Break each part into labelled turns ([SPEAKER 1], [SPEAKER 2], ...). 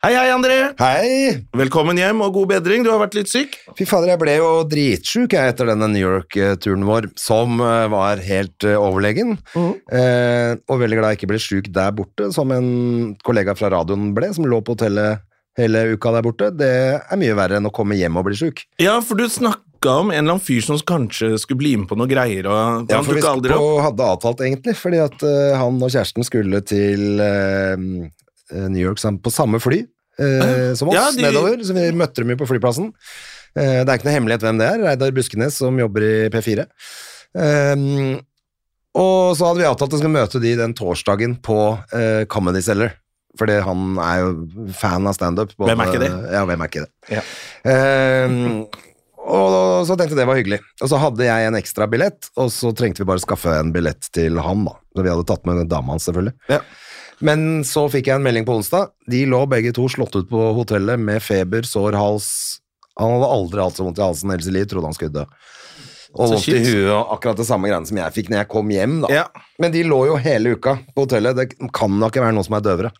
[SPEAKER 1] Hei, hei, André.
[SPEAKER 2] Hei!
[SPEAKER 1] Velkommen hjem og god bedring. Du har vært litt syk.
[SPEAKER 2] Fy fader, jeg ble jo dritsjuk jeg, etter denne New York-turen vår, som eh, var helt eh, overlegen. Eh, og veldig glad jeg ikke ble sjuk der borte, som en kollega fra radioen ble, som lå på hotellet hele uka der borte. Det er mye verre enn å komme hjem og bli sjuk.
[SPEAKER 1] Ja, for du snakka om en eller annen fyr som kanskje skulle bli med på noe greier. Og
[SPEAKER 2] Ja,
[SPEAKER 1] han
[SPEAKER 2] for vi
[SPEAKER 1] dukka aldri opp.
[SPEAKER 2] og hadde avtalt, egentlig, fordi at eh, han og kjæresten skulle til eh, New York sammen, på samme fly eh, som oss,
[SPEAKER 1] Ja, de-
[SPEAKER 2] nedover. Så vi møtte dem jo på flyplassen. Eh, det er ikke noe hemmelighet hvem det er. Reidar Buskenes, som jobber i P4. Eh, og så hadde vi avtalt at vi skulle møte de den torsdagen på eh, Comedy Cellar. Fordi han er jo fan av standup. både-
[SPEAKER 1] Hvem er ikke det?
[SPEAKER 2] Ja, hvem er ikke det? Ehm, og så tenkte jeg det var hyggelig. Og så hadde jeg en ekstra billett, og så trengte vi bare skaffe en billett til han, da. Så vi hadde tatt med dama hans, selvfølgelig.
[SPEAKER 1] Ja.
[SPEAKER 2] Men så fikk jeg en melding på onsdag. De lå begge to slått ut på hotellet med feber, sår, hals Han hadde aldri hatt så vondt i halsen hele sitt liv, trodde han skulle dø. Og
[SPEAKER 1] Så
[SPEAKER 2] vondt i
[SPEAKER 1] shit.
[SPEAKER 2] huet og akkurat det samme greiene som jeg fikk når jeg kom hjem, da.
[SPEAKER 1] Ja.
[SPEAKER 2] Men de lå jo hele uka på hotellet. Det kan da ikke være noen som er døvere.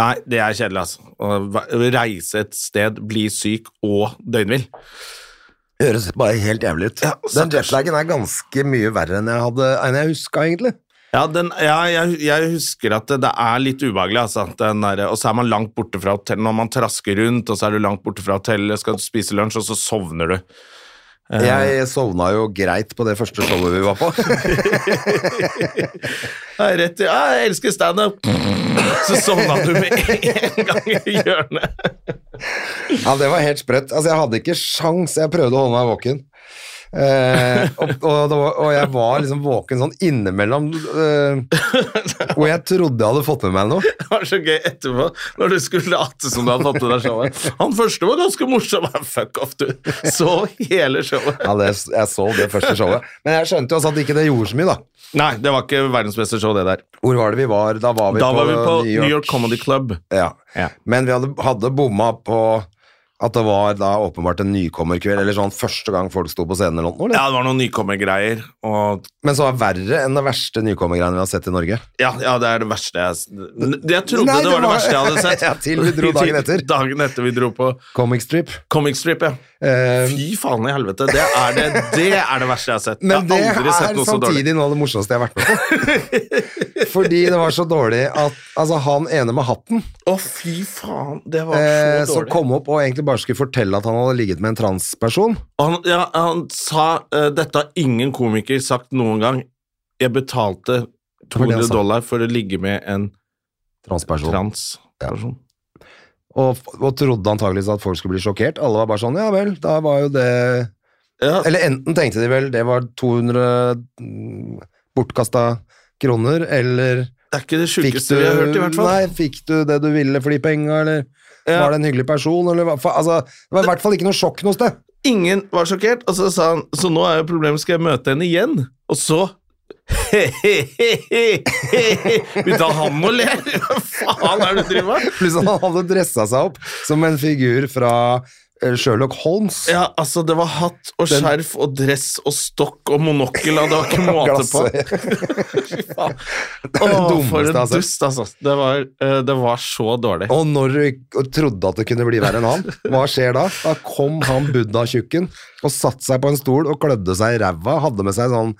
[SPEAKER 1] Nei, det er kjedelig, altså. Å ve- reise et sted, bli syk og døgnvill.
[SPEAKER 2] Det høres bare helt jævlig ut.
[SPEAKER 1] Ja,
[SPEAKER 2] Den
[SPEAKER 1] stakkars.
[SPEAKER 2] jetlagen er ganske mye verre enn jeg, hadde, enn jeg huska, egentlig.
[SPEAKER 1] Ja, den, ja jeg, jeg husker at det, det er litt ubehagelig, altså. at Den der, og så er man langt borte fra hotellet når man trasker rundt, og så er du langt borte fra hotellet, skal du spise lunsj, og så sovner du.
[SPEAKER 2] Jeg sovna jo greit på det første showet vi var på.
[SPEAKER 1] Ja, rett i, ja, jeg elsker standup! Så sovna du med en gang i hjørnet.
[SPEAKER 2] Ja, Det var helt sprøtt. Altså, Jeg hadde ikke sjans. Jeg prøvde å holde meg våken. Eh, og, og, det var, og jeg var liksom våken sånn innimellom eh, hvor jeg trodde jeg hadde fått med meg noe.
[SPEAKER 1] Det var så gøy etterpå, når du skulle late som du hadde fått med deg showet. Han første var ganske morsom. men Fuck off, du. Så hele showet.
[SPEAKER 2] Ja, det, Jeg så det første showet. Men jeg skjønte jo altså at ikke det gjorde så mye, da.
[SPEAKER 1] Nei, det var ikke verdensbeste show, det der.
[SPEAKER 2] Hvor var det vi var? Da var vi,
[SPEAKER 1] Da
[SPEAKER 2] på,
[SPEAKER 1] var vi på New York Comedy Club.
[SPEAKER 2] Ja.
[SPEAKER 1] Ja.
[SPEAKER 2] Men vi hadde, hadde bomma på at det var da åpenbart en nykommerkveld, eller sånn første gang folk sto på scenen eller noe. eller?
[SPEAKER 1] Ja, det var noen nykommergreier. Og
[SPEAKER 2] Men så var det verre enn det verste nykommergreiene vi har sett i Norge.
[SPEAKER 1] ja, ja, det er det verste jeg s- Jeg trodde
[SPEAKER 2] Nei,
[SPEAKER 1] det, var det
[SPEAKER 2] det var-
[SPEAKER 1] verste jeg hadde sett.
[SPEAKER 2] Ja, til vi dro dagen etter.
[SPEAKER 1] Dagen etter vi dro på
[SPEAKER 2] Comic strip.
[SPEAKER 1] Comic Strip, ja.
[SPEAKER 2] Eh,
[SPEAKER 1] Fy faen i helvete. Det er det, det, er det verste jeg har sett.
[SPEAKER 2] men det
[SPEAKER 1] jeg har
[SPEAKER 2] er
[SPEAKER 1] aldri sett noe så dårlig.
[SPEAKER 2] samtidig noe av det morsomste jeg har vært med på. Fordi det var så dårlig at altså, han ene med hatten,
[SPEAKER 1] Å, fy faen. Det var
[SPEAKER 2] eh,
[SPEAKER 1] så
[SPEAKER 2] som
[SPEAKER 1] dårlig.
[SPEAKER 2] kom opp og egentlig bare skulle fortelle at han hadde ligget med en transperson
[SPEAKER 1] Og Han, ja, han sa eh, Dette har ingen komiker sagt noen gang. Jeg betalte
[SPEAKER 2] var det han
[SPEAKER 1] 200
[SPEAKER 2] sa.
[SPEAKER 1] dollar for å ligge med en
[SPEAKER 2] Transperson.
[SPEAKER 1] transperson.
[SPEAKER 2] og, og trodde antageligvis at folk skulle bli sjokkert. Alle var bare sånn Ja vel, da var jo det
[SPEAKER 1] Ja.
[SPEAKER 2] Eller enten tenkte de vel det var 200 mm, bortkasta kroner, eller
[SPEAKER 1] Det er ikke det
[SPEAKER 2] Fikk
[SPEAKER 1] sjukeste vi har hørt, i hvert fall.
[SPEAKER 2] Nei, fikk du det du ville for de penga, eller
[SPEAKER 1] Ja.
[SPEAKER 2] var det en hyggelig person, eller hva fa- Altså, det var i hvert fall ikke noe sjokk noe sted.
[SPEAKER 1] Ingen var sjokkert, og så sa han Så nå er jo problemet, skal jeg møte henne igjen? Og så Begynte han å le? Hva faen er det du driver med?
[SPEAKER 2] Pluss at han hadde dressa seg opp som en figur fra eh, Sherlock Holmes.
[SPEAKER 1] Ja, altså, det var hatt og skjerf og dress og stokk og monokkel, og det var ikke måte
[SPEAKER 2] Altså,
[SPEAKER 1] på. Fy faen.
[SPEAKER 2] er det
[SPEAKER 1] Åh,
[SPEAKER 2] dummeste
[SPEAKER 1] for
[SPEAKER 2] jeg
[SPEAKER 1] en
[SPEAKER 2] har sett.
[SPEAKER 1] dust, altså. Det var, eh, det var så dårlig.
[SPEAKER 2] Og når du ikk- og trodde at det kunne bli verre enn han, hva skjer da? Da kom han buddha-tjukken og satte seg på en stol og klødde seg i ræva. Hadde med seg sånn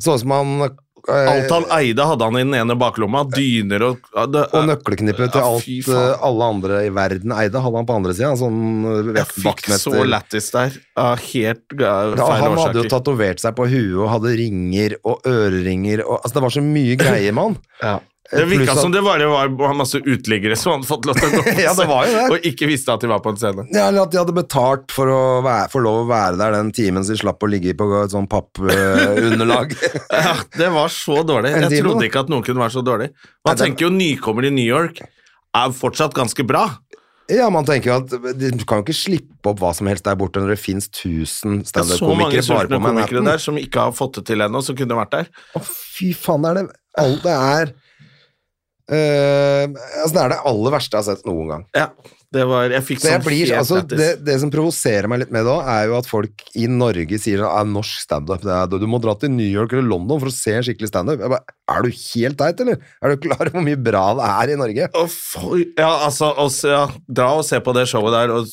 [SPEAKER 2] Så ut som han eh,
[SPEAKER 1] Alt han eide, hadde han i den ene baklomma. Dyner og ja, det,
[SPEAKER 2] Og nøkkelknippet til
[SPEAKER 1] Ja,
[SPEAKER 2] alt
[SPEAKER 1] fy
[SPEAKER 2] eh,
[SPEAKER 1] faen.
[SPEAKER 2] alle andre i verden eide, hadde han på andre sida. Sånn eh,
[SPEAKER 1] Jeg fikk så
[SPEAKER 2] vaktmester.
[SPEAKER 1] lættis der, av helt eh,
[SPEAKER 2] Ja,
[SPEAKER 1] feil
[SPEAKER 2] han hadde jo
[SPEAKER 1] årsaker.
[SPEAKER 2] tatovert seg på huet og hadde ringer og øreringer og Altså, det var så mye greier med han.
[SPEAKER 1] Ja. Det
[SPEAKER 2] Pluss
[SPEAKER 1] virka
[SPEAKER 2] at-
[SPEAKER 1] som det bare var, var masse uteliggere som hadde fått lov til å gå på
[SPEAKER 2] Ja, det var jo
[SPEAKER 1] scenen,
[SPEAKER 2] det.
[SPEAKER 1] og ikke visste at de var på en scene.
[SPEAKER 2] Ja, eller at de hadde betalt for å være, få lov å være der den timen, så de slapp å ligge på et sånn pappunderlag.
[SPEAKER 1] Ja, det var så dårlig.
[SPEAKER 2] En
[SPEAKER 1] Jeg
[SPEAKER 2] time, da.
[SPEAKER 1] trodde ikke at noen kunne være så dårlig. Man
[SPEAKER 2] Nei, det-
[SPEAKER 1] tenker jo nykommer i New York er fortsatt ganske bra.
[SPEAKER 2] Ja, man tenker jo at de kan jo ikke slippe opp hva som helst der borte når det fins 1000
[SPEAKER 1] Det er så mange
[SPEAKER 2] standup-komikere bare
[SPEAKER 1] sultne komikere
[SPEAKER 2] på Manhattan.
[SPEAKER 1] der som ikke har fått det til ennå, som kunne vært der.
[SPEAKER 2] Å, fy faen, det er det all- Det er eh, altså, Det er det aller verste jeg har sett noen gang.
[SPEAKER 1] Ja, det var Jeg fikk
[SPEAKER 2] Så jeg
[SPEAKER 1] sånn
[SPEAKER 2] blir,
[SPEAKER 1] helt
[SPEAKER 2] altså,
[SPEAKER 1] lættis.
[SPEAKER 2] det, det som provoserer meg litt med det, også, er jo at folk i Norge sier at norsk standup det er- Du må dra til New York eller London for å se skikkelig standup. Jeg bare, Er du helt teit, eller? Er du klar over hvor mye bra det er i Norge?
[SPEAKER 1] Å, for, ja, altså, og se- ja, dra og se på det showet der, og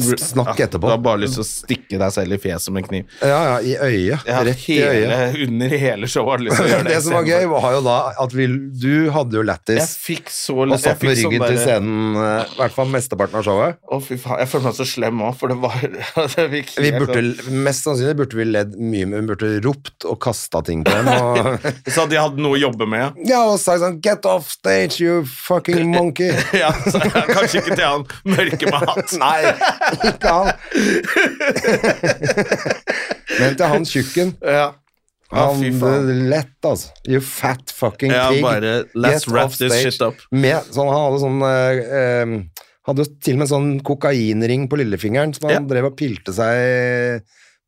[SPEAKER 2] S- snakk
[SPEAKER 1] ja,
[SPEAKER 2] etterpå.
[SPEAKER 1] Du har bare lyst til å stikke deg selv i fjeset med en kniv.
[SPEAKER 2] Ja, ja, i øyet.
[SPEAKER 1] Ja,
[SPEAKER 2] Rett i
[SPEAKER 1] hele,
[SPEAKER 2] øyet.
[SPEAKER 1] under hele showet har du lyst til å gjøre det.
[SPEAKER 2] Det som var gøy,
[SPEAKER 1] istedenfor.
[SPEAKER 2] var jo da at vi, du hadde jo
[SPEAKER 1] Jeg
[SPEAKER 2] lættis
[SPEAKER 1] fikk så
[SPEAKER 2] og
[SPEAKER 1] jeg
[SPEAKER 2] satt med
[SPEAKER 1] fikk sånn
[SPEAKER 2] ryggen til
[SPEAKER 1] der-
[SPEAKER 2] scenen, eh, i hvert fall mesteparten av showet.
[SPEAKER 1] Å, fy faen. Jeg føler meg så slem òg, for det var det fikk
[SPEAKER 2] Vi
[SPEAKER 1] helt
[SPEAKER 2] burde,
[SPEAKER 1] sånn-
[SPEAKER 2] mest sannsynlig burde vi ledd mye, men vi burde ropt og kasta ting på dem. Og,
[SPEAKER 1] Så de hadde noe å jobbe med.
[SPEAKER 2] ja, og sagt sånn Get off stage, you fucking monkey!
[SPEAKER 1] Ja, så, kanskje ikke til han mørke med hatt.
[SPEAKER 2] Nei, ikke han. Men til han tjukken.
[SPEAKER 1] Ja. Ja,
[SPEAKER 2] Han
[SPEAKER 1] fy faen.
[SPEAKER 2] lett, altså. You fat fucking
[SPEAKER 1] Ja,
[SPEAKER 2] pig.
[SPEAKER 1] bare, let's
[SPEAKER 2] Get
[SPEAKER 1] wrap
[SPEAKER 2] off
[SPEAKER 1] this
[SPEAKER 2] stage.
[SPEAKER 1] shit up.
[SPEAKER 2] Med, sånn, han hadde sånn eh, eh, Hadde jo til og med sånn kokainring på lillefingeren som han
[SPEAKER 1] Ja.
[SPEAKER 2] drev og pilte seg eh,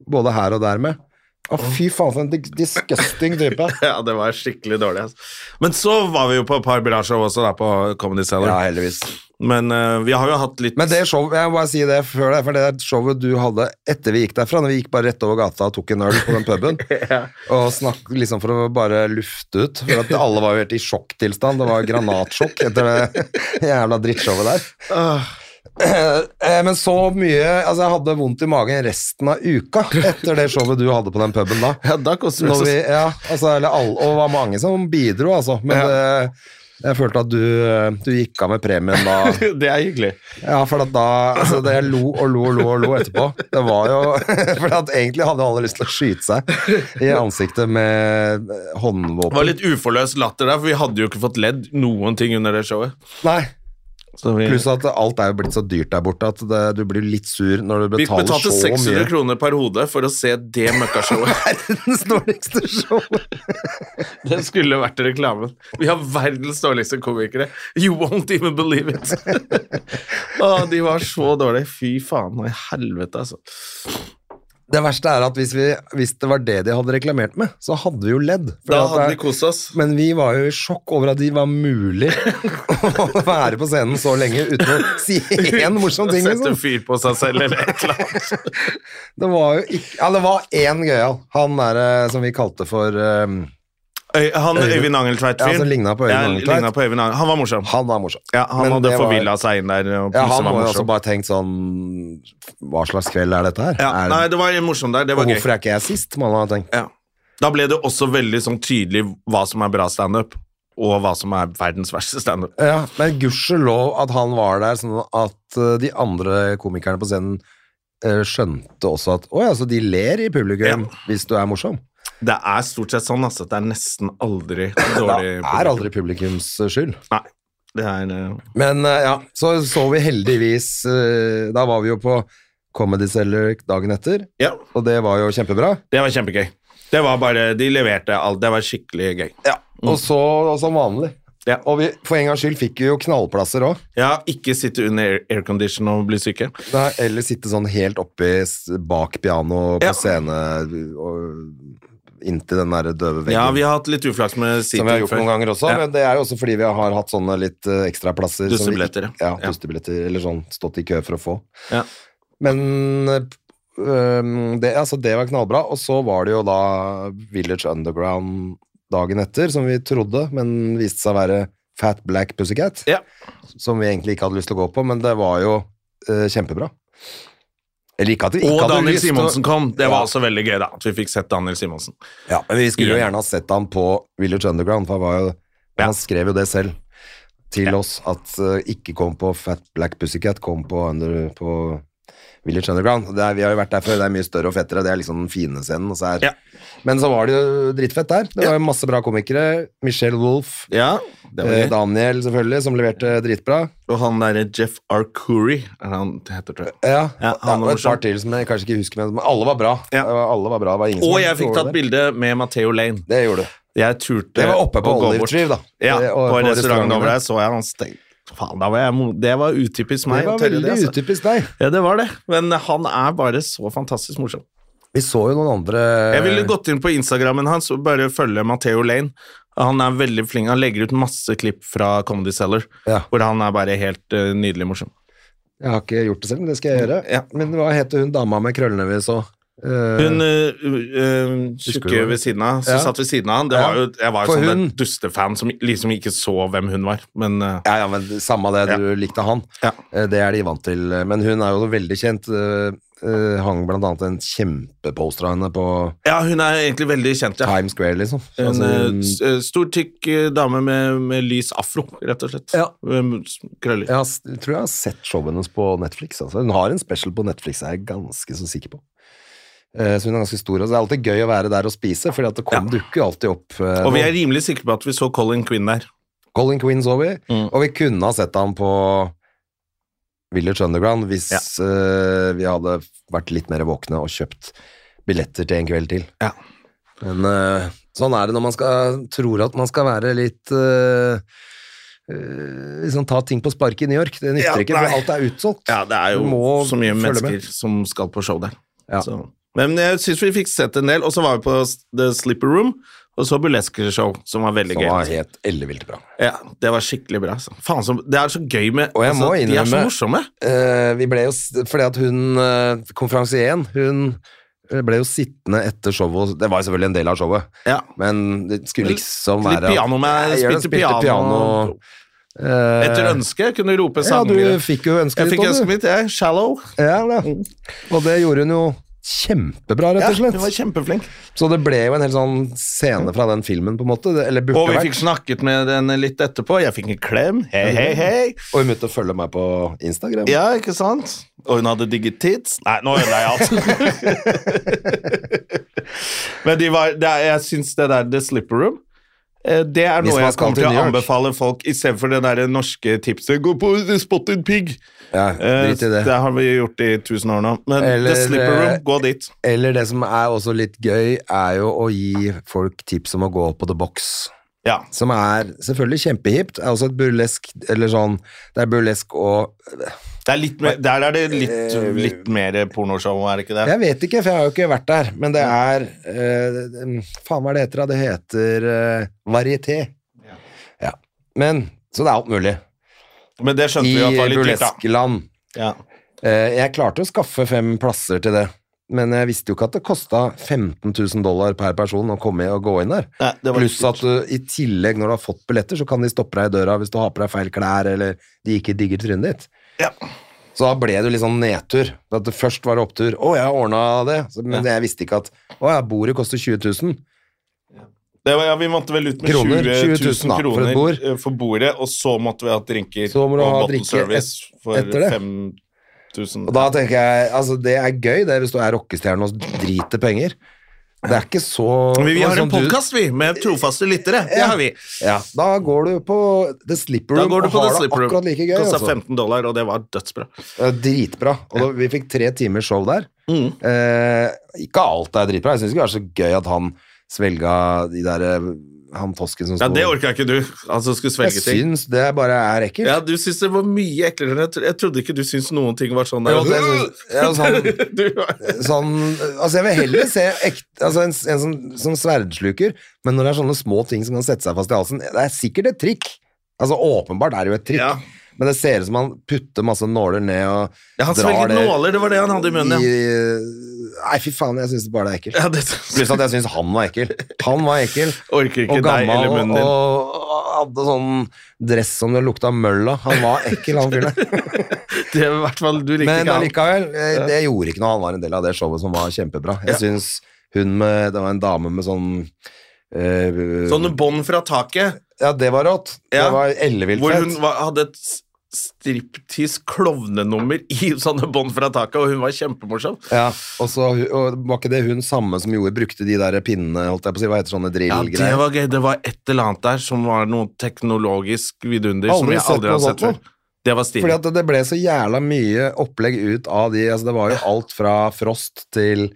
[SPEAKER 2] både her og der med. Å, fy faen, for en dis- disgusting type.
[SPEAKER 1] Ja, det var skikkelig dårlig. Altså. Men så var vi jo på et par bra-show også, da, på Comedy Cellar.
[SPEAKER 2] Ja, heldigvis.
[SPEAKER 1] Men eh, vi har jo hatt litt
[SPEAKER 2] Men det showet, jeg må bare si det før det, for det der showet du hadde etter vi gikk derfra, når vi gikk bare rett over gata og tok en øl på den puben, og snakk liksom for å bare lufte ut, for at alle var jo helt i sjokktilstand, det var granatsjokk etter det jævla drittshowet der.
[SPEAKER 1] Ah.
[SPEAKER 2] Eh, Men så mye, altså jeg hadde vondt i magen resten av uka etter det showet du hadde på den puben da.
[SPEAKER 1] Ja, da koster det
[SPEAKER 2] Når
[SPEAKER 1] så
[SPEAKER 2] vi, ja, altså, eller alle, og det var mange som bidro, altså, men eh, jeg følte at du, eh, du gikk av med premien da.
[SPEAKER 1] Det er hyggelig.
[SPEAKER 2] Ja, for at da altså det Jeg lo og lo og lo og lo etterpå. Det var jo For at egentlig hadde alle lyst til å skyte seg i ansiktet med
[SPEAKER 1] Det var
[SPEAKER 2] håndvåpen.
[SPEAKER 1] litt uforløs latter der, for vi hadde jo ikke fått ledd noen ting under det showet.
[SPEAKER 2] Nei,
[SPEAKER 1] Så vi,
[SPEAKER 2] Pluss at alt er jo blitt så dyrt der borte at det, du blir litt sur når du
[SPEAKER 1] vi
[SPEAKER 2] betaler
[SPEAKER 1] betalte
[SPEAKER 2] så
[SPEAKER 1] 600
[SPEAKER 2] mye.
[SPEAKER 1] kroner per hode for å se det møkkashowet.
[SPEAKER 2] Verdens dårligste show!
[SPEAKER 1] det skulle vært reklamen. Vi har verdens dårligste komikere. You won't even believe it. Å, de var så dårlige. Fy faen og i helvete, altså.
[SPEAKER 2] Det verste er at hvis, vi, hvis det var det de hadde reklamert med, så hadde vi jo ledd. For
[SPEAKER 1] Da
[SPEAKER 2] at det
[SPEAKER 1] hadde
[SPEAKER 2] er-
[SPEAKER 1] vi kost oss.
[SPEAKER 2] Men vi var jo i sjokk over at det var mulig å være på scenen så lenge uten å si én morsom ting.
[SPEAKER 1] Sette
[SPEAKER 2] Liksom.
[SPEAKER 1] fyr på seg selv eller et eller annet.
[SPEAKER 2] Det var jo ikke Ja, det var én gøyal. Han der eh, som vi kalte for eh,
[SPEAKER 1] Øy, han Øyvind Angeltveit-fyr.
[SPEAKER 2] Ja, som lignet på Øyvind
[SPEAKER 1] Ja,
[SPEAKER 2] Angeltveit.
[SPEAKER 1] lignet på Øyvind Angel- Han var morsom.
[SPEAKER 2] Han var morsom.
[SPEAKER 1] Ja, han
[SPEAKER 2] Men
[SPEAKER 1] hadde
[SPEAKER 2] det var-
[SPEAKER 1] forvilla seg inn der. Og
[SPEAKER 2] Ja,
[SPEAKER 1] plutselig
[SPEAKER 2] han
[SPEAKER 1] var
[SPEAKER 2] må jo
[SPEAKER 1] morsom.
[SPEAKER 2] også bare tenkt sånn Hva slags kveld er dette her?
[SPEAKER 1] ja,
[SPEAKER 2] er,
[SPEAKER 1] Nei, det var morsomt der. Det var
[SPEAKER 2] og
[SPEAKER 1] gøy.
[SPEAKER 2] hvorfor er ikke jeg sist? Man har tenkt.
[SPEAKER 1] Ja. Da ble det også veldig sånn tydelig hva som er bra standup, og hva som er verdens verste standup.
[SPEAKER 2] Ja, men gudskjelov at han var der, sånn at eh, de andre komikerne på scenen eh, skjønte også at Å ja, så de ler i publikum
[SPEAKER 1] Ja.
[SPEAKER 2] hvis du er morsom.
[SPEAKER 1] Det er stort sett sånn altså, at det er nesten aldri
[SPEAKER 2] Det
[SPEAKER 1] dårlig
[SPEAKER 2] er aldri publikums eh, skyld.
[SPEAKER 1] Nei. Det er eh,
[SPEAKER 2] Men eh, ja, så så vi heldigvis eh, Da var vi jo på Comedy Cellar dagen etter,
[SPEAKER 1] Ja,
[SPEAKER 2] og det var jo kjempebra.
[SPEAKER 1] det var kjempegøy. Det var bare De leverte alt. Det var skikkelig gøy.
[SPEAKER 2] Og så og som vanlig.
[SPEAKER 1] Mm. Ja.
[SPEAKER 2] Og vi, for en gangs skyld fikk vi jo knallplasser òg.
[SPEAKER 1] Ja, ikke sitte under air- aircondition og bli syke.
[SPEAKER 2] Eller sitte sånn helt oppi s- bak piano på
[SPEAKER 1] Ja.
[SPEAKER 2] scene og inntil den derre døve veggen.
[SPEAKER 1] Ja, vi har hatt litt uflaks med
[SPEAKER 2] som
[SPEAKER 1] seating
[SPEAKER 2] vi har gjort
[SPEAKER 1] før.
[SPEAKER 2] noen ganger også,
[SPEAKER 1] Ja.
[SPEAKER 2] men det er jo også fordi vi har hatt sånne litt eh, ekstraplasser. som vi-
[SPEAKER 1] Dustebilletter, ja.
[SPEAKER 2] Ja,
[SPEAKER 1] Ja.
[SPEAKER 2] dustebilletter, eller sånn stått i kø for å få.
[SPEAKER 1] Ja.
[SPEAKER 2] Men eh, øhm, det, altså, det var knallbra, og så var det jo da Village Underground dagen etter, som vi trodde, men viste seg å være Fat Black Pussycat,
[SPEAKER 1] Ja.
[SPEAKER 2] som vi egentlig ikke hadde lyst til å gå på, men det var jo eh, kjempebra. Eller ikke at vi ikke
[SPEAKER 1] Og
[SPEAKER 2] hadde
[SPEAKER 1] Daniel
[SPEAKER 2] lyst til å-
[SPEAKER 1] Simonsen kom. Det var
[SPEAKER 2] Ja.
[SPEAKER 1] også veldig gøy, da. At vi fikk sett Daniel Simonsen.
[SPEAKER 2] Ja, men vi skulle jo gjerne ha sett han på Village Underground, for han, var jo,
[SPEAKER 1] Ja.
[SPEAKER 2] han skrev jo det selv til oss, at eh, ikke kom på Fat Black Pussycat, kom på, under, på Village Underground. Det er, vi har jo vært der før, det er mye større og fettere, det er liksom den fine scenen. Og så er,
[SPEAKER 1] Ja.
[SPEAKER 2] Men så var det jo drittfett der. Det var jo masse bra komikere. Michelle Wolff,
[SPEAKER 1] Ja, det var
[SPEAKER 2] eh,
[SPEAKER 1] gøy.
[SPEAKER 2] Daniel selvfølgelig, som leverte dritbra.
[SPEAKER 1] Og han derre Jeff Arcuri, er det han heter, tror jeg.
[SPEAKER 2] Ja,
[SPEAKER 1] Ja,
[SPEAKER 2] ja,
[SPEAKER 1] han var
[SPEAKER 2] og et
[SPEAKER 1] morsom.
[SPEAKER 2] par til som jeg kanskje ikke husker, men men alle var bra.
[SPEAKER 1] Ja.
[SPEAKER 2] Det var- Alle var bra, det var ingen som
[SPEAKER 1] Og
[SPEAKER 2] var
[SPEAKER 1] jeg fikk
[SPEAKER 2] dårlig
[SPEAKER 1] tatt
[SPEAKER 2] der.
[SPEAKER 1] bilde med Matheo Lane.
[SPEAKER 2] Det gjorde du.
[SPEAKER 1] Jeg turte
[SPEAKER 2] Det var oppe på
[SPEAKER 1] å gå
[SPEAKER 2] Olive
[SPEAKER 1] bort.
[SPEAKER 2] Tree, da.
[SPEAKER 1] Ja,
[SPEAKER 2] Det- og
[SPEAKER 1] på
[SPEAKER 2] på
[SPEAKER 1] restauranten
[SPEAKER 2] restauranten
[SPEAKER 1] over der så jeg han stengt. Faen, da var jeg, mo- det var utypisk meg. å
[SPEAKER 2] Det var
[SPEAKER 1] tørre det,
[SPEAKER 2] veldig
[SPEAKER 1] altså.
[SPEAKER 2] utypisk deg.
[SPEAKER 1] Ja, det var det. Men han er bare så fantastisk morsom.
[SPEAKER 2] Vi så jo noen andre
[SPEAKER 1] Jeg
[SPEAKER 2] Eh.
[SPEAKER 1] ville gått inn på Instagrammen hans og bare følge Matheo Lane. Han er veldig flink. Han legger ut masse klipp fra Comedy Cellar,
[SPEAKER 2] Ja.
[SPEAKER 1] hvor han er bare helt eh, nydelig morsom.
[SPEAKER 2] Jeg har ikke gjort det selv, men det skal jeg gjøre.
[SPEAKER 1] Ja.
[SPEAKER 2] Men hva heter hun dama med krøllene vi så? Eh,
[SPEAKER 1] Hun eh, eh,
[SPEAKER 2] Husker du
[SPEAKER 1] tjukke
[SPEAKER 2] henne?
[SPEAKER 1] ved siden av, som
[SPEAKER 2] Ja.
[SPEAKER 1] satt ved siden av han, det
[SPEAKER 2] Ja.
[SPEAKER 1] var jo, jeg var jo
[SPEAKER 2] For
[SPEAKER 1] sånn en
[SPEAKER 2] hun-
[SPEAKER 1] dustefan som liksom ikke så hvem hun var, men eh,
[SPEAKER 2] Ja, ja, men samme det, du likte han.
[SPEAKER 1] Ja.
[SPEAKER 2] Eh, Det er de vant til. Men hun er jo veldig kjent. eh, eh, Hang blant annet en kjempeposter av henne på
[SPEAKER 1] ja, hun er egentlig veldig kjent, ja.
[SPEAKER 2] Times Square, liksom.
[SPEAKER 1] En
[SPEAKER 2] Altså,
[SPEAKER 1] eh,
[SPEAKER 2] hun-
[SPEAKER 1] s- eh, stor, tykk eh, dame med, med lys afro, rett og slett.
[SPEAKER 2] Ja.
[SPEAKER 1] Med s- Krøller.
[SPEAKER 2] jeg har, s- tror jeg har sett showet hennes på Netflix. Altså. Hun har en special på Netflix, er jeg ganske så sikker på. Eh, Så hun er ganske stor. Og så er det alltid gøy å være der og spise, for det kom, dukker jo alltid opp. eh,
[SPEAKER 1] Og vi
[SPEAKER 2] noen.
[SPEAKER 1] er rimelig sikre på at vi så Colin Quinn der.
[SPEAKER 2] Colin Quinn så vi,
[SPEAKER 1] Mm.
[SPEAKER 2] og vi kunne ha sett ham på Village Underground hvis eh, vi hadde vært litt mer våkne og kjøpt billetter til en kveld til.
[SPEAKER 1] Ja.
[SPEAKER 2] Men eh, sånn er det når man skal, tror at man skal være litt eh, eh, liksom ta ting på sparket i New York. Det nytter
[SPEAKER 1] Ja,
[SPEAKER 2] ikke, for
[SPEAKER 1] nei.
[SPEAKER 2] alt er utsolgt.
[SPEAKER 1] Ja, det er
[SPEAKER 2] Du
[SPEAKER 1] jo
[SPEAKER 2] må
[SPEAKER 1] så mye
[SPEAKER 2] følge
[SPEAKER 1] mennesker
[SPEAKER 2] med.
[SPEAKER 1] som skal på show der.
[SPEAKER 2] Ja.
[SPEAKER 1] Så. Men jeg syns vi fikk sett en del, og så var vi på s- The Slipper Room, og så burlesque-show, som var veldig
[SPEAKER 2] Som
[SPEAKER 1] gøy.
[SPEAKER 2] var helt ellevilt bra.
[SPEAKER 1] Ja, det var skikkelig bra. altså. Faen, så, det er så gøy med altså,
[SPEAKER 2] Og jeg
[SPEAKER 1] De
[SPEAKER 2] må
[SPEAKER 1] er så
[SPEAKER 2] innrømme-
[SPEAKER 1] morsomme.
[SPEAKER 2] Eh, vi ble jo, s- fordi at hun, uh, konferansieren, hun eh, ble jo sittende etter showet, og- det var jo selvfølgelig en del av showet,
[SPEAKER 1] Ja.
[SPEAKER 2] men det skulle liksom
[SPEAKER 1] Litt
[SPEAKER 2] være at-
[SPEAKER 1] piano med-
[SPEAKER 2] Jeg gjør det,
[SPEAKER 1] spilte piano.
[SPEAKER 2] Eh,
[SPEAKER 1] Etter ønske kunne du rope
[SPEAKER 2] Ja,
[SPEAKER 1] sanger.
[SPEAKER 2] du fikk jo ønsket
[SPEAKER 1] jeg
[SPEAKER 2] ditt
[SPEAKER 1] fikk
[SPEAKER 2] også,
[SPEAKER 1] ønsket
[SPEAKER 2] du.
[SPEAKER 1] mitt, jeg. Shallow.
[SPEAKER 2] Ja, da. Og det gjorde hun jo kjempebra, rett
[SPEAKER 1] Ja,
[SPEAKER 2] og slett.
[SPEAKER 1] hun var kjempeflink.
[SPEAKER 2] Så det ble jo en hel sånn scene fra den filmen, på en måte. det- Eller burde
[SPEAKER 1] Og vi
[SPEAKER 2] vært.
[SPEAKER 1] fikk snakket med den litt etterpå. Jeg fikk en klem. Hei, hei, hei.
[SPEAKER 2] Og hun begynte å følge meg på Instagram.
[SPEAKER 1] Ja, ikke sant? Og hun hadde digge tits. Nei, nå ødela jeg alt. Men de var, det er, jeg syns det der The Slipper Room eh, det er
[SPEAKER 2] Hvis
[SPEAKER 1] noe
[SPEAKER 2] man
[SPEAKER 1] jeg
[SPEAKER 2] skal
[SPEAKER 1] kommer
[SPEAKER 2] til
[SPEAKER 1] til å
[SPEAKER 2] New York.
[SPEAKER 1] anbefale folk, istedenfor det der norske tipset 'Gå på Spotted Pig'.
[SPEAKER 2] Ja,
[SPEAKER 1] Eh,
[SPEAKER 2] drit i det.
[SPEAKER 1] har vi gjort i tusen år nå. Men
[SPEAKER 2] Eller,
[SPEAKER 1] The Slipper Room,
[SPEAKER 2] eh,
[SPEAKER 1] gå dit.
[SPEAKER 2] Eller det som er også litt gøy, er jo å gi folk tips om å gå på The Box.
[SPEAKER 1] Ja.
[SPEAKER 2] Som er selvfølgelig kjempehipt. Er også et burlesk Eller sånn Det er burlesk og
[SPEAKER 1] Det er litt mer, der er det litt,
[SPEAKER 2] Eh,
[SPEAKER 1] litt mer pornoshow, er det ikke det?
[SPEAKER 2] Jeg vet ikke, for jeg har jo ikke vært der, men det er eh, Faen, hva er det heter, da? Det heter eh, varieté. Ja. Men Så det er alt mulig.
[SPEAKER 1] Men det skjønte
[SPEAKER 2] I
[SPEAKER 1] vi at var litt likt, da.
[SPEAKER 2] burleskland.
[SPEAKER 1] Ja.
[SPEAKER 2] Eh, jeg klarte å skaffe fem plasser til det, men jeg visste jo ikke at det kosta 15 000 dollar per person å komme og gå inn der.
[SPEAKER 1] Nei, det var
[SPEAKER 2] Pluss
[SPEAKER 1] litt
[SPEAKER 2] at du i tillegg, når du har fått billetter, så kan de stoppe deg i døra hvis du har på deg feil klær, eller de ikke digger trynet ditt.
[SPEAKER 1] Ja.
[SPEAKER 2] Så da ble det jo litt sånn nedtur. At det først var det opptur. Å, jeg ordna det. Så, men jeg visste ikke at Å ja, bordet koster 20 000.
[SPEAKER 1] Det var, ja, vi måtte vel ut med
[SPEAKER 2] Kroner,
[SPEAKER 1] 20
[SPEAKER 2] 20
[SPEAKER 1] 000
[SPEAKER 2] da, for
[SPEAKER 1] kroner
[SPEAKER 2] et bord.
[SPEAKER 1] eh, for bordet, og så måtte vi ha drinker
[SPEAKER 2] Så må du
[SPEAKER 1] og
[SPEAKER 2] ha
[SPEAKER 1] bottle
[SPEAKER 2] drikke
[SPEAKER 1] service
[SPEAKER 2] et-
[SPEAKER 1] for
[SPEAKER 2] etter det.
[SPEAKER 1] 5000.
[SPEAKER 2] Og da tenker jeg Altså, det er gøy, det, hvis du er rockestjerne og driter penger. Det er ikke så
[SPEAKER 1] Men vi har en
[SPEAKER 2] sånn du-
[SPEAKER 1] podkast, vi, med trofaste lyttere. Det
[SPEAKER 2] Ja.
[SPEAKER 1] har vi.
[SPEAKER 2] Ja, da går du på The Slipper
[SPEAKER 1] Da
[SPEAKER 2] Room
[SPEAKER 1] går du
[SPEAKER 2] og
[SPEAKER 1] på
[SPEAKER 2] har
[SPEAKER 1] The Slipper
[SPEAKER 2] det
[SPEAKER 1] Room.
[SPEAKER 2] akkurat like gøy.
[SPEAKER 1] Kosta
[SPEAKER 2] altså.
[SPEAKER 1] 15 dollar, og det var dødsbra.
[SPEAKER 2] Det er Dritbra. Og da, vi fikk tre timers show der.
[SPEAKER 1] Mm.
[SPEAKER 2] Eh, ikke alt er dritbra. Jeg syns ikke det var så gøy at han svelga de der eh, Han tosken som
[SPEAKER 1] Ja,
[SPEAKER 2] sto
[SPEAKER 1] det orka ikke du. Altså, skulle
[SPEAKER 2] Jeg
[SPEAKER 1] svelge ting.
[SPEAKER 2] syns det bare er ekkelt.
[SPEAKER 1] Ja, du syns det var mye eklere. enn Jeg, tro- jeg trodde ikke du syntes noen ting var sånn der.
[SPEAKER 2] Jo, det syns- ja, sånn-
[SPEAKER 1] Du var-
[SPEAKER 2] Sånn, altså jeg vil heller se ekte, altså en, en som, som sverdsluker, men når det er sånne små ting som kan sette seg fast i halsen Det er sikkert et trikk. Altså Åpenbart er det jo et trikk,
[SPEAKER 1] Ja.
[SPEAKER 2] men det ser ut som han putter masse nåler ned og
[SPEAKER 1] Ja, han svelget nåler, det var det han hadde i munnen, ja.
[SPEAKER 2] i- Nei, fy faen, jeg syns det bare er ekkelt.
[SPEAKER 1] ja, det
[SPEAKER 2] Pluss at jeg syns han var ekkel. Han var ekkel.
[SPEAKER 1] orker ikke
[SPEAKER 2] Og
[SPEAKER 1] deg
[SPEAKER 2] gammel
[SPEAKER 1] eller
[SPEAKER 2] og,
[SPEAKER 1] munnen din.
[SPEAKER 2] og hadde sånn dress som det lukta møll av. Han var ekkel, han fyren der.
[SPEAKER 1] Det er i hvert fall, du likte
[SPEAKER 2] Men
[SPEAKER 1] ikke han.
[SPEAKER 2] allikevel, eh, det gjorde ikke noe. Han var en del av det showet som var kjempebra. Jeg synes hun med Det var en dame med sånn eh,
[SPEAKER 1] Sånne Sånn bånd fra taket.
[SPEAKER 2] Ja, det var rått.
[SPEAKER 1] Ja.
[SPEAKER 2] Det var ellevilt
[SPEAKER 1] Hvor hun
[SPEAKER 2] fett.
[SPEAKER 1] var, hadde et s- striptease klovnenummer i sånne bånd fra taket, og hun var kjempemorsom.
[SPEAKER 2] Ja, og så hu- og var ikke det hun samme som gjorde brukte de der pinnene, holdt jeg på å si, hva heter sånne
[SPEAKER 1] Ja, det
[SPEAKER 2] drillgreier?
[SPEAKER 1] var gøy. Det var et eller annet der som var noe teknologisk vidunder som
[SPEAKER 2] Aldri
[SPEAKER 1] jeg
[SPEAKER 2] sett
[SPEAKER 1] aldri har
[SPEAKER 2] noe
[SPEAKER 1] sett
[SPEAKER 2] sånt
[SPEAKER 1] før.
[SPEAKER 2] nå.
[SPEAKER 1] Det var
[SPEAKER 2] Fordi
[SPEAKER 1] stilig.
[SPEAKER 2] at det- det ble så jævla mye opplegg ut av de altså Det var jo alt fra frost til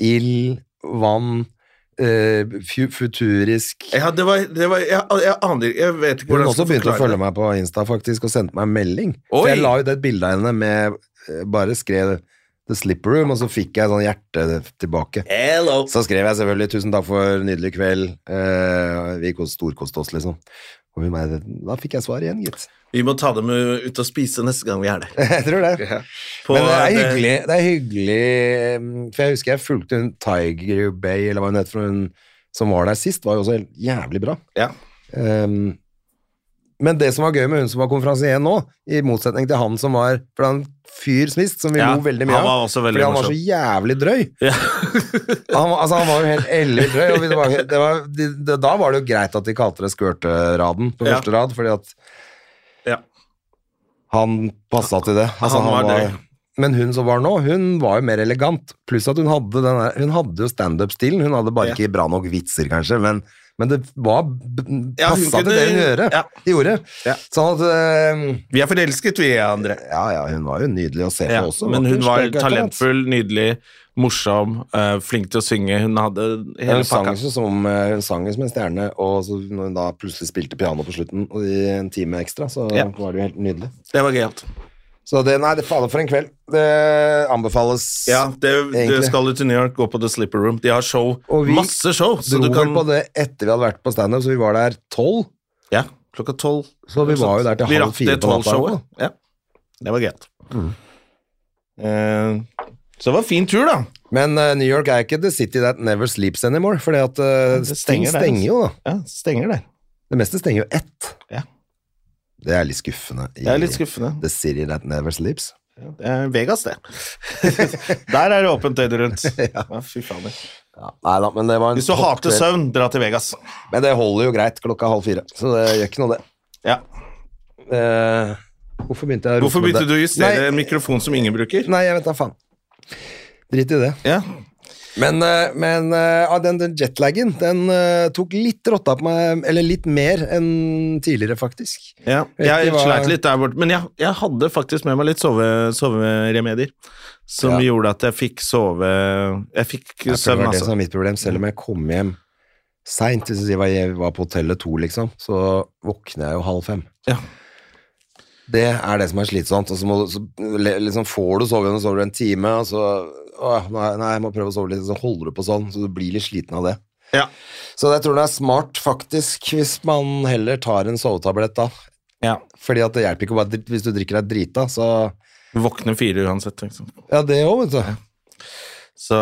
[SPEAKER 2] ild, vann, eh, fu- futurisk
[SPEAKER 1] Ja, det var, det var jeg, jeg aner ikke Jeg vet ikke
[SPEAKER 2] Hun
[SPEAKER 1] hvordan
[SPEAKER 2] også begynte å følge
[SPEAKER 1] det.
[SPEAKER 2] meg på Insta faktisk og sendte meg en melding. For
[SPEAKER 1] Oi!
[SPEAKER 2] jeg la ut et bilde av henne med eh, Bare skrev The Slipper Room, og så fikk jeg sånn hjerte tilbake.
[SPEAKER 1] Hello.
[SPEAKER 2] Så skrev jeg selvfølgelig 'Tusen takk for nydelig kveld'. Eh, vi kos- storkoste oss, liksom. Og hun bare Da fikk jeg svar igjen, gitt.
[SPEAKER 1] Vi må ta dem uh, ut og spise neste gang vi er der.
[SPEAKER 2] Jeg tror det.
[SPEAKER 1] På,
[SPEAKER 2] Men det er
[SPEAKER 1] eh,
[SPEAKER 2] hyggelig, det er hyggelig mm, For jeg husker jeg fulgte hun Tiger Bay, eller hva hun het for hun som var der sist, var jo også helt jævlig bra.
[SPEAKER 1] Ja.
[SPEAKER 2] Ehm, men det som var gøy med hun som var konferansier nå, i motsetning til han som var For det er en fyr sist som vi
[SPEAKER 1] Ja,
[SPEAKER 2] lo veldig mye
[SPEAKER 1] han var
[SPEAKER 2] av.
[SPEAKER 1] også veldig
[SPEAKER 2] fordi han var så
[SPEAKER 1] morsom.
[SPEAKER 2] jævlig drøy.
[SPEAKER 1] Ja.
[SPEAKER 2] Han, var- altså, han var jo helt ellevilt drøy. Og vi- det var, det var, de, det, da var det jo greit at de kalte det skvørteraden på
[SPEAKER 1] Ja.
[SPEAKER 2] første rad, fordi at
[SPEAKER 1] Ja.
[SPEAKER 2] han passa til det. Altså,
[SPEAKER 1] Han
[SPEAKER 2] han
[SPEAKER 1] var
[SPEAKER 2] var
[SPEAKER 1] drøy.
[SPEAKER 2] men hun som var nå, hun var jo mer elegant. Pluss at hun hadde, den der, hun hadde jo standup-stilen. Hun hadde bare
[SPEAKER 1] Ja.
[SPEAKER 2] ikke bra nok vitser, kanskje, men, men det var b-
[SPEAKER 1] Ja, hun
[SPEAKER 2] passa til
[SPEAKER 1] kunne-
[SPEAKER 2] det hun gjøre,
[SPEAKER 1] ja.
[SPEAKER 2] gjorde.
[SPEAKER 1] Ja.
[SPEAKER 2] Sånn at eh,
[SPEAKER 1] Vi er forelsket, vi, André.
[SPEAKER 2] Ja, ja, hun var jo nydelig å se på
[SPEAKER 1] Ja,
[SPEAKER 2] også.
[SPEAKER 1] men hun var
[SPEAKER 2] sterk etter hvert.
[SPEAKER 1] talentfull, nydelig, morsom, eh, flink til å synge. Hun hadde hele
[SPEAKER 2] Hun sang,
[SPEAKER 1] pakka.
[SPEAKER 2] jo som, eh, hun sang jo som en stjerne, og så når hun da plutselig spilte piano på slutten og i en time ekstra, så
[SPEAKER 1] Ja.
[SPEAKER 2] var det jo helt nydelig.
[SPEAKER 1] Det var gøyalt.
[SPEAKER 2] Så det, nei, det fader for en kveld. Det anbefales.
[SPEAKER 1] Ja, det, det
[SPEAKER 2] Egentlig.
[SPEAKER 1] skal du til New York, gå på The Slipper Room. De har show.
[SPEAKER 2] Og vi
[SPEAKER 1] Masse show! Så
[SPEAKER 2] Dro
[SPEAKER 1] du kan
[SPEAKER 2] vel på det etter vi hadde vært på standup, så vi var der tolv.
[SPEAKER 1] Ja, klokka tolv.
[SPEAKER 2] Så vi var jo der til
[SPEAKER 1] Vi
[SPEAKER 2] halv
[SPEAKER 1] rakk
[SPEAKER 2] fire
[SPEAKER 1] det
[SPEAKER 2] på natta. Mm.
[SPEAKER 1] tolv-showet. Ja. Det var greit. Eh, så det var en fin tur, da.
[SPEAKER 2] Men eh, New York er ikke the city that never sleeps anymore, for at eh,
[SPEAKER 1] Det
[SPEAKER 2] ting
[SPEAKER 1] stenger der,
[SPEAKER 2] stenger jo, da.
[SPEAKER 1] Ja, Stenger der.
[SPEAKER 2] Det meste stenger jo ett.
[SPEAKER 1] Ja.
[SPEAKER 2] Det er litt skuffende. i
[SPEAKER 1] Det er litt skuffende.
[SPEAKER 2] The city that never sleeps.
[SPEAKER 1] Det er Vegas, det. der er det åpent døgnet rundt. Ja, fy faen.
[SPEAKER 2] Nei da, men det var en
[SPEAKER 1] Hvis du
[SPEAKER 2] topp
[SPEAKER 1] hater
[SPEAKER 2] kveld.
[SPEAKER 1] søvn, dra til Vegas.
[SPEAKER 2] Men det holder jo greit klokka halv fire, så det gjør ikke noe, det.
[SPEAKER 1] Ja.
[SPEAKER 2] Eh, hvorfor begynte jeg å rope
[SPEAKER 1] Hvorfor
[SPEAKER 2] med
[SPEAKER 1] begynte
[SPEAKER 2] det?
[SPEAKER 1] du å justere
[SPEAKER 2] Nei,
[SPEAKER 1] en mikrofon som ingen bruker?
[SPEAKER 2] Nei, jeg vet da faen. Drit i det.
[SPEAKER 1] Ja.
[SPEAKER 2] Men, eh, men eh, ah, den, den jetlaggen den eh, tok litt rotta på meg, eller litt mer enn tidligere, faktisk.
[SPEAKER 1] Ja,
[SPEAKER 2] Vet
[SPEAKER 1] jeg
[SPEAKER 2] ikke hva-
[SPEAKER 1] sleit litt der borte, men jeg, jeg hadde faktisk med meg litt sove, soveremedier. Som
[SPEAKER 2] Ja.
[SPEAKER 1] gjorde at jeg fikk sove Jeg fikk
[SPEAKER 2] Jeg tror
[SPEAKER 1] søvn,
[SPEAKER 2] det var det
[SPEAKER 1] altså.
[SPEAKER 2] som var mitt problem, selv om jeg kom hjem seint, hvis jeg sier hva jeg var på hotellet to, liksom, så våkner jeg jo halv fem.
[SPEAKER 1] Ja.
[SPEAKER 2] Det er det som er slitsomt, og så, må, du- så le- liksom får du sove, og så sover du en time, og så åh, nei, nei, jeg må prøve å sove litt, så holder du på sånn, så du blir litt sliten av det.
[SPEAKER 1] Ja.
[SPEAKER 2] Så jeg tror det er smart, faktisk, hvis man heller tar en sovetablett da.
[SPEAKER 1] ja.
[SPEAKER 2] Fordi at det hjelper ikke å bare, dri- hvis du drikker deg drita, så
[SPEAKER 1] Våkne fire uansett, liksom.
[SPEAKER 2] Ja, det òg, vet du.
[SPEAKER 1] Så,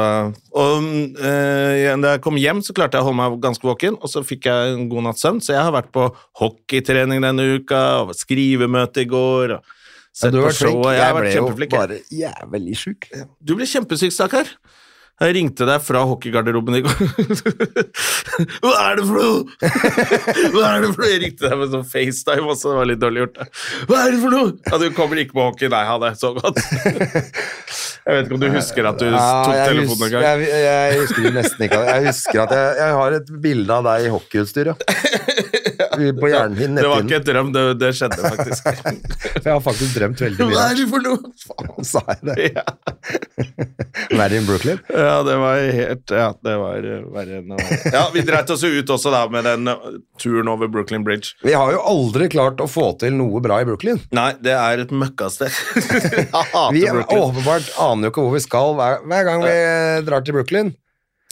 [SPEAKER 1] og mm, eh, igjen, da jeg kom hjem, så klarte jeg å holde meg ganske våken, og så fikk jeg en god natts søvn. Så jeg har vært på hockeytrening denne uka, og skrivemøte i går, og
[SPEAKER 2] Ja,
[SPEAKER 1] sett
[SPEAKER 2] du
[SPEAKER 1] på
[SPEAKER 2] har vært flink.
[SPEAKER 1] showet. Jeg har
[SPEAKER 2] ble
[SPEAKER 1] vært
[SPEAKER 2] jo
[SPEAKER 1] kjempeflink. jeg.
[SPEAKER 2] bare jævlig sjuk.
[SPEAKER 1] Du ble kjempesyk, stakkar. Jeg ringte deg fra hockeygarderoben i går. Hva er det for noe?! Hva er det for noe? Jeg ringte deg med sånn FaceTime også, det var litt dårlig gjort. Hva er det for noe?! Ja, du kommer ikke på hockey, nei, ha det så godt. Jeg vet ikke om du husker at du tok
[SPEAKER 2] jeg,
[SPEAKER 1] telefonen en
[SPEAKER 2] husker,
[SPEAKER 1] gang.
[SPEAKER 2] jeg, jeg husker jo nesten ikke av det. Jeg husker at jeg, jeg har et bilde av deg i hockeyutstyr, ja. På hjernen min.
[SPEAKER 1] Det var ikke
[SPEAKER 2] netthinnen.
[SPEAKER 1] et drøm, det, det skjedde faktisk.
[SPEAKER 2] For Jeg har faktisk drømt veldig mye.
[SPEAKER 1] Hva
[SPEAKER 2] av
[SPEAKER 1] er det for noe?!
[SPEAKER 2] det. Sa jeg det?
[SPEAKER 1] Ja,
[SPEAKER 2] Verre enn Brooklyn.
[SPEAKER 1] ja det var helt Ja, det var eh, verre enn det var. Ja, vi dreit oss jo ut også, da, med den eh, turen over Brooklyn Bridge.
[SPEAKER 2] Vi har jo aldri klart å få til noe bra i Brooklyn.
[SPEAKER 1] Nei, det er et møkkasted. Jeg hater
[SPEAKER 2] Vi
[SPEAKER 1] Brooklyn.
[SPEAKER 2] åpenbart aner jo ikke hvor vi skal hver, hver gang vi drar til Brooklyn.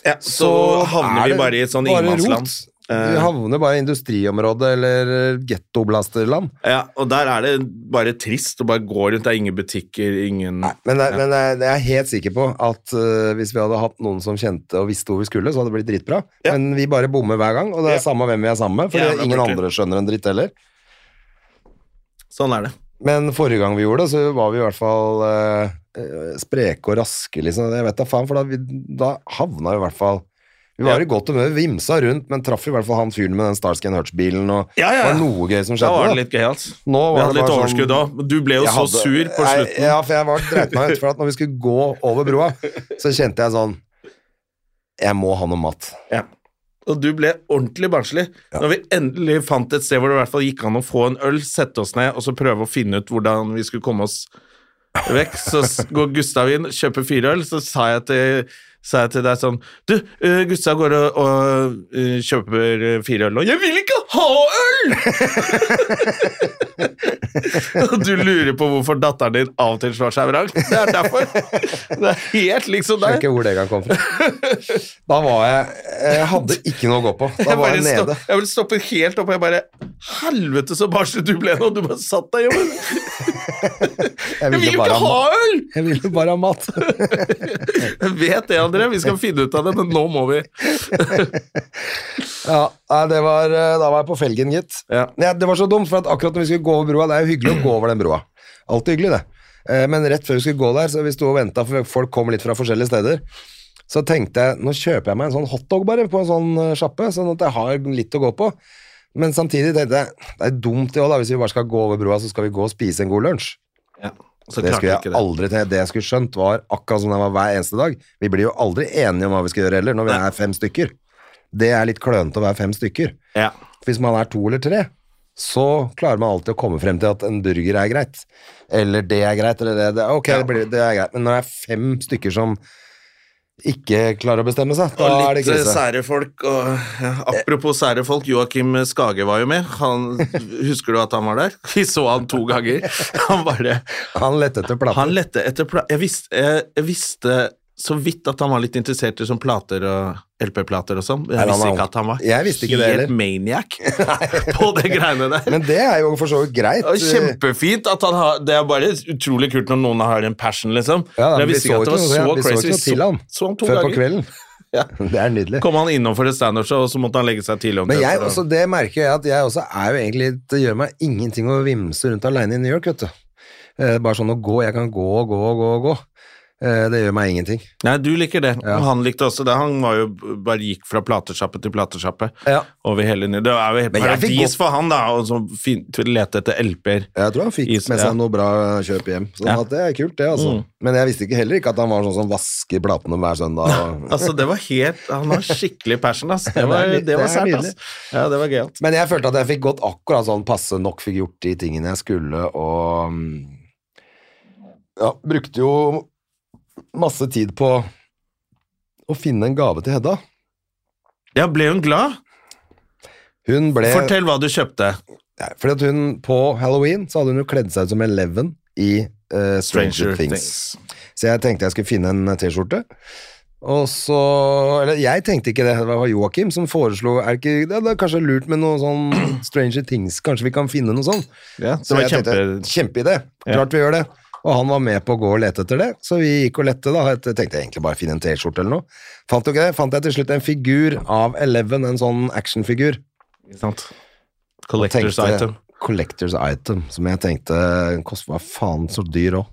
[SPEAKER 1] ja, så havner
[SPEAKER 2] er
[SPEAKER 1] vi
[SPEAKER 2] det
[SPEAKER 1] bare i et sånn
[SPEAKER 2] bare
[SPEAKER 1] ingenmannsland.
[SPEAKER 2] rot.
[SPEAKER 1] Eh.
[SPEAKER 2] Vi havner bare i industriområdet eller eh, gettoblasterland.
[SPEAKER 1] Ja, og der er det bare trist å bare gå rundt. Det er ingen butikker, ingen
[SPEAKER 2] Nei, men, det, men det, det er jeg helt sikker på at øh, hvis vi hadde hatt noen som kjente og visste hvor vi skulle, så hadde det blitt dritbra.
[SPEAKER 1] Ja.
[SPEAKER 2] Men vi bare bommer hver gang, og det er
[SPEAKER 1] Ja.
[SPEAKER 2] samme hvem vi er sammen med, for
[SPEAKER 1] Jævla
[SPEAKER 2] ingen
[SPEAKER 1] Brooklyn.
[SPEAKER 2] andre skjønner en dritt heller.
[SPEAKER 1] Sånn er det.
[SPEAKER 2] Men forrige gang vi gjorde det, så var vi i hvert fall øh, øh, spreke og raske, liksom. Jeg vet da faen, for da, vi, da havna vi i hvert fall Vi var
[SPEAKER 1] Ja.
[SPEAKER 2] i godt humør, vimsa rundt, men traff i hvert fall han fyren med den Starscan Hurch-bilen, og
[SPEAKER 1] Ja, ja,
[SPEAKER 2] det
[SPEAKER 1] ja.
[SPEAKER 2] var noe gøy som
[SPEAKER 1] Da
[SPEAKER 2] skjedde.
[SPEAKER 1] var
[SPEAKER 2] da.
[SPEAKER 1] det litt gøy, altså.
[SPEAKER 2] Nå var
[SPEAKER 1] Vi hadde
[SPEAKER 2] det
[SPEAKER 1] litt
[SPEAKER 2] bare
[SPEAKER 1] overskudd
[SPEAKER 2] sånn-
[SPEAKER 1] da. Du ble jo
[SPEAKER 2] Jeg
[SPEAKER 1] så
[SPEAKER 2] hadde-
[SPEAKER 1] sur på
[SPEAKER 2] Nei,
[SPEAKER 1] slutten.
[SPEAKER 2] Ja, for jeg var dreit meg ut for at når vi skulle gå over broa, så kjente jeg sånn Jeg må ha noe mat.
[SPEAKER 1] Ja. Og du ble ordentlig barnslig. Når vi endelig fant et sted hvor det i hvert fall gikk an å få en øl, sette oss ned og så prøve å finne ut hvordan vi skulle komme oss vekk, så s- går Gustav inn, kjøper fire øl, så sa jeg til sa jeg til deg sånn Du, eh, Gustav går og, og eh, kjøper eh, fire øl, og 'Jeg vil ikke ha øl!' Og du lurer på hvorfor datteren din av og til slår seg vrang. Det er derfor. Det er helt liksom
[SPEAKER 2] Jeg vet
[SPEAKER 1] deg.
[SPEAKER 2] ikke hvor det kan komme fra. Da var jeg Jeg hadde ikke noe å gå på. Da
[SPEAKER 1] Jeg
[SPEAKER 2] var
[SPEAKER 1] bare
[SPEAKER 2] jeg
[SPEAKER 1] stopp,
[SPEAKER 2] nede.
[SPEAKER 1] jeg ble stoppet helt opp, og jeg bare Helvete, så barnslig du ble nå! Du bare satt deg hjemme. Jeg vil jo ikke ha
[SPEAKER 2] mat.
[SPEAKER 1] øl!
[SPEAKER 2] Jeg ville bare ha mat.
[SPEAKER 1] Jeg vet det, André. Vi skal finne ut av det, men nå må vi.
[SPEAKER 2] Ja, nei, det var, eh, da var jeg på felgen, gitt.
[SPEAKER 1] Ja.
[SPEAKER 2] Nei, det var så dumt, for at akkurat når vi skulle gå over broa Det er jo hyggelig å gå over den broa. Alltid hyggelig, det. Eh, Men rett før vi skulle gå der, så vi sto og venta, for folk kom litt fra forskjellige steder. Så tenkte jeg nå kjøper jeg meg en sånn hotdog bare på en sånn eh, sjappe, sånn at jeg har litt å gå på. Men samtidig tenkte jeg det er dumt det òg, hvis vi bare skal gå over broa, så skal vi gå og spise en god lunsj.
[SPEAKER 1] Så
[SPEAKER 2] Det
[SPEAKER 1] klarte
[SPEAKER 2] skulle
[SPEAKER 1] jeg ikke
[SPEAKER 2] jeg
[SPEAKER 1] det.
[SPEAKER 2] aldri til. Det jeg skulle skjønt, var akkurat som det var hver eneste dag. Vi blir jo aldri enige om hva vi skal gjøre heller, når vi er fem stykker. Det er litt klønete å være fem stykker.
[SPEAKER 1] Ja.
[SPEAKER 2] Hvis man er to eller tre, så klarer man alltid å komme frem til at en burger er greit. Eller det er greit, eller det, det, ok, det, blir, det er greit. Men når det er fem stykker som ikke klarer å bestemme seg, da
[SPEAKER 1] Og
[SPEAKER 2] er det
[SPEAKER 1] litt eh,
[SPEAKER 2] krise.
[SPEAKER 1] sære folk. Og, ja, apropos sære folk, Joakim Skage var jo med. Han, husker du at han var der? Vi så han to ganger. Han bare
[SPEAKER 2] Han lette etter plater.
[SPEAKER 1] Han lette etter pla jeg, visste, jeg, jeg visste så vidt at han var litt interessert i sånn plater og LP-plater og sånn. men
[SPEAKER 2] Nei,
[SPEAKER 1] Jeg visste
[SPEAKER 2] han er-
[SPEAKER 1] ikke at han var
[SPEAKER 2] Jeg visste ikke det
[SPEAKER 1] helt
[SPEAKER 2] heller.
[SPEAKER 1] maniac på det greiene der.
[SPEAKER 2] Men det er jo for så vidt greit.
[SPEAKER 1] Det var kjempefint at han har Det er bare utrolig kult når noen har en passion, liksom.
[SPEAKER 2] Ja,
[SPEAKER 1] Men
[SPEAKER 2] da, vi
[SPEAKER 1] jeg visste
[SPEAKER 2] så
[SPEAKER 1] ikke at det var
[SPEAKER 2] ikke
[SPEAKER 1] så
[SPEAKER 2] noe- vi så
[SPEAKER 1] crazy.
[SPEAKER 2] ikke noe til han
[SPEAKER 1] så han to
[SPEAKER 2] Før på
[SPEAKER 1] ganger.
[SPEAKER 2] kvelden. Det er nydelig.
[SPEAKER 1] Kom han innom for et standup-show, og så måtte han legge seg tidlig om
[SPEAKER 2] Men jeg,
[SPEAKER 1] for å-
[SPEAKER 2] også, det merker jeg at jeg også er jo egentlig Det gjør meg ingenting å vimse rundt alene i New York, vet du. Eh, bare sånn å gå. Jeg kan gå og gå og gå og gå. Eh, det gjør meg ingenting.
[SPEAKER 1] Nei, du liker det.
[SPEAKER 2] Ja.
[SPEAKER 1] Og han likte også det. Han var jo bare gikk fra platesjappe til platesjappe
[SPEAKER 2] Ja.
[SPEAKER 1] over hele Ny- Det er jo helt
[SPEAKER 2] Men jeg fikk
[SPEAKER 1] paradis
[SPEAKER 2] godt-
[SPEAKER 1] for han, da, og så fin- til å lete etter LP-er.
[SPEAKER 2] Jeg tror han fikk
[SPEAKER 1] Is-
[SPEAKER 2] med seg
[SPEAKER 1] ja.
[SPEAKER 2] noe bra kjøp hjem. Sånn
[SPEAKER 1] Ja.
[SPEAKER 2] at det er kult, det, altså. Men jeg visste ikke heller ikke at han var sånn som vasker platene hver søndag. og-
[SPEAKER 1] Altså, det var helt Han har skikkelig passion, ass. Det var,
[SPEAKER 2] Det er ny-
[SPEAKER 1] det var
[SPEAKER 2] det er
[SPEAKER 1] sært,
[SPEAKER 2] nydelig.
[SPEAKER 1] ass. Ja, det var gøyalt.
[SPEAKER 2] Men jeg følte at jeg fikk gått akkurat sånn passe nok, fikk gjort de tingene jeg skulle, og mm, Ja, brukte jo masse tid på å finne en gave til Hedda.
[SPEAKER 1] Ja, ble hun glad?
[SPEAKER 2] Hun ble
[SPEAKER 1] Fortell hva du kjøpte.
[SPEAKER 2] Nei, fordi at hun på Halloween så hadde hun jo kledd seg ut som Eleven i eh, Stranger,
[SPEAKER 1] Stranger
[SPEAKER 2] Things.
[SPEAKER 1] Things.
[SPEAKER 2] Så jeg tenkte jeg skulle finne en eh, T-skjorte. Og så Eller jeg tenkte ikke det, det var Joakim som foreslo er det, ikke, det er kanskje lurt med noe sånn Stranger Things, kanskje vi kan finne noe sånn.
[SPEAKER 1] Ja,
[SPEAKER 2] Så
[SPEAKER 1] det var
[SPEAKER 2] jeg tenkte,
[SPEAKER 1] kjempe...
[SPEAKER 2] kjempeidé, klart vi gjør det. Og han var med på å gå og lete etter det, så vi gikk og lette. da, Jeg tenkte egentlig bare finne en T-skjorte eller noe. Fant jo ikke det, fant jeg til slutt en figur av Eleven, en sånn actionfigur.
[SPEAKER 1] Ikke sant? Collectors
[SPEAKER 2] tenkte-
[SPEAKER 1] item.
[SPEAKER 2] Collectors item, som jeg tenkte kost, var faen så dyr òg.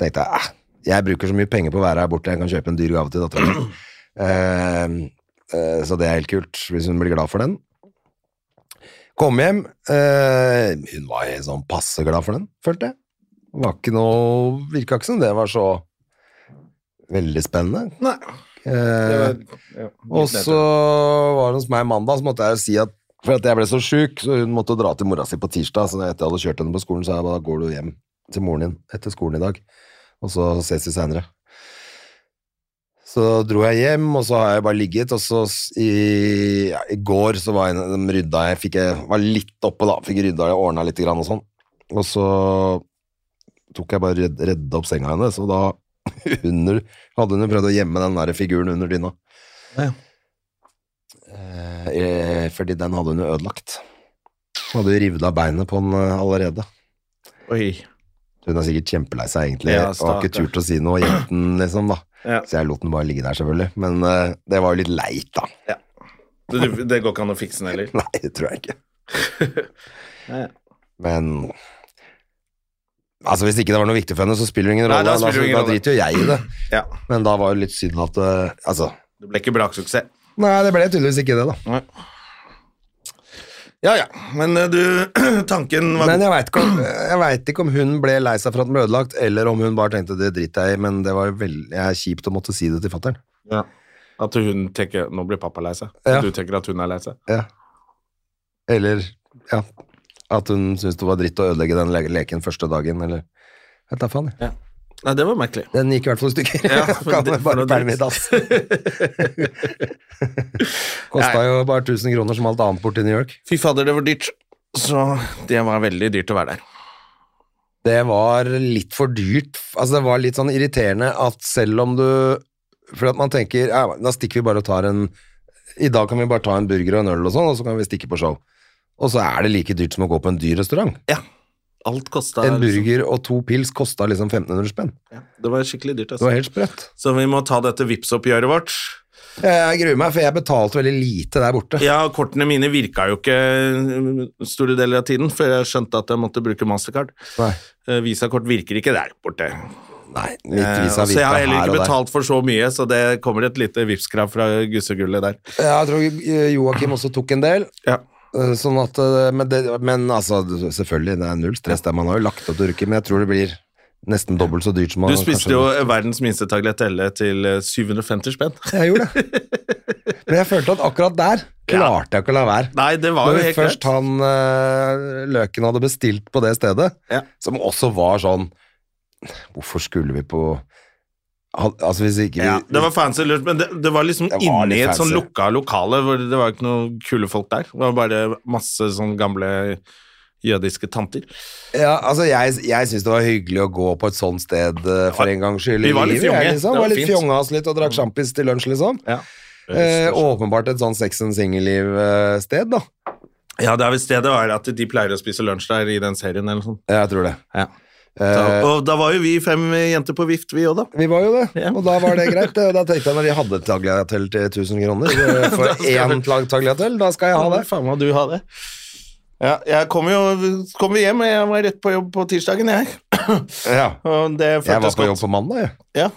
[SPEAKER 2] Tenkte jeg, "Ah, jeg bruker så mye penger på å være her borte, jeg kan kjøpe en dyr gave til dattera mi. Eh, eh, så det er helt kult, hvis hun blir glad for den. Kom hjem, eh, hun var helt sånn passe glad for den, følte jeg. Det Var ikke noe, virka ikke som det var så veldig spennende.
[SPEAKER 1] Nei.
[SPEAKER 2] Eh, og så var det hos meg mandag, så måtte jeg jo si at for at jeg ble så sjuk, så hun måtte dra til mora si på tirsdag. Så etter jeg hadde kjørt henne på skolen, sa jeg da går du hjem til moren din etter skolen i dag, og så ses vi seinere. Så dro jeg hjem, og så har jeg bare ligget, og så s- i, ja, i går så var jeg, de rydda jeg, fikk jeg, var litt oppe da, fikk rydda og ordna litt grann og sånn. Og så tok jeg bare redd, redde opp senga hennes, og da under, hadde hun jo prøvd å gjemme den der figuren under dyna. Eh, fordi den hadde hun jo ødelagt. Hun hadde jo revet av beinet på den eh, allerede.
[SPEAKER 1] Oi.
[SPEAKER 2] Hun er sikkert kjempelei seg, egentlig,
[SPEAKER 1] Ja,
[SPEAKER 2] og har ikke
[SPEAKER 1] stakkar.
[SPEAKER 2] turt å si noe og gjemt den, liksom, da.
[SPEAKER 1] Ja.
[SPEAKER 2] Så jeg lot den bare ligge der, selvfølgelig. Men eh, det var jo litt leit, da.
[SPEAKER 1] Det, det går ikke an å fikse den heller.
[SPEAKER 2] Nei, det tror jeg ikke.
[SPEAKER 1] Nei, ja.
[SPEAKER 2] Men Altså, hvis ikke det var noe viktig for henne, så spiller det ingen
[SPEAKER 1] Nei,
[SPEAKER 2] rolle.
[SPEAKER 1] da
[SPEAKER 2] Da, da,
[SPEAKER 1] spiller det ingen rolle.
[SPEAKER 2] driter jo jeg i det.
[SPEAKER 1] Ja.
[SPEAKER 2] Men da var det litt synd at eh, Altså.
[SPEAKER 1] Det ble ikke braksuksess.
[SPEAKER 2] Nei, det ble tydeligvis ikke det, da.
[SPEAKER 1] Ja ja, men eh, du Tanken var
[SPEAKER 2] Men
[SPEAKER 1] god.
[SPEAKER 2] jeg veit ikke, om- jeg vet ikke om hun ble lei seg for at den ble ødelagt, eller om hun bare tenkte det driter jeg i, men det var veldig jeg er kjipt å måtte si det til fatter'n.
[SPEAKER 1] Ja. At hun tenker Nå blir pappa lei seg.
[SPEAKER 2] Ja.
[SPEAKER 1] Du tenker at hun er lei seg.
[SPEAKER 2] Ja. Eller ja, at hun syntes det var dritt å ødelegge den le leken første dagen, eller Jeg tar faen, jeg.
[SPEAKER 1] Ja. Nei, det var merkelig.
[SPEAKER 2] Den gikk i hvert fall i stykker.
[SPEAKER 1] Ja, for
[SPEAKER 2] kan
[SPEAKER 1] det-
[SPEAKER 2] det, bare
[SPEAKER 1] for noe
[SPEAKER 2] pælme i
[SPEAKER 1] dritt.
[SPEAKER 2] dass. Kosta jo bare 1000 kroner som alt annet borti New York.
[SPEAKER 1] Fy fader, det var dyrt. Så det var veldig dyrt å være der.
[SPEAKER 2] Det var litt for dyrt. Altså, det var litt sånn irriterende at selv om du For at man tenker ja, da stikker vi bare og tar en I dag kan vi bare ta en burger og en øl og sånn, og så kan vi stikke på show. Og så er det like dyrt som å gå på en dyr restaurant.
[SPEAKER 1] Ja. Alt kosta
[SPEAKER 2] En burger og to pils kosta liksom 1500 spenn.
[SPEAKER 1] Ja, det var skikkelig dyrt,
[SPEAKER 2] Det
[SPEAKER 1] altså.
[SPEAKER 2] var helt sprøtt.
[SPEAKER 1] Så vi må ta dette Vipps-oppgjøret vårt.
[SPEAKER 2] Jeg gruer meg, for jeg betalte veldig lite der borte.
[SPEAKER 1] Ja, kortene mine virka jo ikke mm, store deler av tiden, før jeg skjønte at jeg måtte bruke mastercard.
[SPEAKER 2] Nei.
[SPEAKER 1] Eh, Visakort virker ikke der borte.
[SPEAKER 2] Nei,
[SPEAKER 1] Eh,
[SPEAKER 2] mitt vis av
[SPEAKER 1] så jeg har heller
[SPEAKER 2] her
[SPEAKER 1] ikke
[SPEAKER 2] og der.
[SPEAKER 1] betalt for så mye, så det kommer et lite Vipps-krav fra gussegullet der.
[SPEAKER 2] Ja, Jeg tror eh, Joakim også tok en del.
[SPEAKER 1] Ja.
[SPEAKER 2] eh, Sånn at, eh, men, det, men altså, selvfølgelig, det er null stress der. Man har jo lagt opp til Urke, men jeg tror det blir nesten dobbelt så dyrt som man
[SPEAKER 1] Du spiste
[SPEAKER 2] kanskje-
[SPEAKER 1] jo verdens minste tagliatelle til eh, 750 spenn.
[SPEAKER 2] Jeg gjorde det. Men jeg følte at akkurat der klarte jeg ikke å la være.
[SPEAKER 1] Nei, det var
[SPEAKER 2] Når
[SPEAKER 1] jo helt
[SPEAKER 2] først
[SPEAKER 1] greit.
[SPEAKER 2] han eh, Løken hadde bestilt på det stedet,
[SPEAKER 1] Ja.
[SPEAKER 2] som også var sånn Hvorfor skulle vi på Al- Altså, hvis ikke vi
[SPEAKER 1] Ja, det var fancy lurt, men det, det var liksom
[SPEAKER 2] Det var
[SPEAKER 1] inne i
[SPEAKER 2] litt
[SPEAKER 1] et sånn
[SPEAKER 2] fancy.
[SPEAKER 1] lukka lokale hvor det var ikke noen kule folk der. Det var bare masse sånn gamle jødiske tanter.
[SPEAKER 2] Ja, altså jeg, jeg syns det var hyggelig å gå på et sånt sted eh, for en gangs skyld. i
[SPEAKER 1] Vi var litt
[SPEAKER 2] livet, jeg,
[SPEAKER 1] fjonge.
[SPEAKER 2] Liksom.
[SPEAKER 1] Det var
[SPEAKER 2] Var litt
[SPEAKER 1] fint. Mm.
[SPEAKER 2] fjonga oss litt og drakk sjampis til lunsj, liksom.
[SPEAKER 1] Ja.
[SPEAKER 2] Eh, åpenbart et sånn sex and single-liv-sted, da.
[SPEAKER 1] Ja, det er visst det det var, at de pleier å spise lunsj der i den serien eller noe sånt.
[SPEAKER 2] Ja, Jeg tror det.
[SPEAKER 1] Ja. Da,
[SPEAKER 2] Eh,
[SPEAKER 1] og da var jo vi fem jenter på vift, vi òg, da.
[SPEAKER 2] vi var jo det,
[SPEAKER 1] Ja.
[SPEAKER 2] og da var det greit. det, Og da tenkte jeg når de hadde tagliatell til 1000 kroner eh,
[SPEAKER 1] Da
[SPEAKER 2] for
[SPEAKER 1] skal
[SPEAKER 2] én
[SPEAKER 1] du-
[SPEAKER 2] lag tagliatell, da skal jeg ha det.
[SPEAKER 1] Faen meg, du ha det. Ja, jeg kom jo kom jo hjem, jeg var rett på jobb på tirsdagen, jeg.
[SPEAKER 2] Ja.
[SPEAKER 1] Og det føltes
[SPEAKER 2] Jeg var på
[SPEAKER 1] godt.
[SPEAKER 2] jobb på mandag, jeg.
[SPEAKER 1] Ja.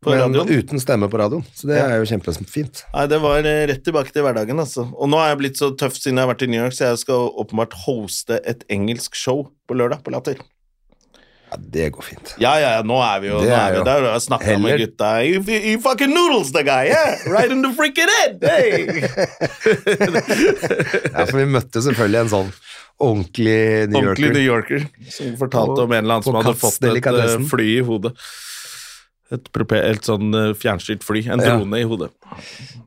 [SPEAKER 1] På
[SPEAKER 2] men
[SPEAKER 1] radioen.
[SPEAKER 2] uten stemme på radioen, så det er jo kjempefint.
[SPEAKER 1] Nei, det var eh, rett tilbake til hverdagen, altså. Og nå er jeg blitt så tøff siden jeg har vært i New York, så jeg skal åpenbart hoste et engelsk show på lørdag på Latter.
[SPEAKER 2] Ja, det går fint.
[SPEAKER 1] Ja, ja, ja, nå er vi jo,
[SPEAKER 2] Det
[SPEAKER 1] nå
[SPEAKER 2] er
[SPEAKER 1] er vi
[SPEAKER 2] jo
[SPEAKER 1] der, og jeg snakket
[SPEAKER 2] heller-
[SPEAKER 1] med gutta. You, f- you fucking noodles, the guy, yeah! Right in the freaking head! Hey!
[SPEAKER 2] Ja, for vi møtte selvfølgelig en sånn ordentlig New
[SPEAKER 1] Ordentlig
[SPEAKER 2] Yorker.
[SPEAKER 1] New Yorker, som fortalte
[SPEAKER 2] På-
[SPEAKER 1] om en eller annen som
[SPEAKER 2] på
[SPEAKER 1] hadde
[SPEAKER 2] Katz
[SPEAKER 1] fått et eh,
[SPEAKER 2] delikatessen.
[SPEAKER 1] fly i hodet. Et, prope- et sånn eh, fjernstyrt fly, en
[SPEAKER 2] Ja.
[SPEAKER 1] drone i hodet.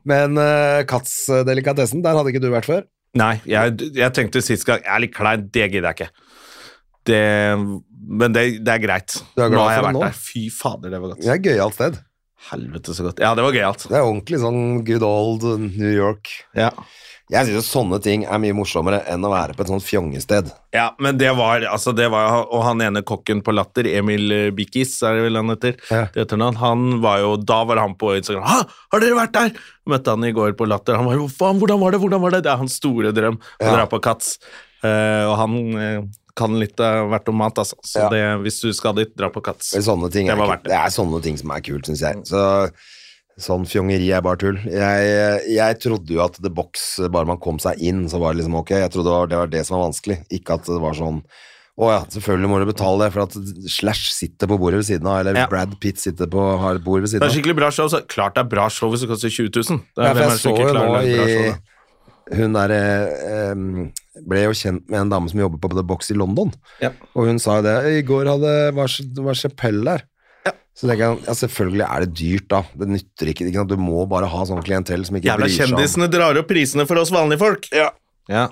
[SPEAKER 2] Men uh, Katz-delikatessen, der hadde ikke du vært før.
[SPEAKER 1] Nei, jeg, jeg tenkte sist gang Jeg er litt klein, det gidder jeg ikke. Det, men det, det er greit.
[SPEAKER 2] Du er glad
[SPEAKER 1] nå har jeg
[SPEAKER 2] for det
[SPEAKER 1] vært
[SPEAKER 2] nå?
[SPEAKER 1] der. Fy fader, det var godt.
[SPEAKER 2] Det er et gøyalt sted.
[SPEAKER 1] Helvete så godt. Ja, det var gøyalt.
[SPEAKER 2] Det er ordentlig sånn good old New York.
[SPEAKER 1] Ja.
[SPEAKER 2] Jeg synes jo sånne ting er mye morsommere enn å være på et sånt fjongested.
[SPEAKER 1] ja, men det var altså det var, Og han ene kokken på Latter, Emil eh, Bikkis, er det vel han heter?
[SPEAKER 2] Ja.
[SPEAKER 1] Det heter han. han var jo, da var han på Instagram. Hæ, har dere vært der? Møtte han i går på Latter. Han var jo faen, hvordan var det? Hvordan var det? Det er hans store drøm å
[SPEAKER 2] Ja.
[SPEAKER 1] dra på Katz. Eh, og han eh, kan litt av hvert om mat, altså. Så
[SPEAKER 2] Ja.
[SPEAKER 1] det, hvis du skal dit, dra på Katz.
[SPEAKER 2] Men sånne ting
[SPEAKER 1] Det
[SPEAKER 2] er,
[SPEAKER 1] var
[SPEAKER 2] kult.
[SPEAKER 1] verdt det.
[SPEAKER 2] det er sånne ting som er kult, synes jeg. Så sånn fjongeri er bare tull. Jeg, jeg trodde jo at The Box, bare man kom seg inn, så var det liksom ok. Jeg trodde det var det, var det som var vanskelig, ikke at det var sånn å ja, selvfølgelig må du betale det, for at Slash sitter på bordet ved siden av, eller
[SPEAKER 1] Ja.
[SPEAKER 2] Brad Pitt sitter på har et bord ved
[SPEAKER 1] Det
[SPEAKER 2] siden
[SPEAKER 1] er
[SPEAKER 2] av.
[SPEAKER 1] skikkelig bra show. Så klart det er bra show hvis det koster 20 000. Det er,
[SPEAKER 2] Ja,
[SPEAKER 1] hvem er
[SPEAKER 2] for jeg
[SPEAKER 1] det som
[SPEAKER 2] så
[SPEAKER 1] ikke
[SPEAKER 2] jo
[SPEAKER 1] klarer å
[SPEAKER 2] nå
[SPEAKER 1] lage bra show, da?
[SPEAKER 2] i Hun der eh, em, ble jo kjent med en dame som jobber på The Box i London.
[SPEAKER 1] Ja.
[SPEAKER 2] Og hun sa jo det. I går hadde, var, det var Chapell der. Så tenker jeg, ja, selvfølgelig er det dyrt, da. Det nytter ikke. ikke sant? Du må bare ha sånn klientell som ikke
[SPEAKER 1] Jævla
[SPEAKER 2] bryr seg om
[SPEAKER 1] kjendisene drar opp prisene for oss vanlige folk. Ja.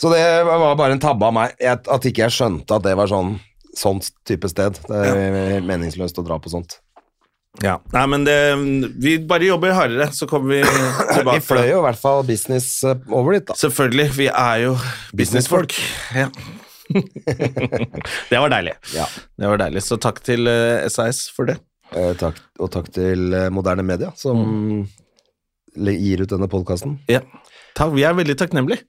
[SPEAKER 2] Så det var bare en tabbe av meg. Jeg, at ikke jeg skjønte at det var sånn sånt type sted. Det er helt meningsløst å dra på sånt.
[SPEAKER 1] Ja. Nei, men det Vi bare jobber hardere, så kommer vi tilbake.
[SPEAKER 2] Vi fløy jo i hvert fall business eh, over dit, da.
[SPEAKER 1] Selvfølgelig. Vi er jo businessfolk. Ja. det var deilig.
[SPEAKER 2] Ja.
[SPEAKER 1] Det var deilig. Så takk til eh, SAS for det.
[SPEAKER 2] Eh, takk, og takk til eh, moderne media, som le- gir ut denne podkasten.
[SPEAKER 1] Ja. Takk, vi er veldig takknemlige.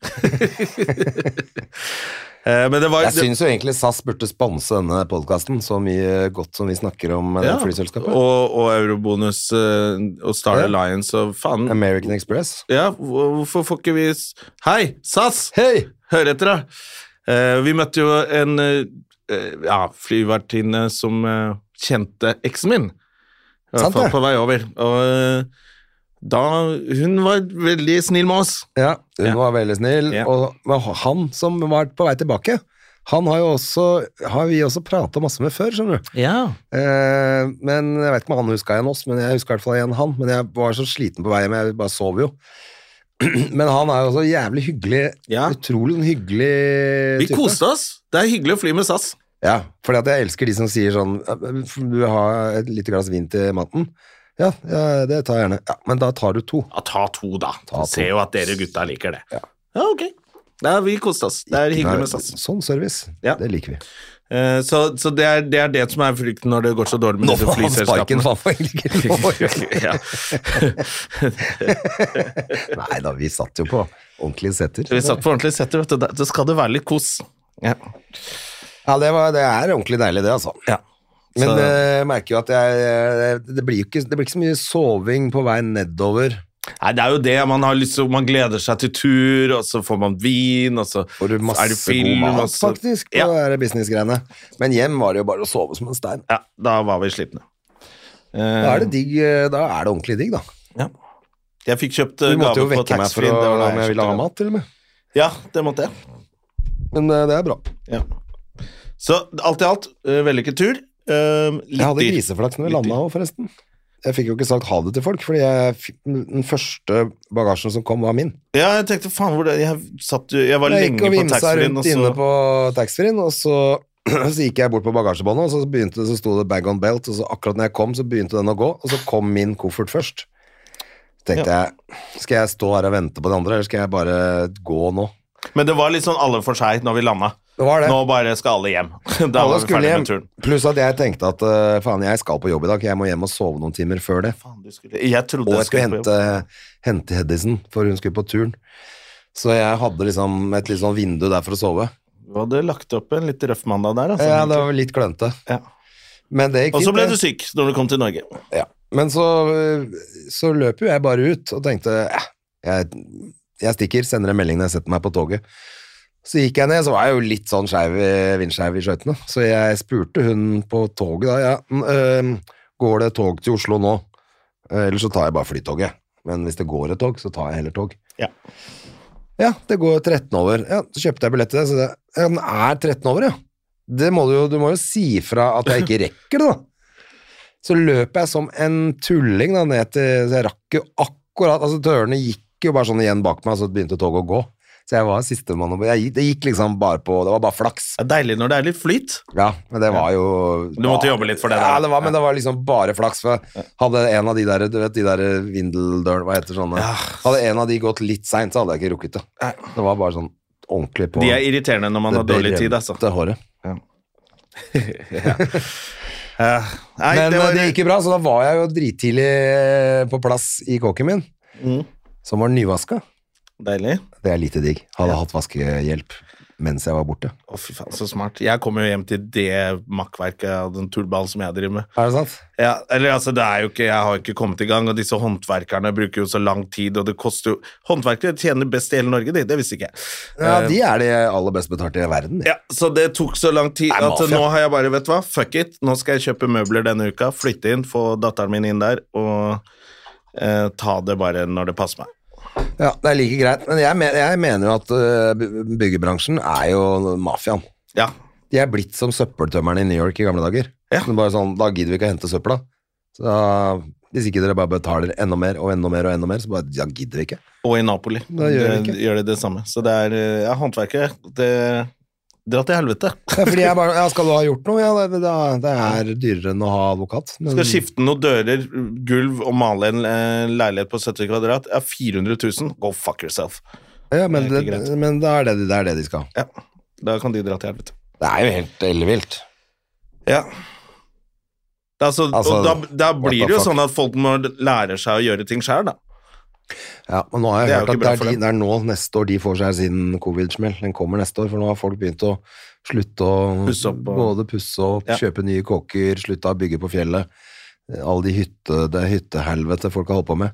[SPEAKER 1] Eh, men det var
[SPEAKER 2] Jeg syns jo egentlig SAS burde sponse denne podkasten, så mye godt som vi snakker om eh, det
[SPEAKER 1] Ja,
[SPEAKER 2] flyselskapet.
[SPEAKER 1] Og, og Eurobonus eh, og Star
[SPEAKER 2] Ja.
[SPEAKER 1] Alliance og faen.
[SPEAKER 2] American Express.
[SPEAKER 1] Ja, hvor- hvorfor får ikke vi s- Hei, SAS!
[SPEAKER 2] Hei!
[SPEAKER 1] Hør etter, da! Eh, vi møtte jo en eh, eh, ja, flyvertinne som eh, kjente eksen min. I hvert
[SPEAKER 2] Sant
[SPEAKER 1] fall
[SPEAKER 2] det.
[SPEAKER 1] på vei over. Og eh, da Hun var veldig snill med oss.
[SPEAKER 2] Ja, hun
[SPEAKER 1] Ja.
[SPEAKER 2] var veldig snill,
[SPEAKER 1] Ja.
[SPEAKER 2] og det var han som var på vei tilbake. Han har jo også, har vi også prata masse med før, skjønner du.
[SPEAKER 1] Ja.
[SPEAKER 2] Eh, men jeg vet ikke om han huska igjen oss, men jeg husker i hvert fall igjen han. Men jeg var så sliten på vei hjem, jeg bare sov jo. Men han er jo også jævlig hyggelig.
[SPEAKER 1] Ja.
[SPEAKER 2] Utrolig hyggelig
[SPEAKER 1] Vi koste oss. Det er hyggelig å fly med SAS.
[SPEAKER 2] Ja, fordi at jeg elsker de som sier sånn Du har et lite glass vin til maten? Ja, ja, det tar jeg gjerne. Ja, men da tar du to.
[SPEAKER 1] Ja, ta to, da.
[SPEAKER 2] Ta
[SPEAKER 1] Du ser
[SPEAKER 2] to.
[SPEAKER 1] jo at dere gutta liker det. Ja, ok. Ja, vi koste oss. Det er hyggelig med SAS.
[SPEAKER 2] Sånn service.
[SPEAKER 1] Ja.
[SPEAKER 2] Det liker vi.
[SPEAKER 1] Eh, Så, så det, er, det er det som er frykten når det går så dårlig med disse flyselskapene.
[SPEAKER 2] faen for egentlig ikke
[SPEAKER 1] Ja.
[SPEAKER 2] Nei da, vi satt jo på ordentlige seter.
[SPEAKER 1] Vi satt på ordentlig setter, vet du. Da- Da skal det være litt kos. Ja.
[SPEAKER 2] Ja, det, var, det er ordentlig deilig, det, altså.
[SPEAKER 1] Ja.
[SPEAKER 2] Men
[SPEAKER 1] Så-
[SPEAKER 2] eh, jeg merker jo at jeg eh, det blir, jo ikke, det blir ikke så mye soving på vei nedover.
[SPEAKER 1] Nei, det er jo det. Man, har lyst, til- man gleder seg til tur, og så får man vin, og så
[SPEAKER 2] Får du masse
[SPEAKER 1] er det film.
[SPEAKER 2] god mat,
[SPEAKER 1] og så-
[SPEAKER 2] faktisk, på
[SPEAKER 1] Ja.
[SPEAKER 2] de her businessgreiene. Men hjem var det jo bare å sove som en stein.
[SPEAKER 1] ja, da var vi slitne.
[SPEAKER 2] Da er det digg, eh, da er det ordentlig digg, da.
[SPEAKER 1] Ja. Jeg fikk kjøpt eh,
[SPEAKER 2] Du måtte jo
[SPEAKER 1] gave på
[SPEAKER 2] vekke meg for
[SPEAKER 1] taxfree.
[SPEAKER 2] å,
[SPEAKER 1] det var da
[SPEAKER 2] om jeg ville ha
[SPEAKER 1] kjøpte
[SPEAKER 2] mat, til og med.
[SPEAKER 1] gave. Ja, det måtte jeg.
[SPEAKER 2] Men eh, det er bra.
[SPEAKER 1] Ja. Så alt i alt, eh, vellykket tur. Eh, litt
[SPEAKER 2] Jeg hadde
[SPEAKER 1] dyr.
[SPEAKER 2] griseflaks når
[SPEAKER 1] Litt
[SPEAKER 2] vi landa òg, forresten. Jeg fikk jo ikke sagt ha det til folk, fordi jeg, fikk- den første bagasjen som kom, var min.
[SPEAKER 1] Ja, jeg tenkte faen hvor det Jeg, satt, jo- jeg var
[SPEAKER 2] Jeg
[SPEAKER 1] lenge
[SPEAKER 2] gikk og
[SPEAKER 1] på
[SPEAKER 2] vimsa
[SPEAKER 1] taxfree-en,
[SPEAKER 2] rundt
[SPEAKER 1] og så
[SPEAKER 2] inne på taxfree-en, og så, så gikk jeg bort på bagasjebåndet, og så, begynte, det- så sto det bag on belt, og så akkurat når jeg kom, så begynte den å gå, og så kom min koffert først. Så tenkte jeg, skal jeg stå her og vente på de andre, eller skal jeg bare gå nå?
[SPEAKER 1] Men det var litt sånn alle for seg når vi landa.
[SPEAKER 2] Det var det.
[SPEAKER 1] Nå bare skal alle hjem. Da
[SPEAKER 2] Alle
[SPEAKER 1] var vi
[SPEAKER 2] skulle
[SPEAKER 1] ferdig
[SPEAKER 2] hjem.
[SPEAKER 1] med turen.
[SPEAKER 2] Pluss at jeg tenkte at eh, faen, jeg skal på jobb i dag, jeg må hjem og sove noen timer før det.
[SPEAKER 1] Faen, du skulle Jeg trodde
[SPEAKER 2] Og jeg skulle
[SPEAKER 1] på jobb.
[SPEAKER 2] hente, hente Hedisen, for hun skulle på turen. Så jeg hadde liksom et litt sånn vindu der for å sove.
[SPEAKER 1] Du hadde lagt opp en litt røff mandag der, altså.
[SPEAKER 2] Ja, det var litt klønete.
[SPEAKER 1] Ja.
[SPEAKER 2] Men det gikk
[SPEAKER 1] Og så ble
[SPEAKER 2] det.
[SPEAKER 1] du syk når du kom til Norge.
[SPEAKER 2] Ja. Men så, så løp jo jeg bare ut og tenkte ja, jeg, jeg stikker, sender en melding når jeg setter meg på toget. Så gikk jeg ned, så var jeg jo litt sånn skeiv i- vindskeiv i skøytene. Så jeg spurte hun på toget da, ja, mm, øhm, går det tog til Oslo nå? Eh, Eller så tar jeg bare flytoget. Men hvis det går et tog, så tar jeg heller tog.
[SPEAKER 1] Ja.
[SPEAKER 2] Ja, det går 13 over. Ja, så kjøpte jeg billett til det. Så det ja, den er 13 over, ja. Det må du, jo, du må jo si fra at jeg ikke rekker det, da. Så løp jeg som en tulling da, ned til Så jeg rakk jo akkurat Altså, dørene gikk jo bare sånn igjen bak meg, så begynte toget å gå. Så jeg var sistemann opp. Jeg gikk- Det gikk liksom bare på Det var bare flaks.
[SPEAKER 1] Det er deilig når det er litt flyt.
[SPEAKER 2] Ja, men det var jo
[SPEAKER 1] Du måtte jobbe litt for det
[SPEAKER 2] Ja,
[SPEAKER 1] der.
[SPEAKER 2] det var, men det var liksom bare flaks. For jeg hadde en av de der Du vet de der vindeldørene, hva heter sånne Hadde en av de gått litt seint, så hadde jeg ikke rukket det. Det var bare sånn ordentlig på
[SPEAKER 1] De er irriterende når man har dårlig tid, altså.
[SPEAKER 2] berømte håret.
[SPEAKER 1] Nei,
[SPEAKER 2] Men eh,
[SPEAKER 1] det
[SPEAKER 2] det,
[SPEAKER 1] var-
[SPEAKER 2] gikk jo bra, så da var jeg jo drittidlig eh, på plass i kåken min,
[SPEAKER 1] Mm.
[SPEAKER 2] som var nyvaska.
[SPEAKER 1] Deilig.
[SPEAKER 2] Det er lite digg. Hadde hatt vaskehjelp mens jeg var borte.
[SPEAKER 1] Å, fy faen, så smart. Jeg kom jo hjem til det makkverket av den tullballen som jeg driver med.
[SPEAKER 2] Er det sant?
[SPEAKER 1] Ja, eller altså, det er jo ikke, Jeg har jo ikke kommet i gang, og disse håndverkerne bruker jo så lang tid, og det koster jo Håndverkere tjener best i hele Norge, de. Det visste ikke jeg.
[SPEAKER 2] Ja, de er de aller best betalte i verden.
[SPEAKER 1] Ja, Så det tok så lang tid
[SPEAKER 2] Nei,
[SPEAKER 1] at
[SPEAKER 2] mafia.
[SPEAKER 1] nå har jeg bare Vet du hva, fuck it. Nå skal jeg kjøpe møbler denne uka, flytte inn, få datteren min inn der, og eh, ta det bare når det passer meg.
[SPEAKER 2] Ja, det er like greit. Men jeg, men, jeg mener jo at eh, by- byggebransjen er jo mafiaen.
[SPEAKER 1] Ja.
[SPEAKER 2] De er blitt som søppeltømmerne i New York i gamle dager.
[SPEAKER 1] Ja.
[SPEAKER 2] Det er bare sånn, da gidder vi ikke å hente søpla. Så da, hvis ikke dere bare betaler enda mer og enda mer og enda mer, så bare, ja, gidder vi ikke.
[SPEAKER 1] Og i Napoli
[SPEAKER 2] Da gjør vi
[SPEAKER 1] det,
[SPEAKER 2] ikke.
[SPEAKER 1] gjør de det samme. Så det er eh, ja, håndverkere det, Dra til helvete.
[SPEAKER 2] Ja, fordi jeg bare, ja, skal du ha gjort noe? Ja, det, det, det er dyrere enn å ha advokat. Men,
[SPEAKER 1] Skal skifte noen dører, gulv og male en eh, leilighet på 70 kvadrat. Ja, 400 000. Go fuck yourself.
[SPEAKER 2] ja,
[SPEAKER 1] Det er
[SPEAKER 2] men, det,
[SPEAKER 1] ikke greit.
[SPEAKER 2] men da er det, det er det de skal.
[SPEAKER 1] Ja, Da kan de dra til helvete.
[SPEAKER 2] Det er jo helt ellevilt.
[SPEAKER 1] Ja. Det er Altså,
[SPEAKER 2] Altså,
[SPEAKER 1] og da, da
[SPEAKER 2] what
[SPEAKER 1] blir
[SPEAKER 2] the
[SPEAKER 1] det jo
[SPEAKER 2] fuck?
[SPEAKER 1] sånn at folk må lære seg å gjøre ting sjøl, da.
[SPEAKER 2] Ja, men nå har jeg
[SPEAKER 1] Det er
[SPEAKER 2] hørt
[SPEAKER 1] jo
[SPEAKER 2] at
[SPEAKER 1] ikke
[SPEAKER 2] det
[SPEAKER 1] bra
[SPEAKER 2] er,
[SPEAKER 1] for
[SPEAKER 2] de,
[SPEAKER 1] dem.
[SPEAKER 2] det er nå neste år de får seg sin covid-smell. Den kommer neste år, for nå har folk begynt å slutte å
[SPEAKER 1] Pusse opp og-
[SPEAKER 2] både pusse opp,
[SPEAKER 1] Ja.
[SPEAKER 2] kjøpe nye kåker, slutte å bygge på fjellet. Alle de hytte, det hyttehelvete folk har holdt på med.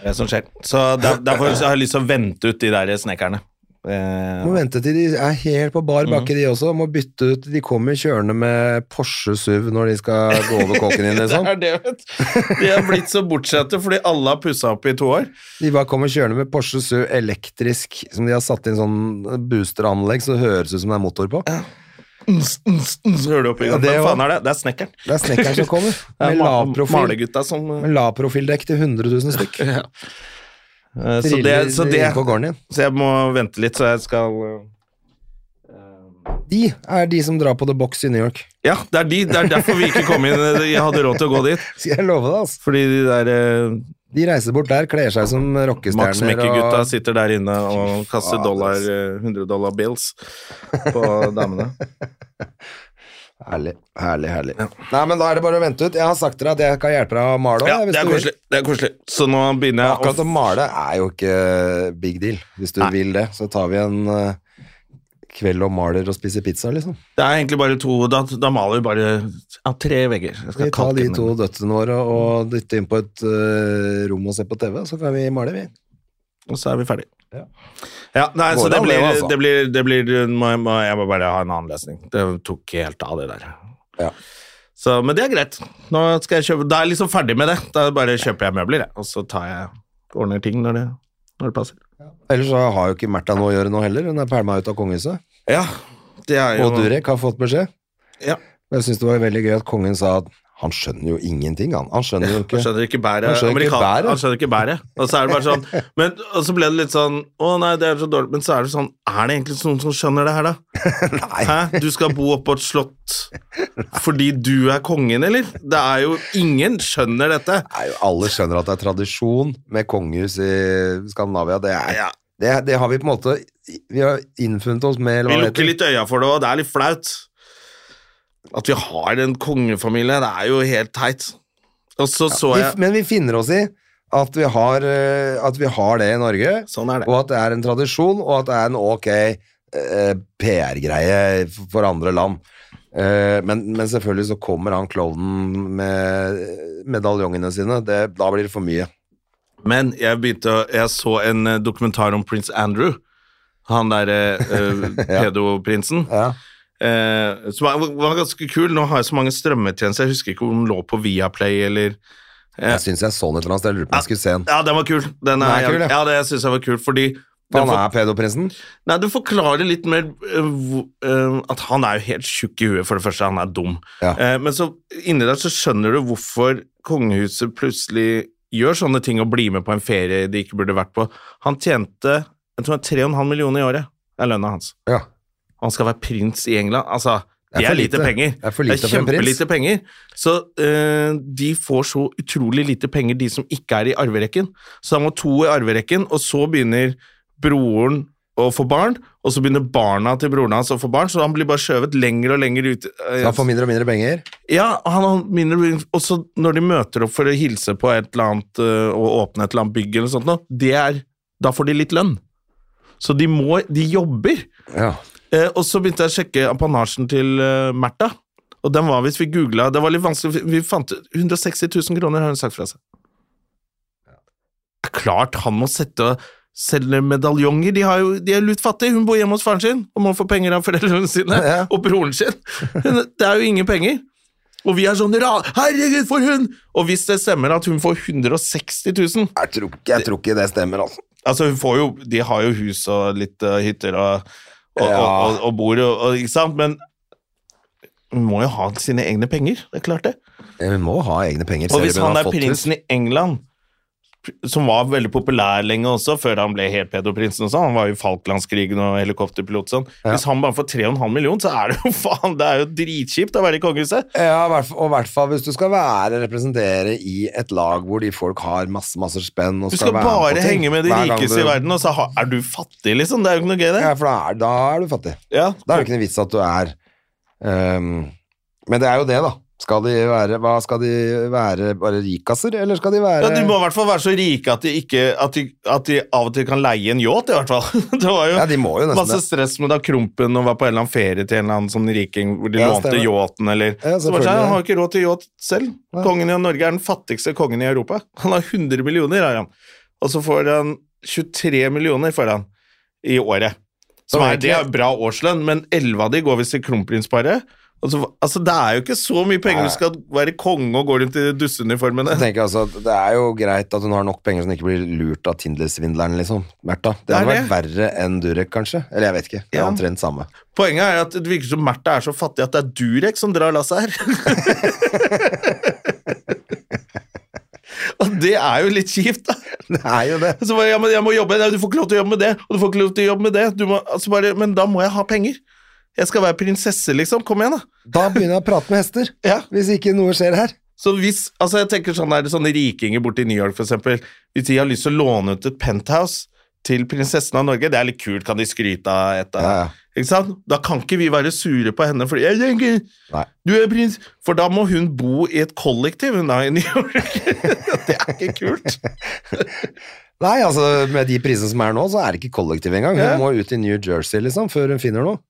[SPEAKER 1] Det er det som skjer. Så der, derfor så har jeg lyst til å vente ut de der snekkerne. Eh,
[SPEAKER 2] Må vente til de er helt på bar
[SPEAKER 1] Mhm.
[SPEAKER 2] bakke, de også. Må bytte ut De kommer kjørende med Porsche SUV når de skal gå over kåken din, liksom.
[SPEAKER 1] det er det, vet du. De er blitt så bortskjemte fordi alle har pussa opp i to år.
[SPEAKER 2] De bare kommer kjørende med Porsche SUV elektrisk, som de har satt inn sånn boosteranlegg, så det høres ut som det er motor på.
[SPEAKER 1] Ns, ns, ns, hører du opp i
[SPEAKER 2] Ja,
[SPEAKER 1] gang.
[SPEAKER 2] det
[SPEAKER 1] Hvem
[SPEAKER 2] var-
[SPEAKER 1] faen er det? Det er snekkeren.
[SPEAKER 2] Det er snekkeren som kommer,
[SPEAKER 1] Det er
[SPEAKER 2] med
[SPEAKER 1] ma-
[SPEAKER 2] lavprofil.
[SPEAKER 1] malegutta som eh,
[SPEAKER 2] Med lavprofildekk til 100 000 stykk.
[SPEAKER 1] eh, så, det,
[SPEAKER 2] Triller
[SPEAKER 1] så, det,
[SPEAKER 2] inn på gården din.
[SPEAKER 1] så jeg må vente litt, så jeg skal eh,
[SPEAKER 2] De er de som drar på The Box i New York.
[SPEAKER 1] Ja, det er, de, det er derfor vi ikke kom inn. Jeg hadde råd til å gå dit.
[SPEAKER 2] Skal jeg love deg, altså.
[SPEAKER 1] Fordi de der eh,
[SPEAKER 2] De reiser bort der, kler seg som
[SPEAKER 1] Max
[SPEAKER 2] rockestjerner
[SPEAKER 1] Mekke-gutta
[SPEAKER 2] og
[SPEAKER 1] sitter der inne og kaster
[SPEAKER 2] faen,
[SPEAKER 1] dollar,
[SPEAKER 2] ass.
[SPEAKER 1] eh, 100 dollar bills på damene.
[SPEAKER 2] Herlig, herlig, herlig. Nei, men da er det bare å vente ut. Jeg har sagt dere at jeg kan hjelpe deg å male òg.
[SPEAKER 1] Ja, det er koselig. Det er koselig. Så nå begynner jeg
[SPEAKER 2] Akkurat å male er jo ikke big deal. Hvis du vil det, så tar vi en eh, kveld og maler og spiser pizza, liksom.
[SPEAKER 1] Det er egentlig bare to Da, da maler vi bare ja, tre vegger. Jeg
[SPEAKER 2] Vi
[SPEAKER 1] skal
[SPEAKER 2] tar
[SPEAKER 1] kalke
[SPEAKER 2] de
[SPEAKER 1] inn.
[SPEAKER 2] to døtrene våre og dytter inn på et eh, rom og ser på TV, så kan vi male, vi.
[SPEAKER 1] Og så er vi ferdig.
[SPEAKER 2] Ja.
[SPEAKER 1] Ja, nei, så
[SPEAKER 2] Går
[SPEAKER 1] det
[SPEAKER 2] an,
[SPEAKER 1] blir,
[SPEAKER 2] det, altså.
[SPEAKER 1] det blir, det blir må, jeg- må, Jeg må bare ha en annen lesning. Det tok helt av, det der.
[SPEAKER 2] Ja.
[SPEAKER 1] Så, men det er greit. Nå skal jeg kjøpe Da er jeg liksom ferdig med det. Da bare kjøper jeg møbler, jeg. Og så tar jeg ordner ting når det, når det passer.
[SPEAKER 2] Ellers så har jo ikke Märtha noe å gjøre nå heller. Hun er pælma ut av kongehuset.
[SPEAKER 1] Ja, det er jo
[SPEAKER 2] Og Durek har fått beskjed.
[SPEAKER 1] Ja.
[SPEAKER 2] Men jeg syns det var veldig gøy at kongen sa at han skjønner jo ingenting, han. Han skjønner jo
[SPEAKER 1] Han
[SPEAKER 2] ikke
[SPEAKER 1] skjønner ikke bæret.
[SPEAKER 2] Han skjønner ikke
[SPEAKER 1] Amerikan-
[SPEAKER 2] bæret.
[SPEAKER 1] Han skjønner ikke bæret. Og så er det bare sånn men, Og så ble det litt sånn Å nei, det er så dårlig. Men så er det sånn Er det egentlig noen som skjønner det her, da? Hæ? Du skal bo oppå et slott fordi du er kongen, eller? Det er jo Ingen skjønner dette.
[SPEAKER 2] Nei, Alle skjønner at det er tradisjon med kongehus i Skandinavia. Det, er,
[SPEAKER 1] Ja.
[SPEAKER 2] det, det har vi på en måte Vi har innfunnet oss med eller
[SPEAKER 1] Vi
[SPEAKER 2] hva det
[SPEAKER 1] lukker
[SPEAKER 2] heter.
[SPEAKER 1] litt øya for det, og det er litt flaut. At vi har en kongefamilie, det er jo helt teit. Og så så
[SPEAKER 2] Vi,
[SPEAKER 1] jeg
[SPEAKER 2] men vi finner oss i at vi har, eh, at vi har det i Norge,
[SPEAKER 1] Sånn er det.
[SPEAKER 2] og at det er en tradisjon, og at det er en ok eh, PR-greie for andre land. Eh, men, men selvfølgelig så kommer han klovnen med medaljongene sine. Det, da blir det for mye.
[SPEAKER 1] Men jeg begynte å, Jeg så en eh, dokumentar om prins Andrew. Han derre eh, pedoprinsen.
[SPEAKER 2] Ja.
[SPEAKER 1] Eh, som var, var ganske kul. Nå har jeg så mange strømmetjenester, jeg husker ikke om den lå på Viaplay eller
[SPEAKER 2] Jeg syns jeg så den et eller annet sted. Jeg lurer på om jeg skulle se den.
[SPEAKER 1] Ja, den var kul. Den er,
[SPEAKER 2] Den er kul, ja.
[SPEAKER 1] ja. det syns jeg var kul, fordi den
[SPEAKER 2] Han
[SPEAKER 1] for-
[SPEAKER 2] er pedoprinsen.
[SPEAKER 1] Nei, du forklarer litt mer eh, hvor- eh, at han er jo helt tjukk i huet, for det første, han er dum.
[SPEAKER 2] Ja.
[SPEAKER 1] Eh, men så inni der så skjønner du hvorfor kongehuset plutselig gjør sånne ting og blir med på en ferie de ikke burde vært på. Han tjente jeg tror det er 3,5 millioner i året, er lønna hans.
[SPEAKER 2] Ja.
[SPEAKER 1] Og han skal være prins i England. Altså, det er,
[SPEAKER 2] for
[SPEAKER 1] lite penger.
[SPEAKER 2] Det er for lite for en prins.
[SPEAKER 1] kjempelite penger. Så eh, de får så utrolig lite penger, de som ikke er i arverekken. Så han må to i arverekken, og så begynner broren å få barn, og så begynner barna til broren hans å få barn, så han blir bare skjøvet lenger og lenger ut. eh,
[SPEAKER 2] Så han får mindre og mindre penger.
[SPEAKER 1] ja, han har mindre Og så når de møter opp for å hilse på et eller annet øh, og åpne et eller annet bygg eller sånt noe, det er Da får de litt lønn. Så de må De jobber.
[SPEAKER 2] Ja.
[SPEAKER 1] Eh, og så begynte jeg å sjekke apanasjen til eh, Märtha, og den var, hvis vi googla Det var litt vanskelig, vi fant ut 160 000 kroner har hun sagt fra seg. Det er klart han må sette og selge medaljonger, de, har jo, de er lut fattige. Hun bor hjemme hos faren sin og må få penger av foreldrene sine
[SPEAKER 2] Ja.
[SPEAKER 1] og broren sin. Hun, det er jo ingen penger. Og vi er sånn ra, Herregud, for hun! Og hvis det stemmer at hun får 160 000
[SPEAKER 2] Jeg tror, ikke- jeg tror ikke det stemmer, altså.
[SPEAKER 1] Altså, hun får jo De har jo hus og litt eh, hytter og, og,
[SPEAKER 2] Ja.
[SPEAKER 1] og, og, og bor og, og Ikke sant? Men hun må jo ha sine egne penger. Det er klart, det.
[SPEAKER 2] Hun må ha egne penger.
[SPEAKER 1] Og
[SPEAKER 2] selv
[SPEAKER 1] hvis
[SPEAKER 2] om hun
[SPEAKER 1] han
[SPEAKER 2] har
[SPEAKER 1] er
[SPEAKER 2] fått hus.
[SPEAKER 1] prinsen i England, som var veldig populær lenge også, før han ble helt pedoprinsen og sånn, han var jo i Falklandskrigen og helikopterpilot og sånn Hvis han bare får 3,5 millioner, så er det jo faen Det er jo dritkjipt å være i kongehuset.
[SPEAKER 2] Ja, i hvert fall- og i hvert fall hvis du skal være representere i et lag hvor de folk har masse, masse spenn og
[SPEAKER 1] Du skal
[SPEAKER 2] være med på
[SPEAKER 1] bare
[SPEAKER 2] ting.
[SPEAKER 1] henge med de
[SPEAKER 2] Hver gang
[SPEAKER 1] rikeste
[SPEAKER 2] du-
[SPEAKER 1] i verden, og så ha- er du fattig, liksom. Det er jo ikke noe gøy, det.
[SPEAKER 2] Ja, for da er, da er du fattig.
[SPEAKER 1] Ja.
[SPEAKER 2] Da er det ikke noe vits at du er ehm, Men det er jo det, da. Skal de være, hva, skal de være bare rikasser, eller skal de være
[SPEAKER 1] Ja, De må i hvert fall være så rike at de, ikke, at de, at de av og til kan leie en yacht, i hvert fall. Det var jo
[SPEAKER 2] Ja, de må jo nesten
[SPEAKER 1] masse
[SPEAKER 2] det.
[SPEAKER 1] stress med da Krompen og var på en eller annen ferie til en eller annen sånn riking hvor de
[SPEAKER 2] Ja,
[SPEAKER 1] lånte
[SPEAKER 2] stemmer.
[SPEAKER 1] yachten, eller
[SPEAKER 2] Ja,
[SPEAKER 1] Så bare
[SPEAKER 2] selvfølgelig.
[SPEAKER 1] sånn, Han har ikke råd til yacht selv. Kongen i Norge er den fattigste kongen i Europa. Han har 100 millioner, har han. Og så får han 23 millioner får han i året. Som
[SPEAKER 2] Som
[SPEAKER 1] er, det er
[SPEAKER 2] egentlig-
[SPEAKER 1] bra årslønn, men elleve av de går visst til kronprinsparet. Altså, hva- altså, det er jo ikke så mye penger du skal være konge og gå rundt i dusseuniformene.
[SPEAKER 2] Jeg tenker altså at Det er jo greit at hun har nok penger så hun ikke blir lurt av Tindler-svindleren, liksom. Märtha. Det
[SPEAKER 1] Det er
[SPEAKER 2] hadde vært verre enn Durek, kanskje. Eller jeg vet ikke. Det er
[SPEAKER 1] Ja.
[SPEAKER 2] omtrent samme.
[SPEAKER 1] Poenget er at det virker som Märtha er så fattig at det er Durek som drar lasset her. og det er jo litt kjipt, da.
[SPEAKER 2] Det er jo det.
[SPEAKER 1] Så bare, ja, men jeg må jobbe. Nei, du får ikke lov til å jobbe med det, og du får ikke lov til å jobbe med det. Du må, altså bare, men da må jeg ha penger. Jeg skal være prinsesse, liksom. Kom igjen, da.
[SPEAKER 2] Da begynner jeg å prate med hester.
[SPEAKER 1] Ja.
[SPEAKER 2] Hvis ikke noe skjer her.
[SPEAKER 1] Så hvis, altså jeg tenker sånn er det sånne rikinger borte i New York, for eksempel. Hvis de har lyst til å låne ut et penthouse til prinsessen av Norge, det er litt kult, kan de skryte av et av
[SPEAKER 2] Ja, ja.
[SPEAKER 1] Ikke sant? Da kan ikke vi være sure på henne, fordi jeg tenker,
[SPEAKER 2] Nei.
[SPEAKER 1] du er prins. For da må hun bo i et kollektiv, hun da, i New York. det er ikke kult.
[SPEAKER 2] Nei, altså med de prisene som er nå, så er det ikke kollektiv engang.
[SPEAKER 1] Ja.
[SPEAKER 2] Hun må ut i New Jersey, liksom, før hun finner noe.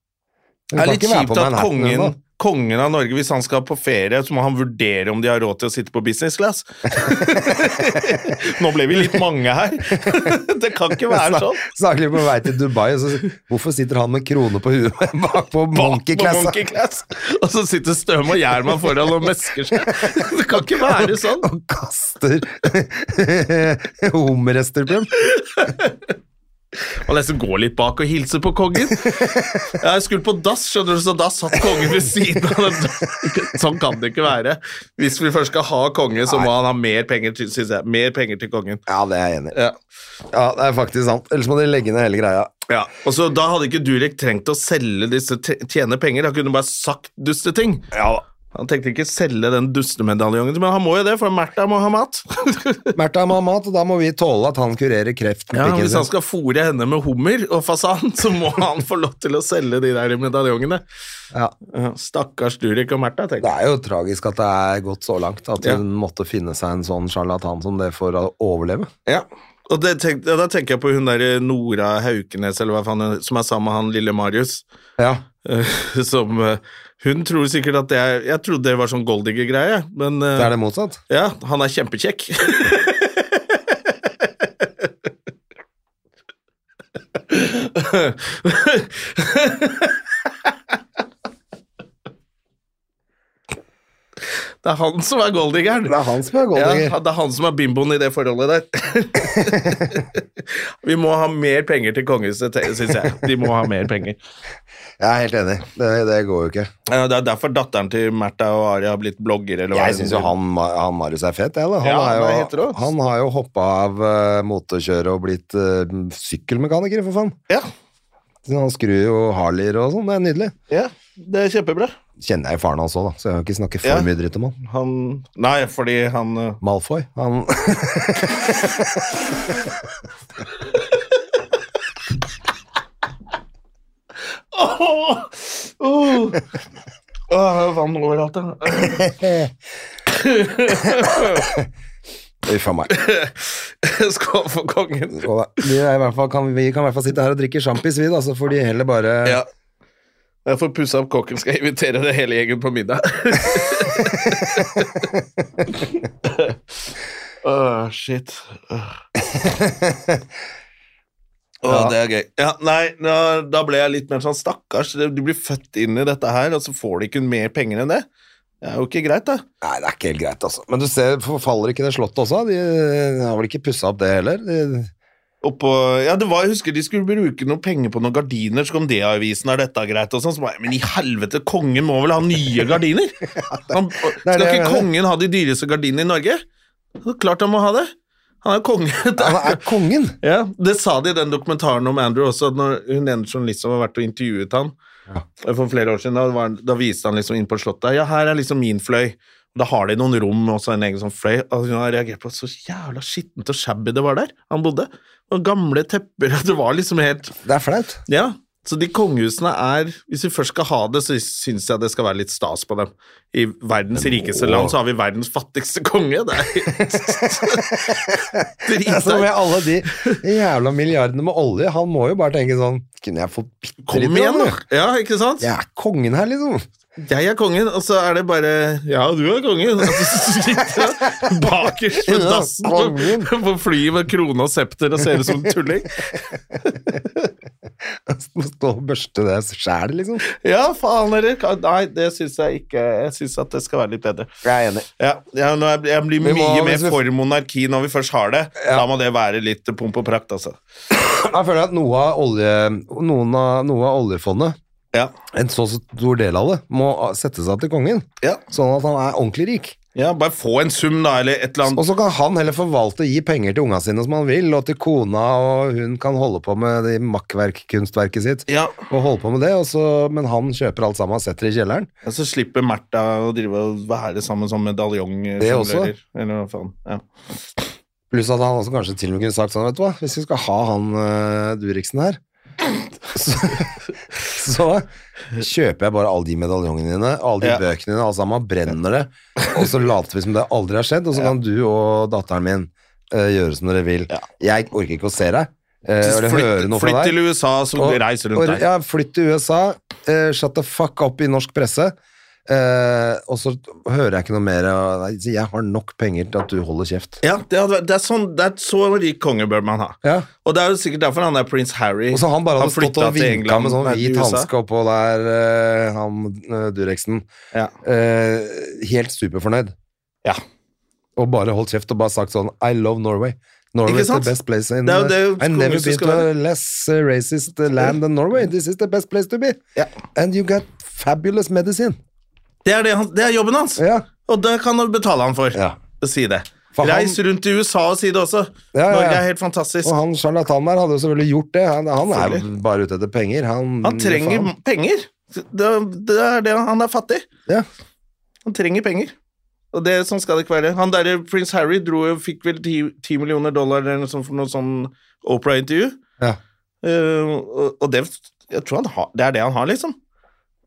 [SPEAKER 2] Hun
[SPEAKER 1] Det er
[SPEAKER 2] kan
[SPEAKER 1] litt
[SPEAKER 2] ikke være på
[SPEAKER 1] kjipt at
[SPEAKER 2] Manhattan ennå.
[SPEAKER 1] kongen, kongen av Norge, hvis han skal på ferie, så må han vurdere om de har råd til å sitte på business class. Nå ble vi litt mange her. det kan ikke være sånn.
[SPEAKER 2] Snak- Snakker vi på vei til Dubai, og så hvorfor sitter han med krone på huet bak på
[SPEAKER 1] Bak på
[SPEAKER 2] monkey class?
[SPEAKER 1] Monkey Class. Og så sitter Støme og Gjerman foran og mesker seg. Det kan ikke være sånn.
[SPEAKER 2] Og kaster hummerrester på dem.
[SPEAKER 1] Og nesten går litt bak og hilser på kongen. Jeg skulle på dass, skjønner du, så da satt kongen ved siden av den. Sånn kan det ikke være. Hvis vi først skal ha konge, så må han ha mer penger til, synes jeg. Mer penger til kongen.
[SPEAKER 2] Ja, det er jeg enig i.
[SPEAKER 1] Ja.
[SPEAKER 2] Ja, det er faktisk sant. Ellers må de legge ned hele greia.
[SPEAKER 1] Ja, og så Da hadde ikke Durek trengt å selge disse t- tjene penger. Han kunne bare sagt dusteting.
[SPEAKER 2] Ja da.
[SPEAKER 1] Han tenkte ikke selge den dustemedaljongen, men han må jo det, for Märtha må ha mat.
[SPEAKER 2] Märtha må ha mat, og da må vi tåle at han kurerer kreft med
[SPEAKER 1] Ja,
[SPEAKER 2] pikken
[SPEAKER 1] Hvis han
[SPEAKER 2] sin.
[SPEAKER 1] skal fôre henne med hummer og fasan, så må han få lov til å selge de der medaljongene.
[SPEAKER 2] Ja.
[SPEAKER 1] Ja, Stakkars Durek og Märtha,
[SPEAKER 2] Det
[SPEAKER 1] tenker jeg.
[SPEAKER 2] er jo tragisk at det er gått så langt at
[SPEAKER 1] Ja.
[SPEAKER 2] hun måtte finne seg en sånn sjarlatan som det for å overleve.
[SPEAKER 1] Ja. Og det tenk, ja, da tenker jeg på hun der eh, Nora Haukenes, eller hva faen, hun- som er sammen med han lille Marius.
[SPEAKER 2] Ja.
[SPEAKER 1] eh, Som eh, Hun tror sikkert at det er Jeg trodde det var sånn Goldinger-greie, men eh,
[SPEAKER 2] Det er det motsatt.
[SPEAKER 1] Ja, han er kjempekjekk. Det er han som er goldingeren.
[SPEAKER 2] Det er han som er goldinger.
[SPEAKER 1] Ja, det er han som er bimboen i det forholdet der. Vi må ha mer penger til kongehuset, syns jeg. De må ha mer penger.
[SPEAKER 2] Jeg er helt enig. Det, det går jo ikke.
[SPEAKER 1] Ja, Det er derfor datteren til Märtha og Ari har blitt blogger. Eller hva
[SPEAKER 2] Jeg syns jo han, Ma- han Marius er fet, jeg, da. Han,
[SPEAKER 1] Ja, han er helt
[SPEAKER 2] er jo,
[SPEAKER 1] rå.
[SPEAKER 2] han har jo hoppa av uh, motorkjøret og blitt eh, sykkelmekaniker, for faen.
[SPEAKER 1] Ja,
[SPEAKER 2] Så Han skrur jo Harlier og sånn, det er nydelig.
[SPEAKER 1] ja, det er kjempebra.
[SPEAKER 2] Kjenner jeg jo faren hans òg, da, så jeg kan ikke snakke for
[SPEAKER 1] Ja.
[SPEAKER 2] mye dritt om han.
[SPEAKER 1] Han Nei, fordi han eh,
[SPEAKER 2] Malfoy. Han
[SPEAKER 1] Åh! Åh! Åh, vann overalt, ja.
[SPEAKER 2] Uff a meg.
[SPEAKER 1] Skål for kongen.
[SPEAKER 2] Skål, da. Vi, er i hvert fall, kan, vi kan i hvert fall sitte her og drikke sjampis, vi, da, så får de heller bare
[SPEAKER 1] Ja. Jeg får pussa opp kokken, skal jeg invitere det hele gjengen på middag. Åh, shit. Åh, Åh, det er gøy. Ja, nei, da, da ble jeg litt mer sånn stakkars. Du blir født inn i dette her, og så får du ikke mer penger enn det. Det er jo ikke greit, da.
[SPEAKER 2] Nei, det er ikke helt greit, altså. Men du ser, forfaller ikke det slottet også? De, har vel ikke pussa opp det heller? De,
[SPEAKER 1] Oppå, ja, det var, jeg husker de skulle bruke noen penger på noen gardiner, så kom det i avisen, er dette greit, og sånn, så bare, men i helvete, kongen må vel ha nye gardiner? Han, skal
[SPEAKER 2] det jeg
[SPEAKER 1] ikke
[SPEAKER 2] mener.
[SPEAKER 1] kongen ha de dyreste gardinene i Norge? Det er Klart han må ha det. Han er konge. Det
[SPEAKER 2] han
[SPEAKER 1] er-
[SPEAKER 2] er kongen!
[SPEAKER 1] ja, det sa de i den dokumentaren om Andrew også, at når hun ene journalisten var vært og intervjuet han for flere år siden, da, var, han- da viste han liksom inn på slottet, ja, her er liksom min fløy. Da har de noen rom og så en egen sånn fløy. Og hun har reagert på at så jævla skittent og shabby det var der han bodde. Og gamle tepper, og det var liksom helt
[SPEAKER 2] Det er flaut.
[SPEAKER 1] Ja. Så de kongehusene er Hvis vi først skal ha det, så syns jeg det skal være litt stas på dem. I verdens rikeste land så har vi verdens fattigste konge. Det er helt
[SPEAKER 2] Det er som med
[SPEAKER 1] drita.
[SPEAKER 2] alle de jævla milliardene med olje. Han må jo bare tenke sånn Kunne jeg fått bitte
[SPEAKER 1] Kom
[SPEAKER 2] litt?
[SPEAKER 1] igjen,
[SPEAKER 2] da?
[SPEAKER 1] da! Ja, ikke sant?
[SPEAKER 2] Jeg er kongen her, liksom.
[SPEAKER 1] Jeg er kongen, og så er det bare Ja, du er kongen! Og så sitter han bakerst på
[SPEAKER 2] Ja,
[SPEAKER 1] dassen
[SPEAKER 2] kongen.
[SPEAKER 1] på- på flyet med krone og septer og ser ut som en tulling.
[SPEAKER 2] Må stå og børste det sjæl, liksom.
[SPEAKER 1] Ja, faen, dere. kan- Nei, det syns jeg ikke. Jeg syns at det skal være litt bedre.
[SPEAKER 2] Jeg er enig.
[SPEAKER 1] Ja, ja nå er- jeg blir
[SPEAKER 2] Vi
[SPEAKER 1] mye
[SPEAKER 2] må-
[SPEAKER 1] mer
[SPEAKER 2] hvis vi-
[SPEAKER 1] for monarki når vi først har det. Da må det være litt pomp og prakt, altså.
[SPEAKER 2] Jeg føler at noe av, olje, noen av, noe av oljefondet,
[SPEAKER 1] Ja.
[SPEAKER 2] en så stor del av det, må sette seg til kongen,
[SPEAKER 1] Ja.
[SPEAKER 2] sånn at han er ordentlig rik.
[SPEAKER 1] ja, bare få en sum, da, eller et eller annet.
[SPEAKER 2] Og så kan han heller forvalte og gi penger til unga sine som han vil, og til kona, og hun kan holde på med det makkverk-kunstverket sitt,
[SPEAKER 1] Ja.
[SPEAKER 2] og holde på med det, og så- men han kjøper alt sammen og setter det i kjelleren.
[SPEAKER 1] Ja, så slipper Märtha å drive og være sammen som medaljong. eh,
[SPEAKER 2] Det også.
[SPEAKER 1] jonglører, Eller hva faen. Ja.
[SPEAKER 2] Pluss at han også kanskje til og med kunne sagt sånn, vet du hva, hvis vi skal ha han eh, Duriksen her, så, så kjøper jeg bare alle de medaljongene dine, alle de
[SPEAKER 1] Ja.
[SPEAKER 2] bøkene dine, alle sammen, brenner det, og så later vi som det aldri har skjedd, og så kan du og datteren min eh, gjøre som dere vil. Jeg orker ikke å se deg, eh, eller høre noe
[SPEAKER 1] flytt
[SPEAKER 2] fra
[SPEAKER 1] til
[SPEAKER 2] deg.
[SPEAKER 1] USA, så
[SPEAKER 2] Og-
[SPEAKER 1] reiser
[SPEAKER 2] og-
[SPEAKER 1] rundt der.
[SPEAKER 2] Ja, flytt til USA, eh, shut the fuck up i norsk presse, eh, og så hører jeg ikke noe mer, av- nei, jeg har nok penger til at du holder kjeft.
[SPEAKER 1] Ja, det, hadde, vært- det, er sånn, det er så rik konge bør man ha.
[SPEAKER 2] Ja.
[SPEAKER 1] Og det er jo sikkert derfor han der prins Harry
[SPEAKER 2] Og så han bare hadde stått
[SPEAKER 1] flytta
[SPEAKER 2] og
[SPEAKER 1] til
[SPEAKER 2] vinka
[SPEAKER 1] England,
[SPEAKER 2] med sånn
[SPEAKER 1] nei, til
[SPEAKER 2] hvit
[SPEAKER 1] USA.
[SPEAKER 2] hanske oppå der, eh, han eh, Dureksen.
[SPEAKER 1] Ja.
[SPEAKER 2] Eh, helt superfornøyd.
[SPEAKER 1] Ja.
[SPEAKER 2] Og bare holdt kjeft og bare sagt sånn I love Norway. Norway
[SPEAKER 1] Ikke
[SPEAKER 2] is the
[SPEAKER 1] sant?
[SPEAKER 2] best place in
[SPEAKER 1] Det er jo det
[SPEAKER 2] I've never
[SPEAKER 1] kongehuset
[SPEAKER 2] been
[SPEAKER 1] skal
[SPEAKER 2] to a less eh, racist eh, land than Norway. This is the best place to be.
[SPEAKER 1] Ja.
[SPEAKER 2] And you got fabulous medicine.
[SPEAKER 1] Det er, det, han, det er jobben hans,
[SPEAKER 2] Ja.
[SPEAKER 1] og det kan han betale han for.
[SPEAKER 2] Ja.
[SPEAKER 1] Å si det.
[SPEAKER 2] For han-
[SPEAKER 1] Reis rundt til USA og si det også.
[SPEAKER 2] Ja, ja, ja.
[SPEAKER 1] Norge er helt fantastisk.
[SPEAKER 2] Og han sjarlatanen der hadde jo selvfølgelig gjort det. Han, han er jo
[SPEAKER 1] Selvfølgelig.
[SPEAKER 2] bare ute etter penger. Han,
[SPEAKER 1] Han trenger
[SPEAKER 2] faen.
[SPEAKER 1] penger. Det, det er det han er fattig.
[SPEAKER 2] Ja.
[SPEAKER 1] Han trenger penger. Og det sånn skal det ikke være. Han derre prins Harry dro jo, fikk vel ti ti millioner dollar eller noe sånt for noe sånn Opera-intervju.
[SPEAKER 2] Ja.
[SPEAKER 1] Eh, og, og det jeg tror han har, det er det han har, liksom.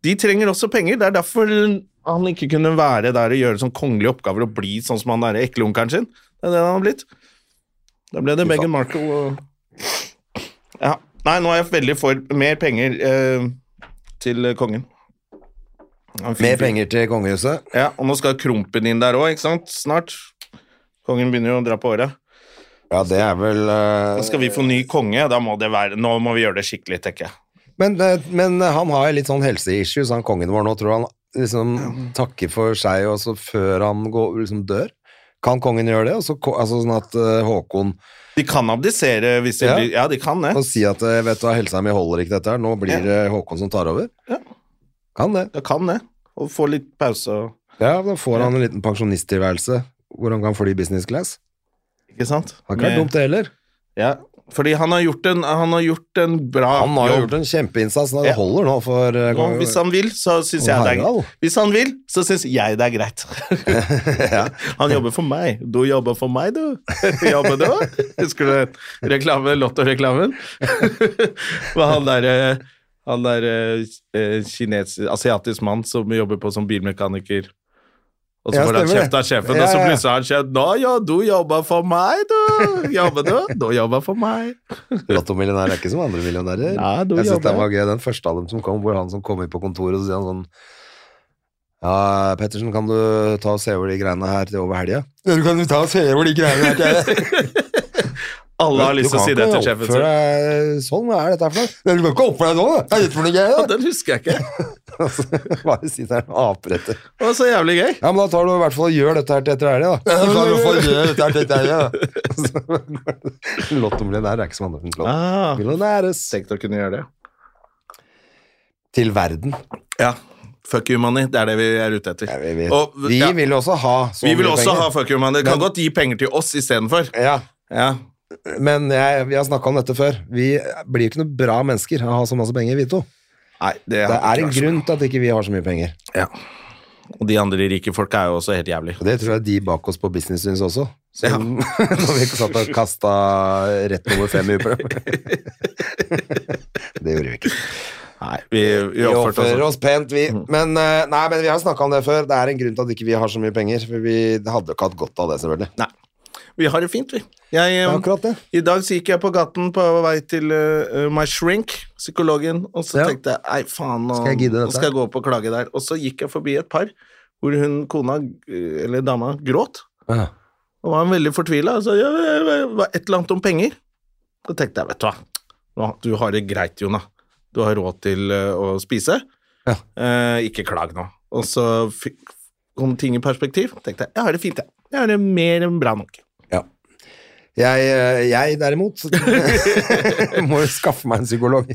[SPEAKER 1] De trenger også penger. Det er derfor han ikke kunne være der og gjøre sånn kongelige oppgaver og bli sånn som han derre ekle onkelen sin. Det er det han har blitt. Da ble det Meghan Markle og Ja. Nei, nå er jeg veldig for mer penger eh, til kongen. Han fikk-
[SPEAKER 2] Mer penger til kongehuset.
[SPEAKER 1] ja, og nå skal Krompen inn der òg, ikke sant? Snart. Kongen begynner jo å dra på året.
[SPEAKER 2] Ja, det er vel eh,
[SPEAKER 1] Da skal vi få ny konge, da må det være Nå må vi gjøre det skikkelig, tenker jeg.
[SPEAKER 2] Men, eh, men han har jo litt sånn helseissues, han kongen vår nå, tror han liksom takker for seg og så før han går, liksom dør. Kan kongen gjøre det? Og så, ko- altså sånn at eh, Håkon
[SPEAKER 1] De kan abdisere hvis de
[SPEAKER 2] Ja.
[SPEAKER 1] blir Ja, de kan det.
[SPEAKER 2] Og si at eh, vet du hva, helsa mi holder ikke dette her, nå blir det Håkon som tar over.
[SPEAKER 1] Ja.
[SPEAKER 2] Kan det.
[SPEAKER 1] De kan det. Og få litt pause og
[SPEAKER 2] Ja, da får han en liten pensjonisttilværelse hvor han kan fly business class.
[SPEAKER 1] Ikke sant?
[SPEAKER 2] Har ikke vært
[SPEAKER 1] Med-
[SPEAKER 2] dumt, det heller.
[SPEAKER 1] Ja. Fordi han har gjort en, han har gjort en bra
[SPEAKER 2] Han har jo
[SPEAKER 1] jobb.
[SPEAKER 2] gjort en kjempeinnsats, og det
[SPEAKER 1] Ja.
[SPEAKER 2] holder nå for eh,
[SPEAKER 1] Og hvis han vil, så syns jeg det er
[SPEAKER 2] Harald.
[SPEAKER 1] Hvis han vil, så syns jeg det er greit. Han jobber for meg. Du jobber for meg, du. Jobber du? Husker du reklame, Lotto-reklamen? Med han derre han der eh, kines, asiatisk mann som jobber på som bilmekaniker. Og så
[SPEAKER 2] Ja,
[SPEAKER 1] får han
[SPEAKER 2] stemmer det.
[SPEAKER 1] kjeft av sjefen,
[SPEAKER 2] Ja,
[SPEAKER 1] og så
[SPEAKER 2] ja, ja.
[SPEAKER 1] plutselig har han kjeft. 'Nå ja, du jobber for meg, du. Jobber du? Du jobber for meg.'
[SPEAKER 2] Lottomillionær er ikke som andre millionærer.
[SPEAKER 1] Nei, du
[SPEAKER 2] jeg synes
[SPEAKER 1] jobber.
[SPEAKER 2] den var gøy, den første av dem som kom, hvor han som kom inn på kontoret, og så sier han sånn Ja, Pettersen, kan du ta og se over de greiene her til over helga? Ja, du kan jo ta og se over de greiene her til
[SPEAKER 1] Alle har lyst til å si det til
[SPEAKER 2] Du kan
[SPEAKER 1] sjefen
[SPEAKER 2] ikke
[SPEAKER 1] sin.
[SPEAKER 2] oppføre deg sånn, hva er dette her for noe? Ja, Du kan ikke oppføre deg sånn, da! Det er litt for noe
[SPEAKER 1] Ja,
[SPEAKER 2] greier,
[SPEAKER 1] den husker jeg ikke.
[SPEAKER 2] da! Og så Bare sitter han og aper etter.
[SPEAKER 1] Det var så jævlig gøy.
[SPEAKER 2] Ja, men da tar du i hvert fall og gjør dette her til etter helga, da. Ja, du kan i hvert fall gjøre dette her til etter helga, da. Lottomillionær er ikke som andre lott.
[SPEAKER 1] Ah,
[SPEAKER 2] Millionæres.
[SPEAKER 1] tenkte å kunne gjøre det.
[SPEAKER 2] Til verden.
[SPEAKER 1] Ja. Fuck you money, det er det vi er ute etter.
[SPEAKER 2] Ja, vi, vi.
[SPEAKER 1] Og,
[SPEAKER 2] vi
[SPEAKER 1] ja,
[SPEAKER 2] vil også ha så
[SPEAKER 1] vi vil
[SPEAKER 2] mye
[SPEAKER 1] også
[SPEAKER 2] penger.
[SPEAKER 1] ha fuck you money. Det kan
[SPEAKER 2] Men-
[SPEAKER 1] godt gi penger til oss istedenfor.
[SPEAKER 2] Ja,
[SPEAKER 1] Ja.
[SPEAKER 2] men jeg, vi har snakka om dette før. Vi blir jo ikke noe bra mennesker av å ha så masse penger, vi to.
[SPEAKER 1] Nei, det,
[SPEAKER 2] Det
[SPEAKER 1] har
[SPEAKER 2] er
[SPEAKER 1] ikke
[SPEAKER 2] en
[SPEAKER 1] vært
[SPEAKER 2] grunn til at ikke vi har så mye penger.
[SPEAKER 1] sånn. Ja. Og de andre rike folka er jo også helt jævlig.
[SPEAKER 2] Og det tror jeg de bak oss på business syns også. Så når vi ikke satt og kasta rett over fem i uker. det gjorde vi ikke.
[SPEAKER 1] Nei, vi, vi
[SPEAKER 2] Vi
[SPEAKER 1] oppførte oss
[SPEAKER 2] oppfører
[SPEAKER 1] sånn.
[SPEAKER 2] oss pent, vi. Men, eh, nei, men vi har snakka om det før. Det er en grunn til at ikke vi har så mye penger. For vi hadde jo ikke hatt godt av det, selvfølgelig.
[SPEAKER 1] Nei. Vi har det fint, vi. Jeg,
[SPEAKER 2] Det
[SPEAKER 1] eh,
[SPEAKER 2] er akkurat det.
[SPEAKER 1] I dag så gikk jeg på gaten på vei til eh, my shrink, psykologen, og så
[SPEAKER 2] Ja.
[SPEAKER 1] tenkte jeg nei, faen, nå
[SPEAKER 2] Skal jeg gidde
[SPEAKER 1] nå
[SPEAKER 2] dette?
[SPEAKER 1] skal jeg gå opp og klage der. Og så gikk jeg forbi et par hvor hun kona, eh, eller dama, gråt.
[SPEAKER 2] Ja.
[SPEAKER 1] Og var han veldig fortvila. Altså, ja, ja, ja, det var et eller annet om penger. Da tenkte jeg, vet du hva, Nå, du har det greit, Jona. Du har råd til eh, å spise.
[SPEAKER 2] Ja.
[SPEAKER 1] Eh, ikke klag nå. Og så fikk, kom ting i perspektiv. tenkte jeg jeg har det fint, jeg. Jeg har det mer enn bra nok.
[SPEAKER 2] Ja. Jeg, eh, jeg derimot må jo skaffe meg en psykolog.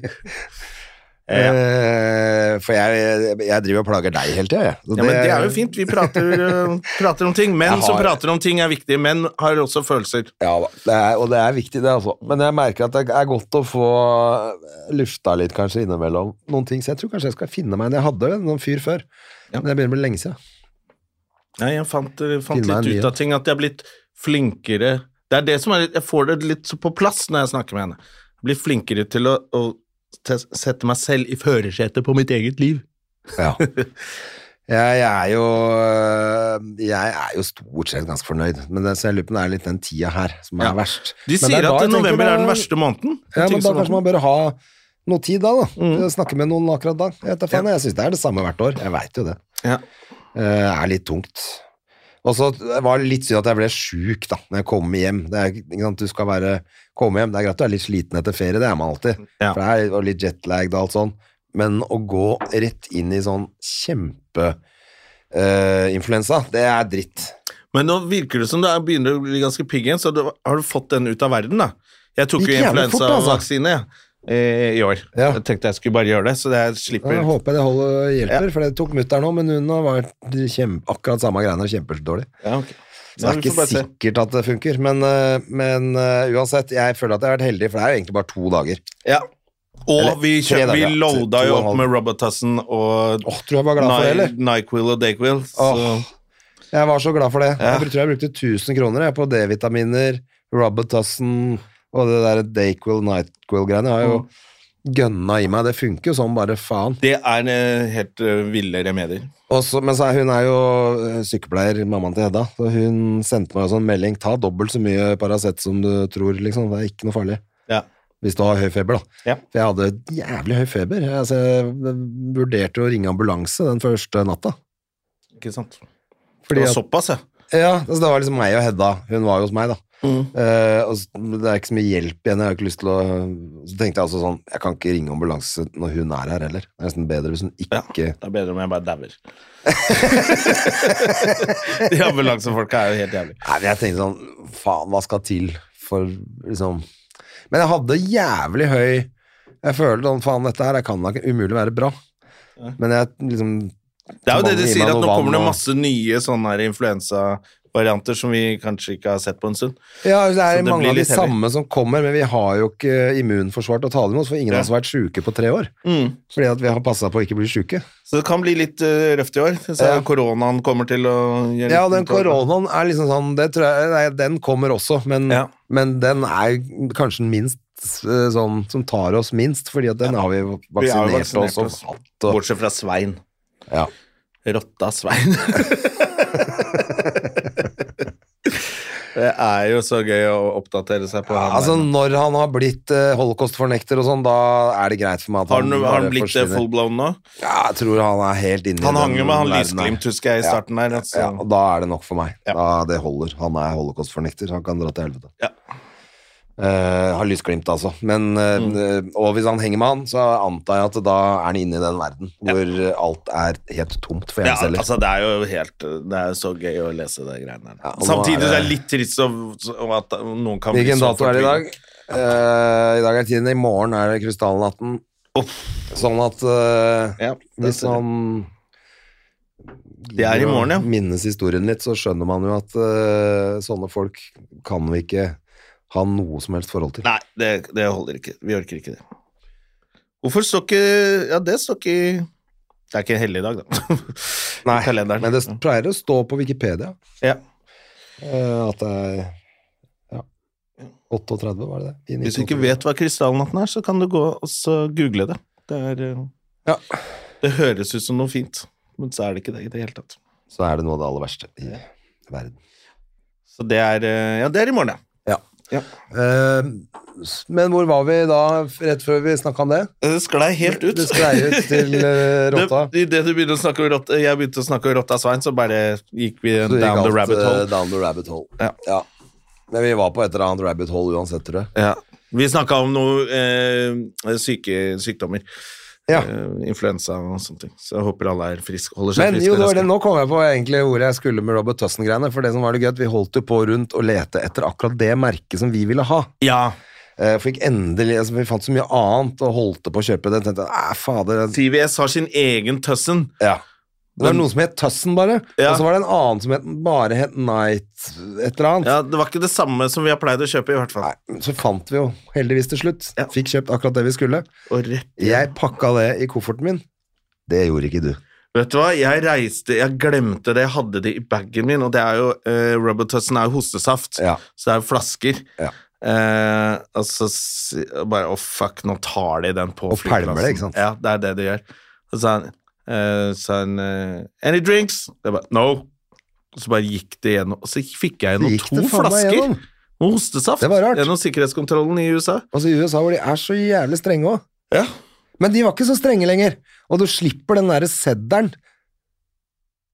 [SPEAKER 2] Eh, For jeg, jeg driver og plager deg hele tida, jeg. Så
[SPEAKER 1] Ja, men Det er jo fint. Vi prater, eh, prater om ting. Menn
[SPEAKER 2] Jeg
[SPEAKER 1] som
[SPEAKER 2] har-
[SPEAKER 1] prater om ting, er viktige. Menn har også følelser.
[SPEAKER 2] Ja da, det er, og det er viktig det, altså. Men jeg merker at det er godt å få eh, lufta litt kanskje innimellom noen ting. Så jeg tror kanskje jeg skal finne meg en jeg hadde, noen fyr før. Men det begynner å bli lenge siden.
[SPEAKER 1] Nei, jeg fant, eh, fant
[SPEAKER 2] Finne en
[SPEAKER 1] litt
[SPEAKER 2] ny,
[SPEAKER 1] ut
[SPEAKER 2] ja.
[SPEAKER 1] av ting, at jeg er blitt flinkere Det er det som er Jeg får det litt på plass når jeg snakker med henne. Jeg blir flinkere til å, å te- sette meg selv i førersetet på mitt eget liv.
[SPEAKER 2] Ja. Jeg, jeg, er jo, øh, jeg er jo stort sett ganske fornøyd, men det, så jeg lurer på om det er litt den tida her som er
[SPEAKER 1] Ja.
[SPEAKER 2] verst.
[SPEAKER 1] De
[SPEAKER 2] Men det
[SPEAKER 1] sier
[SPEAKER 2] da
[SPEAKER 1] at
[SPEAKER 2] jeg tenker
[SPEAKER 1] november er den
[SPEAKER 2] da-
[SPEAKER 1] verste måneden.
[SPEAKER 2] Ja, men da
[SPEAKER 1] Tenker sånn at-
[SPEAKER 2] kanskje man bør ha noe tid da, da.
[SPEAKER 1] Mm.
[SPEAKER 2] til å Snakke med noen akkurat da. Jeg, vet da faen, jeg syns det er det samme hvert år. Jeg veit jo det.
[SPEAKER 1] ja.
[SPEAKER 2] Eh, er litt tungt. Og så var det litt synd at jeg ble sjuk da, når jeg kom hjem. Det er, ikke sant, du skal være, komme hjem. Det er greit du er litt sliten etter ferie, det er man alltid.
[SPEAKER 1] Ja.
[SPEAKER 2] For det er og litt jetlagged og alt sånn. Men å gå rett inn i sånn kjempeinfluensa, det er dritt.
[SPEAKER 1] Men nå virker det som du er- begynner å bli ganske pigg igjen, så du, har du fått den ut av verden, da. Jeg tok
[SPEAKER 2] Gikk
[SPEAKER 1] jo
[SPEAKER 2] jævlig fort, altså.
[SPEAKER 1] influensavaksine jeg, eh, i år.
[SPEAKER 2] Ja.
[SPEAKER 1] Jeg tenkte jeg skulle bare gjøre det, så jeg slipper
[SPEAKER 2] Jeg håper det holder, hjelper,
[SPEAKER 1] Ja.
[SPEAKER 2] for det tok mutter'n òg, men hun har vært kjempe, akkurat samme greiene og kjempedårlig.
[SPEAKER 1] Ja, ok.
[SPEAKER 2] Så det
[SPEAKER 1] Ja,
[SPEAKER 2] er
[SPEAKER 1] vi får
[SPEAKER 2] ikke
[SPEAKER 1] bare se.
[SPEAKER 2] sikkert at det funker, men, øh, men øh, uansett, jeg føler at jeg har vært heldig, for det er jo egentlig bare to dager.
[SPEAKER 1] Ja.
[SPEAKER 2] Eller
[SPEAKER 1] Og vi,
[SPEAKER 2] tre
[SPEAKER 1] kjøp, vi
[SPEAKER 2] dager, ja.
[SPEAKER 1] loada
[SPEAKER 2] To
[SPEAKER 1] jo
[SPEAKER 2] og
[SPEAKER 1] opp
[SPEAKER 2] en halv.
[SPEAKER 1] med Robitussin og
[SPEAKER 2] Åh, tror jeg var glad for det, eller?
[SPEAKER 1] Ny- Nyquil og Dayquil. Så
[SPEAKER 2] Åh, Jeg var så glad for det.
[SPEAKER 1] Ja.
[SPEAKER 2] Jeg tror jeg brukte 1000 kroner jeg, på D-vitaminer, Robitussin og det der Dayquil, Nightquil-greiene. Jeg har
[SPEAKER 1] Mm.
[SPEAKER 2] jo gønna i meg. Det funker jo sånn, bare faen.
[SPEAKER 1] det er eh, helt eh, ville remedier.
[SPEAKER 2] Og så- men så er, hun er jo eh, sykepleier, mammaen til Hedda, så hun sendte meg også en sånn melding. Ta dobbelt så mye Paracet som du tror, liksom. Det er ikke noe farlig.
[SPEAKER 1] Ja.
[SPEAKER 2] Hvis du har høy feber, da.
[SPEAKER 1] Ja.
[SPEAKER 2] For jeg hadde jævlig høy feber. Jeg, altså, jeg vurderte å ringe ambulanse den første natta.
[SPEAKER 1] Ikke sant.
[SPEAKER 2] Fordi
[SPEAKER 1] det var
[SPEAKER 2] at-
[SPEAKER 1] såpass, ja.
[SPEAKER 2] Ja, altså det var liksom meg og Hedda. Hun var jo hos meg, da.
[SPEAKER 1] Mm.
[SPEAKER 2] Eh, og s- det er ikke så mye hjelp igjen. Jeg har ikke lyst til å Så tenkte jeg altså sånn Jeg kan ikke ringe ambulanse når hun er her heller. Det er nesten bedre hvis hun ikke
[SPEAKER 1] Det er bedre om jeg bare dauer. De ambulansefolka er jo helt jævlig.
[SPEAKER 2] Nei, men jeg tenkte sånn Faen, hva skal til for liksom Men jeg hadde jævlig høy Jeg følte sånn Faen, dette her det kan da ikke umulig være bra. Men jeg liksom
[SPEAKER 1] Det er jo det de
[SPEAKER 2] Mannen gir
[SPEAKER 1] sier, at
[SPEAKER 2] meg
[SPEAKER 1] nå
[SPEAKER 2] noe vann
[SPEAKER 1] kommer det
[SPEAKER 2] og-
[SPEAKER 1] masse nye sånne her influensavarianter som vi kanskje ikke har sett på en stund.
[SPEAKER 2] Ja, det er
[SPEAKER 1] Så det
[SPEAKER 2] mange
[SPEAKER 1] blir
[SPEAKER 2] av de
[SPEAKER 1] litt heavy.
[SPEAKER 2] samme som kommer, men vi har jo ikke immunforsvar til å ta dem imot, for ingen
[SPEAKER 1] Ja. Mm.
[SPEAKER 2] av oss har vært sjuke på tre år. Fordi at vi har passa på å ikke bli sjuke.
[SPEAKER 1] Så det kan bli litt eh, røft i år. Så
[SPEAKER 2] Ja.
[SPEAKER 1] koronaen kommer til å gjøre
[SPEAKER 2] Ja,
[SPEAKER 1] litt
[SPEAKER 2] den
[SPEAKER 1] ut av det.
[SPEAKER 2] koronaen er liksom sånn det tror jeg, nei, Den kommer også, men,
[SPEAKER 1] Ja.
[SPEAKER 2] men den er kanskje den minst eh, sånn som tar oss minst, fordi at den har vi
[SPEAKER 1] Vi har jo
[SPEAKER 2] vaksinert,
[SPEAKER 1] vaksinert
[SPEAKER 2] oss og hatt og
[SPEAKER 1] Bortsett fra Svein.
[SPEAKER 2] ja.
[SPEAKER 1] Rotta Svein. det er jo så gøy å oppdatere seg på han.
[SPEAKER 2] Altså,
[SPEAKER 1] der.
[SPEAKER 2] når han har blitt eh, holocaustfornekter og sånn, da er det greit for meg at
[SPEAKER 1] har
[SPEAKER 2] han,
[SPEAKER 1] han, har
[SPEAKER 2] bare
[SPEAKER 1] han blitt eh,
[SPEAKER 2] forsvinner.
[SPEAKER 1] fullblown nå?
[SPEAKER 2] Ja, jeg tror han er helt inne
[SPEAKER 1] Han hang jo med han
[SPEAKER 2] verden her.
[SPEAKER 1] Lysglimt, husker jeg, i
[SPEAKER 2] Ja.
[SPEAKER 1] starten der. Altså.
[SPEAKER 2] Ja, og da er det nok for meg.
[SPEAKER 1] Ja.
[SPEAKER 2] Da, det holder. Han er holocaustfornekter, så han kan dra til helvete.
[SPEAKER 1] Ja.
[SPEAKER 2] Eh, har lysglimt, altså. Men, eh,
[SPEAKER 1] Mm.
[SPEAKER 2] Og hvis han henger med han, så antar jeg at da er han inne i den verden hvor eh, alt er helt tomt for
[SPEAKER 1] Ja,
[SPEAKER 2] hjemceller.
[SPEAKER 1] altså Det er jo helt Det er jo så gøy å lese de greiene der.
[SPEAKER 2] Ja, og nå
[SPEAKER 1] Samtidig
[SPEAKER 2] er
[SPEAKER 1] er det...
[SPEAKER 2] det-
[SPEAKER 1] er det litt trist om, om at noen kan
[SPEAKER 2] Hvilken
[SPEAKER 1] så
[SPEAKER 2] dato er det i dag?
[SPEAKER 1] fortvilet.
[SPEAKER 2] Eh, I dag er tiden. I morgen er det krystallnatten. Sånn at eh,
[SPEAKER 1] Ja, det
[SPEAKER 2] hvis
[SPEAKER 1] ser jeg.
[SPEAKER 2] man
[SPEAKER 1] Det er i morgen, ja.
[SPEAKER 2] minnes historien litt, så skjønner man jo at eh, sånne folk kan vi ikke ha noe som helst forhold til.
[SPEAKER 1] Nei, det, det holder ikke. Vi orker ikke det. Hvorfor står ikke Ja, det står ikke i Det er ikke en hellig dag, da. I
[SPEAKER 2] Nei,
[SPEAKER 1] kalenderen.
[SPEAKER 2] men det pleier å stå på Wikipedia
[SPEAKER 1] Ja.
[SPEAKER 2] eh, at det er ja, 38, var det det? I
[SPEAKER 1] Hvis du ikke
[SPEAKER 2] 1938.
[SPEAKER 1] vet hva krystallnatten er, så kan du gå og så google det. Det, er, eh,
[SPEAKER 2] Ja.
[SPEAKER 1] det høres ut som noe fint, men så er det ikke det i det hele tatt.
[SPEAKER 2] Så er det noe av det aller verste i verden.
[SPEAKER 1] Så det er eh, Ja, det er i morgen, ja.
[SPEAKER 2] Ja.
[SPEAKER 1] Ja.
[SPEAKER 2] Eh, s- men hvor var vi da, rett før vi snakka om det?
[SPEAKER 1] Det sklei helt ut.
[SPEAKER 2] Det sklei ut til eh, rotta.
[SPEAKER 1] Det- Idet du begynte å snakke om rotta, jeg begynte å snakke om rotta Svein, så bare gikk vi
[SPEAKER 2] Så det gikk
[SPEAKER 1] down the
[SPEAKER 2] alt,
[SPEAKER 1] rabbit
[SPEAKER 2] eh,
[SPEAKER 1] hole.
[SPEAKER 2] Down the rabbit hole.
[SPEAKER 1] Ja.
[SPEAKER 2] Men vi var på et eller annet rabbit hole uansett, tror jeg.
[SPEAKER 1] Ja. Vi snakka om noe eh, syke sykdommer.
[SPEAKER 2] Ja.
[SPEAKER 1] Eh, influensa og sånne ting. Så jeg håper alle er friske. Holder seg
[SPEAKER 2] Men
[SPEAKER 1] friske.
[SPEAKER 2] jo, det var
[SPEAKER 1] resten.
[SPEAKER 2] det, nå kom jeg på egentlig hvor jeg skulle med Robert Tussen-greiene. For det som var det gøy, at vi holdt jo på rundt og lete etter akkurat det merket som vi ville ha.
[SPEAKER 1] Ja.
[SPEAKER 2] Eh, Fikk endelig, altså, Vi fant så mye annet og holdt på å kjøpe det. Tenkte jeg, "Æ, fader jeg-
[SPEAKER 1] TVS har sin egen Tussen.
[SPEAKER 2] ja. Det var noe som het Tussen, bare.
[SPEAKER 1] Ja.
[SPEAKER 2] Og så var det en annen som het, bare het Night et eller annet.
[SPEAKER 1] Ja, det var ikke det samme som vi har pleid å kjøpe, i hvert fall.
[SPEAKER 2] Nei, så fant vi jo heldigvis til slutt.
[SPEAKER 1] Ja.
[SPEAKER 2] Fikk kjøpt akkurat det vi skulle.
[SPEAKER 1] Og rett
[SPEAKER 2] Jeg pakka det i kofferten min. Det gjorde ikke du.
[SPEAKER 1] Vet du hva, jeg reiste, jeg glemte det, jeg hadde det i bagen min, og det er jo, eh, Robert Hudson er jo hostesaft,
[SPEAKER 2] Ja.
[SPEAKER 1] så det er jo flasker.
[SPEAKER 2] Ja.
[SPEAKER 1] Eh, og så si- og bare, å fuck, nå tar de den på
[SPEAKER 2] Og pælmer det, ikke sant?
[SPEAKER 1] Ja, det er det de gjør. Og så sa han, eh, sa han eh, any drinks? Jeg bare, no. Og så bare gikk det gjennom, og så fikk jeg
[SPEAKER 2] Så
[SPEAKER 1] gjennom
[SPEAKER 2] gikk
[SPEAKER 1] to
[SPEAKER 2] det faen meg
[SPEAKER 1] flasker
[SPEAKER 2] gjennom.
[SPEAKER 1] med hostesaft.
[SPEAKER 2] Det var rart.
[SPEAKER 1] Gjennom sikkerhetskontrollen i USA.
[SPEAKER 2] Altså I USA, hvor de er så jævlig strenge òg.
[SPEAKER 1] Ja.
[SPEAKER 2] Men de var ikke så strenge lenger. Og du slipper den derre seddelen.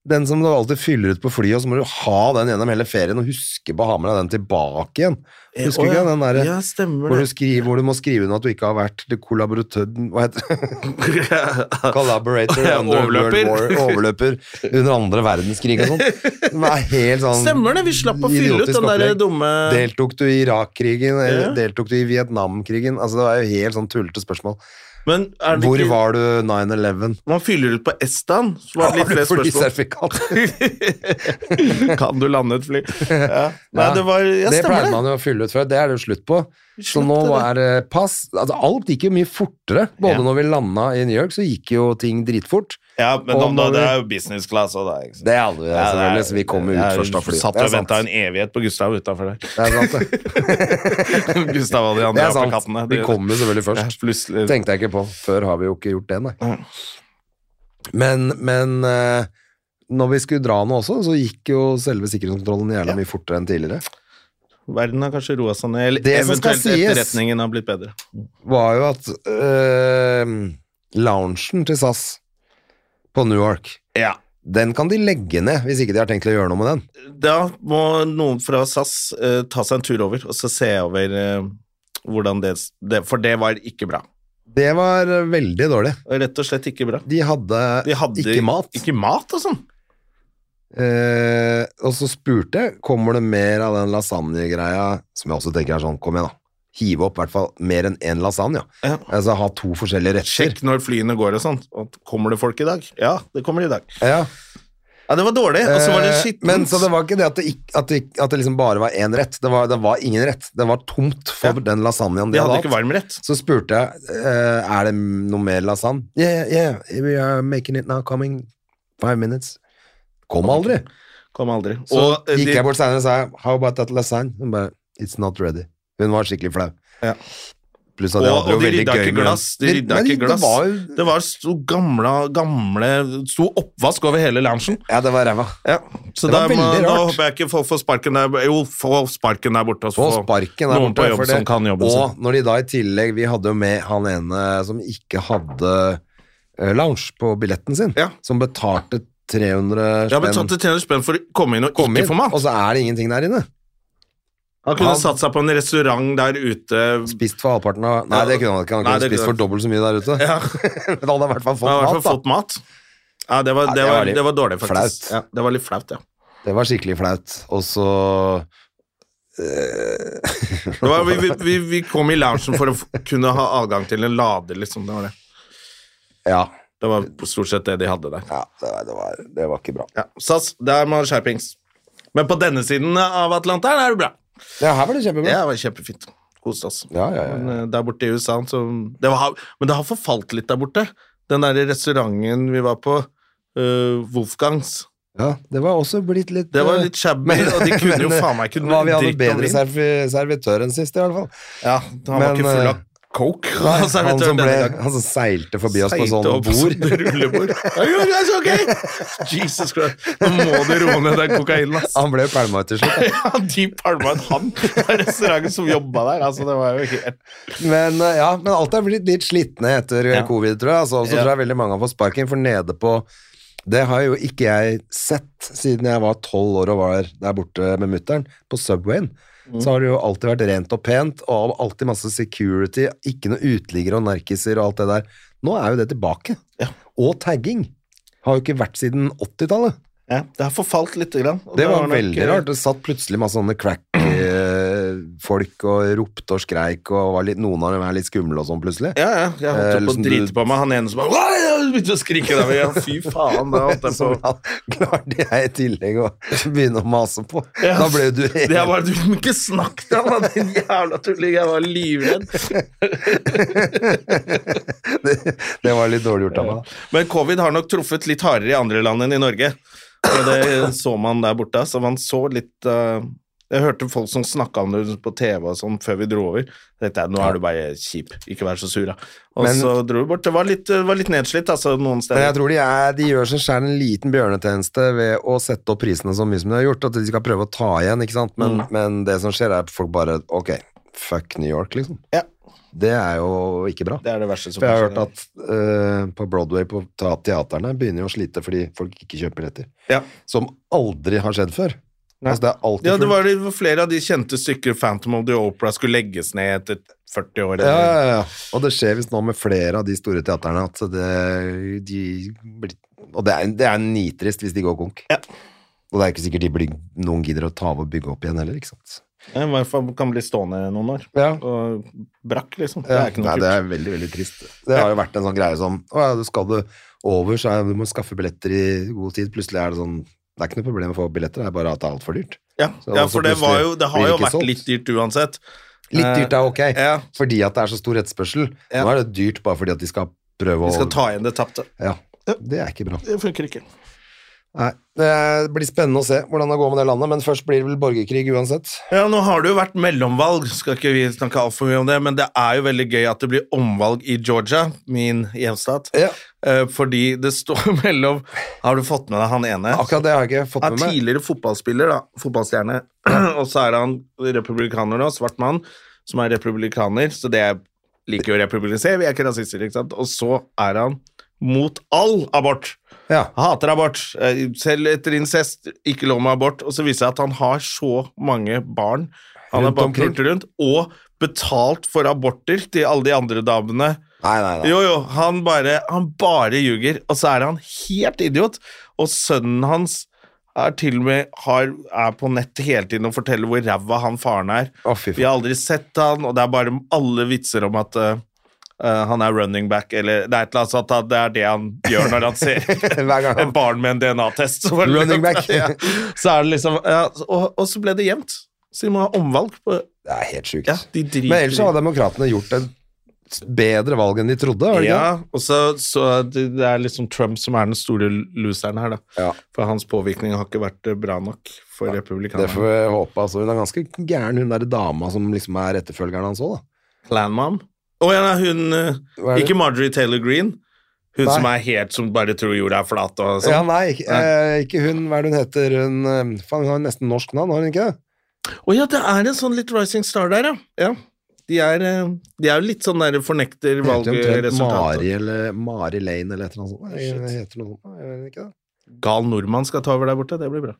[SPEAKER 2] Den som du alltid fyller ut på flyet, og så må du ha den gjennom hele ferien og huske på å ha med deg den tilbake igjen.
[SPEAKER 1] Eh,
[SPEAKER 2] Husker
[SPEAKER 1] å,
[SPEAKER 2] du ikke
[SPEAKER 1] ja.
[SPEAKER 2] den derre
[SPEAKER 1] Ja, stemmer
[SPEAKER 2] hvor, du
[SPEAKER 1] det.
[SPEAKER 2] skriver- hvor du må skrive under at du ikke har vært det kollaboratøren Hva heter Collaborator
[SPEAKER 1] Ja,
[SPEAKER 2] under
[SPEAKER 1] overløper.
[SPEAKER 2] World War, overløper under andre verdenskrig og sånn. Det er helt sånn
[SPEAKER 1] Stemmer det, vi slapp å fylle ut
[SPEAKER 2] idiotisk
[SPEAKER 1] den der
[SPEAKER 2] opplegg.
[SPEAKER 1] dumme...
[SPEAKER 2] Deltok du i Irak-krigen, eller
[SPEAKER 1] Ja.
[SPEAKER 2] deltok du i Vietnamkrigen? Altså, det var jo helt sånn tullete spørsmål.
[SPEAKER 1] Men er det
[SPEAKER 2] Hvor
[SPEAKER 1] ikke,
[SPEAKER 2] var du 9-11?
[SPEAKER 1] man fyller ut på Estan, så var det litt flere spørsmål.
[SPEAKER 2] flysertifikat?
[SPEAKER 1] kan du lande et fly? Ja. Nei,
[SPEAKER 2] Ja,
[SPEAKER 1] det var Ja,
[SPEAKER 2] det
[SPEAKER 1] stemmer
[SPEAKER 2] pleide
[SPEAKER 1] det.
[SPEAKER 2] man jo å fylle ut før, det er det jo slutt på. Så
[SPEAKER 1] slapp
[SPEAKER 2] nå
[SPEAKER 1] det,
[SPEAKER 2] er det pass altså, Alt gikk jo mye fortere. Både
[SPEAKER 1] Ja.
[SPEAKER 2] når vi landa i New York, så gikk jo ting dritfort.
[SPEAKER 1] Ja, men
[SPEAKER 2] Og
[SPEAKER 1] om da,
[SPEAKER 2] når
[SPEAKER 1] det
[SPEAKER 2] vi-
[SPEAKER 1] er jo business class òg, da. ikke sant?
[SPEAKER 2] Det hadde vi
[SPEAKER 1] Ja, det er-
[SPEAKER 2] selvfølgelig, så vi kom jo
[SPEAKER 1] jeg
[SPEAKER 2] ut først av flyet.
[SPEAKER 1] Satt
[SPEAKER 2] Det
[SPEAKER 1] og
[SPEAKER 2] er sant.
[SPEAKER 1] venta en evighet på Gustav utafor der.
[SPEAKER 2] Det er sant, det.
[SPEAKER 1] Gustav og de
[SPEAKER 2] Det
[SPEAKER 1] andre
[SPEAKER 2] er
[SPEAKER 1] apekattene.
[SPEAKER 2] sant. Vi kom jo selvfølgelig
[SPEAKER 1] Ja,
[SPEAKER 2] først.
[SPEAKER 1] plutselig.
[SPEAKER 2] Tenkte jeg ikke på. Før har vi jo ikke gjort det, nei. Men, men eh, når vi skulle dra nå også, så gikk jo selve sikkerhetskontrollen jævla mye fortere enn tidligere.
[SPEAKER 1] Verden har kanskje roa seg ned, eller
[SPEAKER 2] Det som skal
[SPEAKER 1] eventuelt
[SPEAKER 2] sies-
[SPEAKER 1] etterretningen har blitt bedre.
[SPEAKER 2] Var jo at eh, loungen til SAS på Newark,
[SPEAKER 1] Ja.
[SPEAKER 2] den kan de legge ned hvis ikke de har tenkt å gjøre noe med den.
[SPEAKER 1] Da må noen fra SAS eh, ta seg en tur over, og så se over eh, hvordan det, det For det var ikke bra.
[SPEAKER 2] Det var eh, veldig dårlig.
[SPEAKER 1] Rett og slett ikke bra.
[SPEAKER 2] De hadde,
[SPEAKER 1] De hadde
[SPEAKER 2] ikke mat.
[SPEAKER 1] Ikke mat og sånn.
[SPEAKER 2] Eh, og så spurte jeg Kommer det mer av den lasagne-greia Som jeg også tenker er sånn, kom igjen da Hive opp i hvert fall mer enn en lasagne
[SPEAKER 1] Ja.
[SPEAKER 2] Altså ha to forskjellige retter
[SPEAKER 1] Sjekk når flyene går og sånn. Og Kommer det folk i dag? Ja, det kommer i dag.
[SPEAKER 2] ja.
[SPEAKER 1] Ja, det var dårlig, og så var det
[SPEAKER 2] Eh,
[SPEAKER 1] skittent.
[SPEAKER 2] Men så det var ikke det at det, ikk- at det, ikk- at det liksom bare var en rett det var, det var ingen rett, det var tomt For
[SPEAKER 1] Ja.
[SPEAKER 2] den lasagnen de,
[SPEAKER 1] De hadde
[SPEAKER 2] hadde
[SPEAKER 1] ikke
[SPEAKER 2] hatt
[SPEAKER 1] varmrett.
[SPEAKER 2] Så spurte jeg, eh, er det noe mer lasagne? Yeah, yeah, yeah, we are making it now, coming Five minutes Kom aldri
[SPEAKER 1] Kom aldri.
[SPEAKER 2] Så
[SPEAKER 1] Og, eh,
[SPEAKER 2] gikk
[SPEAKER 1] de-
[SPEAKER 2] jeg bort senere og sa How about that lasagne? Hun bare It's not ready. Hun var skikkelig flau.
[SPEAKER 1] Ja.
[SPEAKER 2] Pluss
[SPEAKER 1] og,
[SPEAKER 2] at jeg hadde
[SPEAKER 1] og
[SPEAKER 2] jo
[SPEAKER 1] de
[SPEAKER 2] veldig
[SPEAKER 1] rydda
[SPEAKER 2] gøy
[SPEAKER 1] ikke
[SPEAKER 2] med
[SPEAKER 1] glass. De rydda
[SPEAKER 2] Men
[SPEAKER 1] ikke glass.
[SPEAKER 2] Det var jo
[SPEAKER 1] Det var sto gamle, gamle Sto oppvask over hele loungen.
[SPEAKER 2] Ja, det var ræva.
[SPEAKER 1] Ja. Så
[SPEAKER 2] Det var
[SPEAKER 1] da, må,
[SPEAKER 2] veldig
[SPEAKER 1] da
[SPEAKER 2] rart.
[SPEAKER 1] håper jeg ikke folk får sparken der Jo, få sparken der borte. og så
[SPEAKER 2] Og
[SPEAKER 1] få
[SPEAKER 2] sparken der
[SPEAKER 1] noen
[SPEAKER 2] borte.
[SPEAKER 1] på jobb
[SPEAKER 2] for det-
[SPEAKER 1] som kan jobben sin.
[SPEAKER 2] og når de da i tillegg Vi hadde jo med han ene som ikke hadde eh, lounge på billetten sin,
[SPEAKER 1] Ja.
[SPEAKER 2] som betalte 300
[SPEAKER 1] Jeg har betalt
[SPEAKER 2] spenn.
[SPEAKER 1] 300 spenn for å komme inn og
[SPEAKER 2] Kom
[SPEAKER 1] ikke
[SPEAKER 2] inn,
[SPEAKER 1] få mat.
[SPEAKER 2] og så er det ingenting der inne.
[SPEAKER 1] Han kunne
[SPEAKER 2] han-
[SPEAKER 1] satt seg på en restaurant der ute.
[SPEAKER 2] Spist for halvparten av Nei,
[SPEAKER 1] Ja.
[SPEAKER 2] det kunne han ikke. Han
[SPEAKER 1] Nei,
[SPEAKER 2] kunne
[SPEAKER 1] det kunne
[SPEAKER 2] spist for
[SPEAKER 1] han.
[SPEAKER 2] dobbelt så mye der ute.
[SPEAKER 1] Ja.
[SPEAKER 2] Men han hadde i hvert fall fått
[SPEAKER 1] Han har i hvert
[SPEAKER 2] mat, da.
[SPEAKER 1] fall fått mat. Ja, det var,
[SPEAKER 2] Ja,
[SPEAKER 1] det
[SPEAKER 2] det var
[SPEAKER 1] var,
[SPEAKER 2] litt
[SPEAKER 1] det var dårlig, faktisk.
[SPEAKER 2] flaut.
[SPEAKER 1] Ja, det var litt flaut, ja.
[SPEAKER 2] Det var skikkelig flaut. Og så
[SPEAKER 1] Det var, vi, vi- vi, vi kom i loungen for å f- kunne ha adgang til en lader, liksom. Det var, det.
[SPEAKER 2] Ja.
[SPEAKER 1] Det var stort sett det de hadde der.
[SPEAKER 2] ja det, var, det, var, det var ikke bra.
[SPEAKER 1] Ja. SAS, der må man skjerpings. Men på denne siden av Atlanteren er det bra.
[SPEAKER 2] Ja, her var det kjempebra.
[SPEAKER 1] Ja, det var kjempefint. Koste oss.
[SPEAKER 2] Ja, ja, ja.
[SPEAKER 1] Men, eh, Der borte i USA så, det var, Men det har forfalt litt der borte. Den der restauranten vi var på, eh, Wolfgangs.
[SPEAKER 2] Ja, det var også blitt litt
[SPEAKER 1] Det var
[SPEAKER 2] eh,
[SPEAKER 1] litt shabby, og de kunne jo faen meg ikke
[SPEAKER 2] hva, Vi hadde
[SPEAKER 1] drikke om
[SPEAKER 2] bedre
[SPEAKER 1] vin.
[SPEAKER 2] servi servitør enn sist, i hvert fall.
[SPEAKER 1] Ja, han var
[SPEAKER 2] Men,
[SPEAKER 1] ikke full av
[SPEAKER 2] eh,
[SPEAKER 1] coke.
[SPEAKER 2] Nei, han,
[SPEAKER 1] servitøren
[SPEAKER 2] som
[SPEAKER 1] denne
[SPEAKER 2] ble,
[SPEAKER 1] gangen.
[SPEAKER 2] han som seilte forbi oss på
[SPEAKER 1] Seite
[SPEAKER 2] sånn
[SPEAKER 1] opp
[SPEAKER 2] bord.
[SPEAKER 1] sånn rullebord. Ja, jo, det er så gøy! Jesus Christ. Nå må du roe ned den kokainen, ass.
[SPEAKER 2] Han ble jo pælma ut til slutt. da.
[SPEAKER 1] Ja, de palma ut han på restauranten som jobba der. Altså, det var jo ikke
[SPEAKER 2] Men, eh, ja, men alt er blitt litt slitne etter eh,
[SPEAKER 1] Ja.
[SPEAKER 2] covid, tror jeg. Altså, og så
[SPEAKER 1] Ja.
[SPEAKER 2] tror jeg veldig mange har fått sparken, for nede på Det har jo ikke jeg sett siden jeg var tolv år og var der borte med mutter'n, på Subwayen.
[SPEAKER 1] Mm.
[SPEAKER 2] Så har det jo alltid vært rent og pent, og alltid masse security, ikke noe uteliggere og narkiser og alt det der. Nå er jo det tilbake. Og tagging. Har jo ikke vært siden 80-tallet.
[SPEAKER 1] Ja, det har forfalt lite grann. og
[SPEAKER 2] Det var
[SPEAKER 1] har nok,
[SPEAKER 2] veldig
[SPEAKER 1] eh,
[SPEAKER 2] rart. Det satt plutselig masse sånne crack-folk og ropte og skreik, og var litt, noen av dem er litt skumle og sånn plutselig.
[SPEAKER 1] Ja, ja. Jeg holdt
[SPEAKER 2] Eh,
[SPEAKER 1] jo på
[SPEAKER 2] liksom
[SPEAKER 1] å drite
[SPEAKER 2] du-
[SPEAKER 1] på meg. Han ene som bare «Åh!» Jeg begynte å skrike. Der. Ja, fy faen. Da holdt jeg
[SPEAKER 2] Som
[SPEAKER 1] på.
[SPEAKER 2] da klarte jeg i tillegg å begynne å mase på.
[SPEAKER 1] Ja.
[SPEAKER 2] Da ble du helt
[SPEAKER 1] Jeg bare, du må ikke snakke til ham, din jævla tulling. Jeg var livredd.
[SPEAKER 2] det, det var litt dårlig gjort av meg.
[SPEAKER 1] Men covid har nok truffet litt hardere i andre land enn i Norge. Og det så man der borte. Så man så litt eh, Jeg hørte folk som snakka om det på TV og sånn før vi dro over. Så tenkte jeg, nå er du bare kjip. Ikke vær så sur, da. Og
[SPEAKER 2] Men-
[SPEAKER 1] så dro vi bort. Det var litt, det var litt nedslitt, altså, noen
[SPEAKER 2] Men jeg
[SPEAKER 1] steder.
[SPEAKER 2] tror de, er, de gjør seg selv en liten bjørnetjeneste ved å sette opp prisene så mye som de har gjort, at de skal prøve å ta igjen, ikke sant?
[SPEAKER 1] Mm.
[SPEAKER 2] Men, men det som skjer er at folk bare, ok, fuck New York, liksom.
[SPEAKER 1] Ja.
[SPEAKER 2] Det er jo ikke bra.
[SPEAKER 1] Det er det verste som
[SPEAKER 2] For jeg har
[SPEAKER 1] kan
[SPEAKER 2] hørt
[SPEAKER 1] skje.
[SPEAKER 2] at eh, på Broadway, på ta- teaterne, begynner jo å slite fordi folk ikke kjøper billetter.
[SPEAKER 1] Ja.
[SPEAKER 2] Som aldri har skjedd før. Altså, det er alltid
[SPEAKER 1] Ja, det
[SPEAKER 2] fullt.
[SPEAKER 1] var det var flere av de kjente stykker Phantom of the Opera skulle legges ned etter 40 år.
[SPEAKER 2] Ja,
[SPEAKER 1] eller-
[SPEAKER 2] ja, ja. Og det skjer visst nå med flere av de store teaterne at det, de blir Og det er, det er nitrist hvis de går konk.
[SPEAKER 1] Ja.
[SPEAKER 2] Og det er ikke sikkert de blir, noen gidder å ta av og bygge opp igjen heller, ikke sant.
[SPEAKER 1] I hvert fall kan bli stående noen år.
[SPEAKER 2] Ja.
[SPEAKER 1] Og brakk, liksom. Det
[SPEAKER 2] Ja.
[SPEAKER 1] er ikke noe
[SPEAKER 2] Nei,
[SPEAKER 1] kult.
[SPEAKER 2] det er veldig, veldig trist. Det har jo vært en sånn greie som Å ja, du skal du over, så er, du må skaffe billetter i god tid. Plutselig er det sånn Det er ikke noe problem å få billetter, det er bare at det er altfor dyrt.
[SPEAKER 1] Ja,
[SPEAKER 2] Så
[SPEAKER 1] ja
[SPEAKER 2] også
[SPEAKER 1] for det,
[SPEAKER 2] plutselig
[SPEAKER 1] var jo, det
[SPEAKER 2] blir
[SPEAKER 1] har
[SPEAKER 2] det
[SPEAKER 1] jo
[SPEAKER 2] ikke
[SPEAKER 1] vært
[SPEAKER 2] solgt.
[SPEAKER 1] litt dyrt uansett.
[SPEAKER 2] Litt dyrt er ok,
[SPEAKER 1] Eh, Ja.
[SPEAKER 2] fordi at det er så stor etterspørsel.
[SPEAKER 1] Ja.
[SPEAKER 2] Nå er det dyrt bare fordi at de skal prøve
[SPEAKER 1] Vi skal
[SPEAKER 2] å
[SPEAKER 1] ta igjen det tapte.
[SPEAKER 2] Ja. Det er ikke bra.
[SPEAKER 1] Det funker ikke.
[SPEAKER 2] Nei, Det blir spennende å se hvordan det går med det landet, men først blir det vel borgerkrig uansett.
[SPEAKER 1] Ja, nå har det jo vært mellomvalg, skal ikke vi snakke altfor mye om det, men det er jo veldig gøy at det blir omvalg i Georgia, min hjemstat,
[SPEAKER 2] Ja.
[SPEAKER 1] Eh, fordi det står mellom Har du fått med deg han ene?
[SPEAKER 2] Akkurat det har jeg ikke fått
[SPEAKER 1] Han
[SPEAKER 2] med
[SPEAKER 1] er
[SPEAKER 2] meg.
[SPEAKER 1] tidligere fotballspiller, da. Fotballstjerne. og så er han republikaner nå, svart mann, som er republikaner. Så det er- liker jo republikanere, vi er ikke rasister, ikke sant. Og så er han mot all abort.
[SPEAKER 2] Ja.
[SPEAKER 1] Han hater abort. Eh, Selv etter incest, ikke lov med abort. Og så viser det seg at han har så mange barn. Han har
[SPEAKER 2] Rundt
[SPEAKER 1] bare
[SPEAKER 2] omkring.
[SPEAKER 1] pult rundt. Og betalt for aborter til alle de andre damene.
[SPEAKER 2] Nei, nei, nei.
[SPEAKER 1] Jo, jo, han bare, han bare ljuger, og så er han helt idiot. Og sønnen hans er til og med har, er på nett hele tiden og forteller hvor ræva han faren er.
[SPEAKER 2] Å, fy
[SPEAKER 1] Vi
[SPEAKER 2] faen.
[SPEAKER 1] har aldri sett han, og det er bare alle vitser om at eh, eh, han er running back, eller det er et eller annet sånt, at det er det han gjør når han ser
[SPEAKER 2] Hver gang
[SPEAKER 1] en
[SPEAKER 2] han
[SPEAKER 1] barn med en DNA-test. Så var det-
[SPEAKER 2] Running back.
[SPEAKER 1] ja. Så er det liksom, ja, og, og så ble det jevnt. Så de må ha omvalg. På,
[SPEAKER 2] Det er helt sjukt.
[SPEAKER 1] ja, de driter
[SPEAKER 2] Men ellers
[SPEAKER 1] i-
[SPEAKER 2] så har demokratene gjort et bedre valg enn de trodde, har de ikke?
[SPEAKER 1] Ja, og så, så det det er liksom Trump som er den store loseren her, da.
[SPEAKER 2] Ja.
[SPEAKER 1] For hans påvirkning har ikke vært eh, bra nok for
[SPEAKER 2] Det får
[SPEAKER 1] republikanerne.
[SPEAKER 2] vi håpe. Altså, hun er ganske gæren, hun der dama som liksom er etterfølgeren hans òg, da.
[SPEAKER 1] Landmom. Å ja, nei, hun eh,
[SPEAKER 2] Hva er det?
[SPEAKER 1] Ikke Marjorie Taylor Green. Hun
[SPEAKER 2] Nei.
[SPEAKER 1] som er helt som bare tror jorda er flat og sånn.
[SPEAKER 2] Ja, nei, ikke- eh, ikke hun. Hva er det hun heter? Hun, eh, faen, hun har nesten norsk navn, har hun ikke det?
[SPEAKER 1] Å ja, det er en sånn litt Rising Star der, ja. ja. De, er, eh, de er jo litt sånn der fornekter
[SPEAKER 2] Hun heter jo omtrent
[SPEAKER 1] valgresultatet.
[SPEAKER 2] Mari, eller Mari Lane eller et eller annet sånt. Nei, hun heter noe sånt. Nei, Jeg vet ikke det.
[SPEAKER 1] Gal nordmann skal ta over der borte, det blir bra.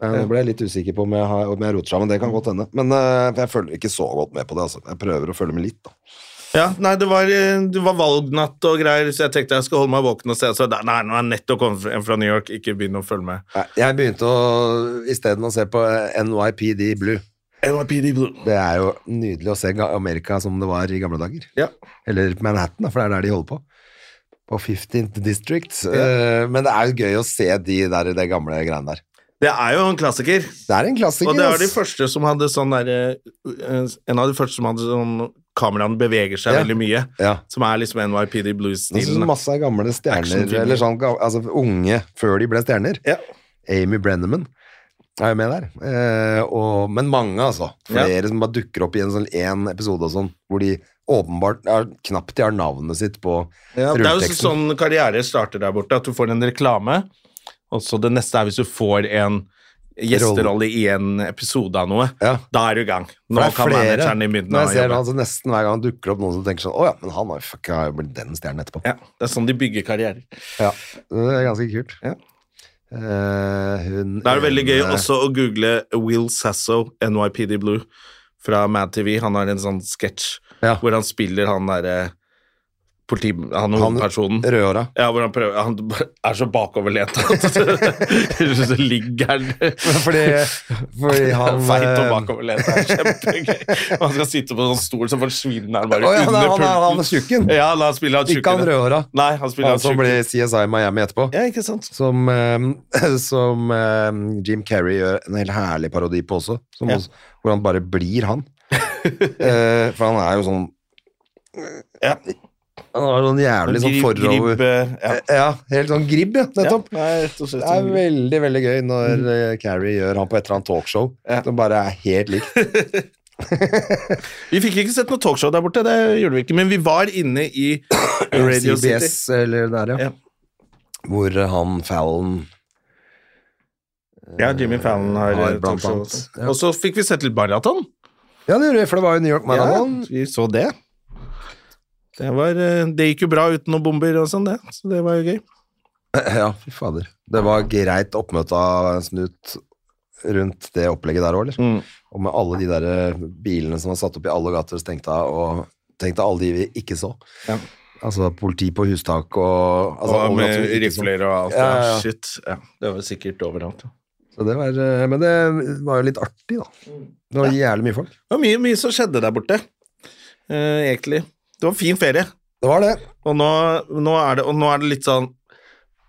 [SPEAKER 2] Ja, nå ble jeg litt usikker på om jeg, har, om jeg roter sammen, det kan godt hende. Men eh, jeg følger ikke så godt med på det, altså. Jeg prøver å følge med litt, da.
[SPEAKER 1] Ja, nei, det var, eh, det var valgnatt og greier, så jeg tenkte jeg skal holde meg våken og se. Så da- nei, nå er jeg nettopp kommet hjem fra New York, ikke begynn å følge med.
[SPEAKER 2] Nei, Jeg begynte å, isteden å se på eh, NYPD Blue.
[SPEAKER 1] NYPD Blue.
[SPEAKER 2] Det er jo nydelig å se ga- Amerika som det var i gamle dager.
[SPEAKER 1] Ja.
[SPEAKER 2] Eller Manhattan, da, for det er der de holder på. På 15th District. Eh, Men det er jo gøy å se de der, de gamle greiene der.
[SPEAKER 1] Det er jo en klassiker,
[SPEAKER 2] Det er en klassiker,
[SPEAKER 1] og det er de
[SPEAKER 2] ass.
[SPEAKER 1] første som hadde sånn derre En av de første som hadde sånn Kameraene beveger seg
[SPEAKER 2] Ja.
[SPEAKER 1] veldig mye,
[SPEAKER 2] Ja.
[SPEAKER 1] som er liksom NYPD
[SPEAKER 2] Og så
[SPEAKER 1] Blues-stilen. da.
[SPEAKER 2] masse gamle stjerner,
[SPEAKER 1] Actionfilmer.
[SPEAKER 2] eller sånn, ga- altså unge før de ble stjerner.
[SPEAKER 1] Ja.
[SPEAKER 2] Amy Brenneman er jo med der. Eh, og, men mange, altså.
[SPEAKER 1] Ja.
[SPEAKER 2] Flere som bare dukker opp i en sånn én episode og sånn, hvor de åpenbart er, knapt de har navnet sitt på
[SPEAKER 1] Ja, det er jo
[SPEAKER 2] rulleteksten.
[SPEAKER 1] sånn karriere starter der borte, at du får en reklame, og så det neste er hvis du får en gjesterolle i en episode av noe,
[SPEAKER 2] Ja.
[SPEAKER 1] da er du i gang. Nå
[SPEAKER 2] For det er
[SPEAKER 1] kan
[SPEAKER 2] flere-
[SPEAKER 1] manageren din begynne
[SPEAKER 2] Når
[SPEAKER 1] å
[SPEAKER 2] jeg ser det,
[SPEAKER 1] jobbe.
[SPEAKER 2] altså, Nesten hver gang dukker det opp noen som tenker sånn Å ja, men han har jo fuck, har jo blitt den stjernen etterpå.
[SPEAKER 1] Ja, det er sånn de bygger karrierer.
[SPEAKER 2] Ja, Det er ganske kult.
[SPEAKER 1] Ja.
[SPEAKER 2] Eh, hun eh,
[SPEAKER 1] Da er det veldig gøy
[SPEAKER 2] ene-
[SPEAKER 1] også å google Will Sasso, NYPD Blue, fra Mad TV. Han har en sånn sketsj
[SPEAKER 2] Ja.
[SPEAKER 1] hvor han spiller han derre politi... Han
[SPEAKER 2] Han-
[SPEAKER 1] hovedpersonen.
[SPEAKER 2] Rødhåra.
[SPEAKER 1] Ja, hvor han prøver Han er så bakoverlent at så ligger han
[SPEAKER 2] Fordi, fordi han
[SPEAKER 1] Feit og
[SPEAKER 2] eh,
[SPEAKER 1] bakoverlent er kjempegøy. Han skal sitte på en sånn stol, så forsvinner han bare
[SPEAKER 2] Å ja, han er-
[SPEAKER 1] under
[SPEAKER 2] han er- han er
[SPEAKER 1] pulten.
[SPEAKER 2] tjukken.
[SPEAKER 1] Ja, la han spille han
[SPEAKER 2] Ikke han
[SPEAKER 1] tjukken.
[SPEAKER 2] rødhåra.
[SPEAKER 1] Nei, han spiller
[SPEAKER 2] Han
[SPEAKER 1] han
[SPEAKER 2] som
[SPEAKER 1] tjukken.
[SPEAKER 2] ble CSI Miami etterpå.
[SPEAKER 1] Ja, ikke sant?
[SPEAKER 2] Som, eh, som eh, Jim Carrey gjør en helt herlig parodi på også, som
[SPEAKER 1] Ja.
[SPEAKER 2] også hvor han bare blir han. Eh, for han er jo sånn
[SPEAKER 1] Ja.
[SPEAKER 2] Han har sånn jævlig sånn
[SPEAKER 1] Grib-
[SPEAKER 2] forover...
[SPEAKER 1] gribbe, ja.
[SPEAKER 2] Eh, Ja, helt sånn gribb, ja, nettopp.
[SPEAKER 1] Ja, sånn- nei, rett og slett.
[SPEAKER 2] Det er veldig veldig gøy når eh, Carrie gjør han på et eller annet talkshow
[SPEAKER 1] Mm. Ja.
[SPEAKER 2] som bare er helt likt.
[SPEAKER 1] Vi fikk ikke sett noe talkshow der borte, det gjorde vi ikke, men vi var inne i Radio
[SPEAKER 2] CBS
[SPEAKER 1] City.
[SPEAKER 2] eller der, ja.
[SPEAKER 1] Ja.
[SPEAKER 2] Hvor eh, han Fallon
[SPEAKER 1] Ja, Jimmy Fallon har,
[SPEAKER 2] Har
[SPEAKER 1] eh,
[SPEAKER 2] blant
[SPEAKER 1] talkshow.
[SPEAKER 2] annet, ja.
[SPEAKER 1] Og så fikk vi sett litt maraton.
[SPEAKER 2] Ja, det gjorde jeg, for det var jo New York Marathon.
[SPEAKER 1] Ja, vi så det. Det, var, eh, det gikk jo bra uten noen bomber og sånn, det. Så det var jo gøy.
[SPEAKER 2] Ja, fy fader. Det var greit oppmøte av Snut rundt det opplegget der òg, eller?
[SPEAKER 1] Mm.
[SPEAKER 2] Og med alle de der eh, bilene som var satt opp i alle gater og stengt av, og tenk deg alle de vi ikke så.
[SPEAKER 1] Ja.
[SPEAKER 2] Altså politi på hustak og altså,
[SPEAKER 1] og
[SPEAKER 2] alle
[SPEAKER 1] med
[SPEAKER 2] gater vi ikke så.
[SPEAKER 1] rifler og alt.
[SPEAKER 2] Ja, ja,
[SPEAKER 1] Ja,
[SPEAKER 2] ja.
[SPEAKER 1] Shit. Ja, det var sikkert overalt. ja.
[SPEAKER 2] Så det var, eh, men det var jo litt artig, da. Det var jævlig mye folk.
[SPEAKER 1] Det var mye, mye som skjedde der borte, eh, egentlig. Det var fin ferie.
[SPEAKER 2] Det var det.
[SPEAKER 1] Og nå, nå, er, det, og nå er det litt sånn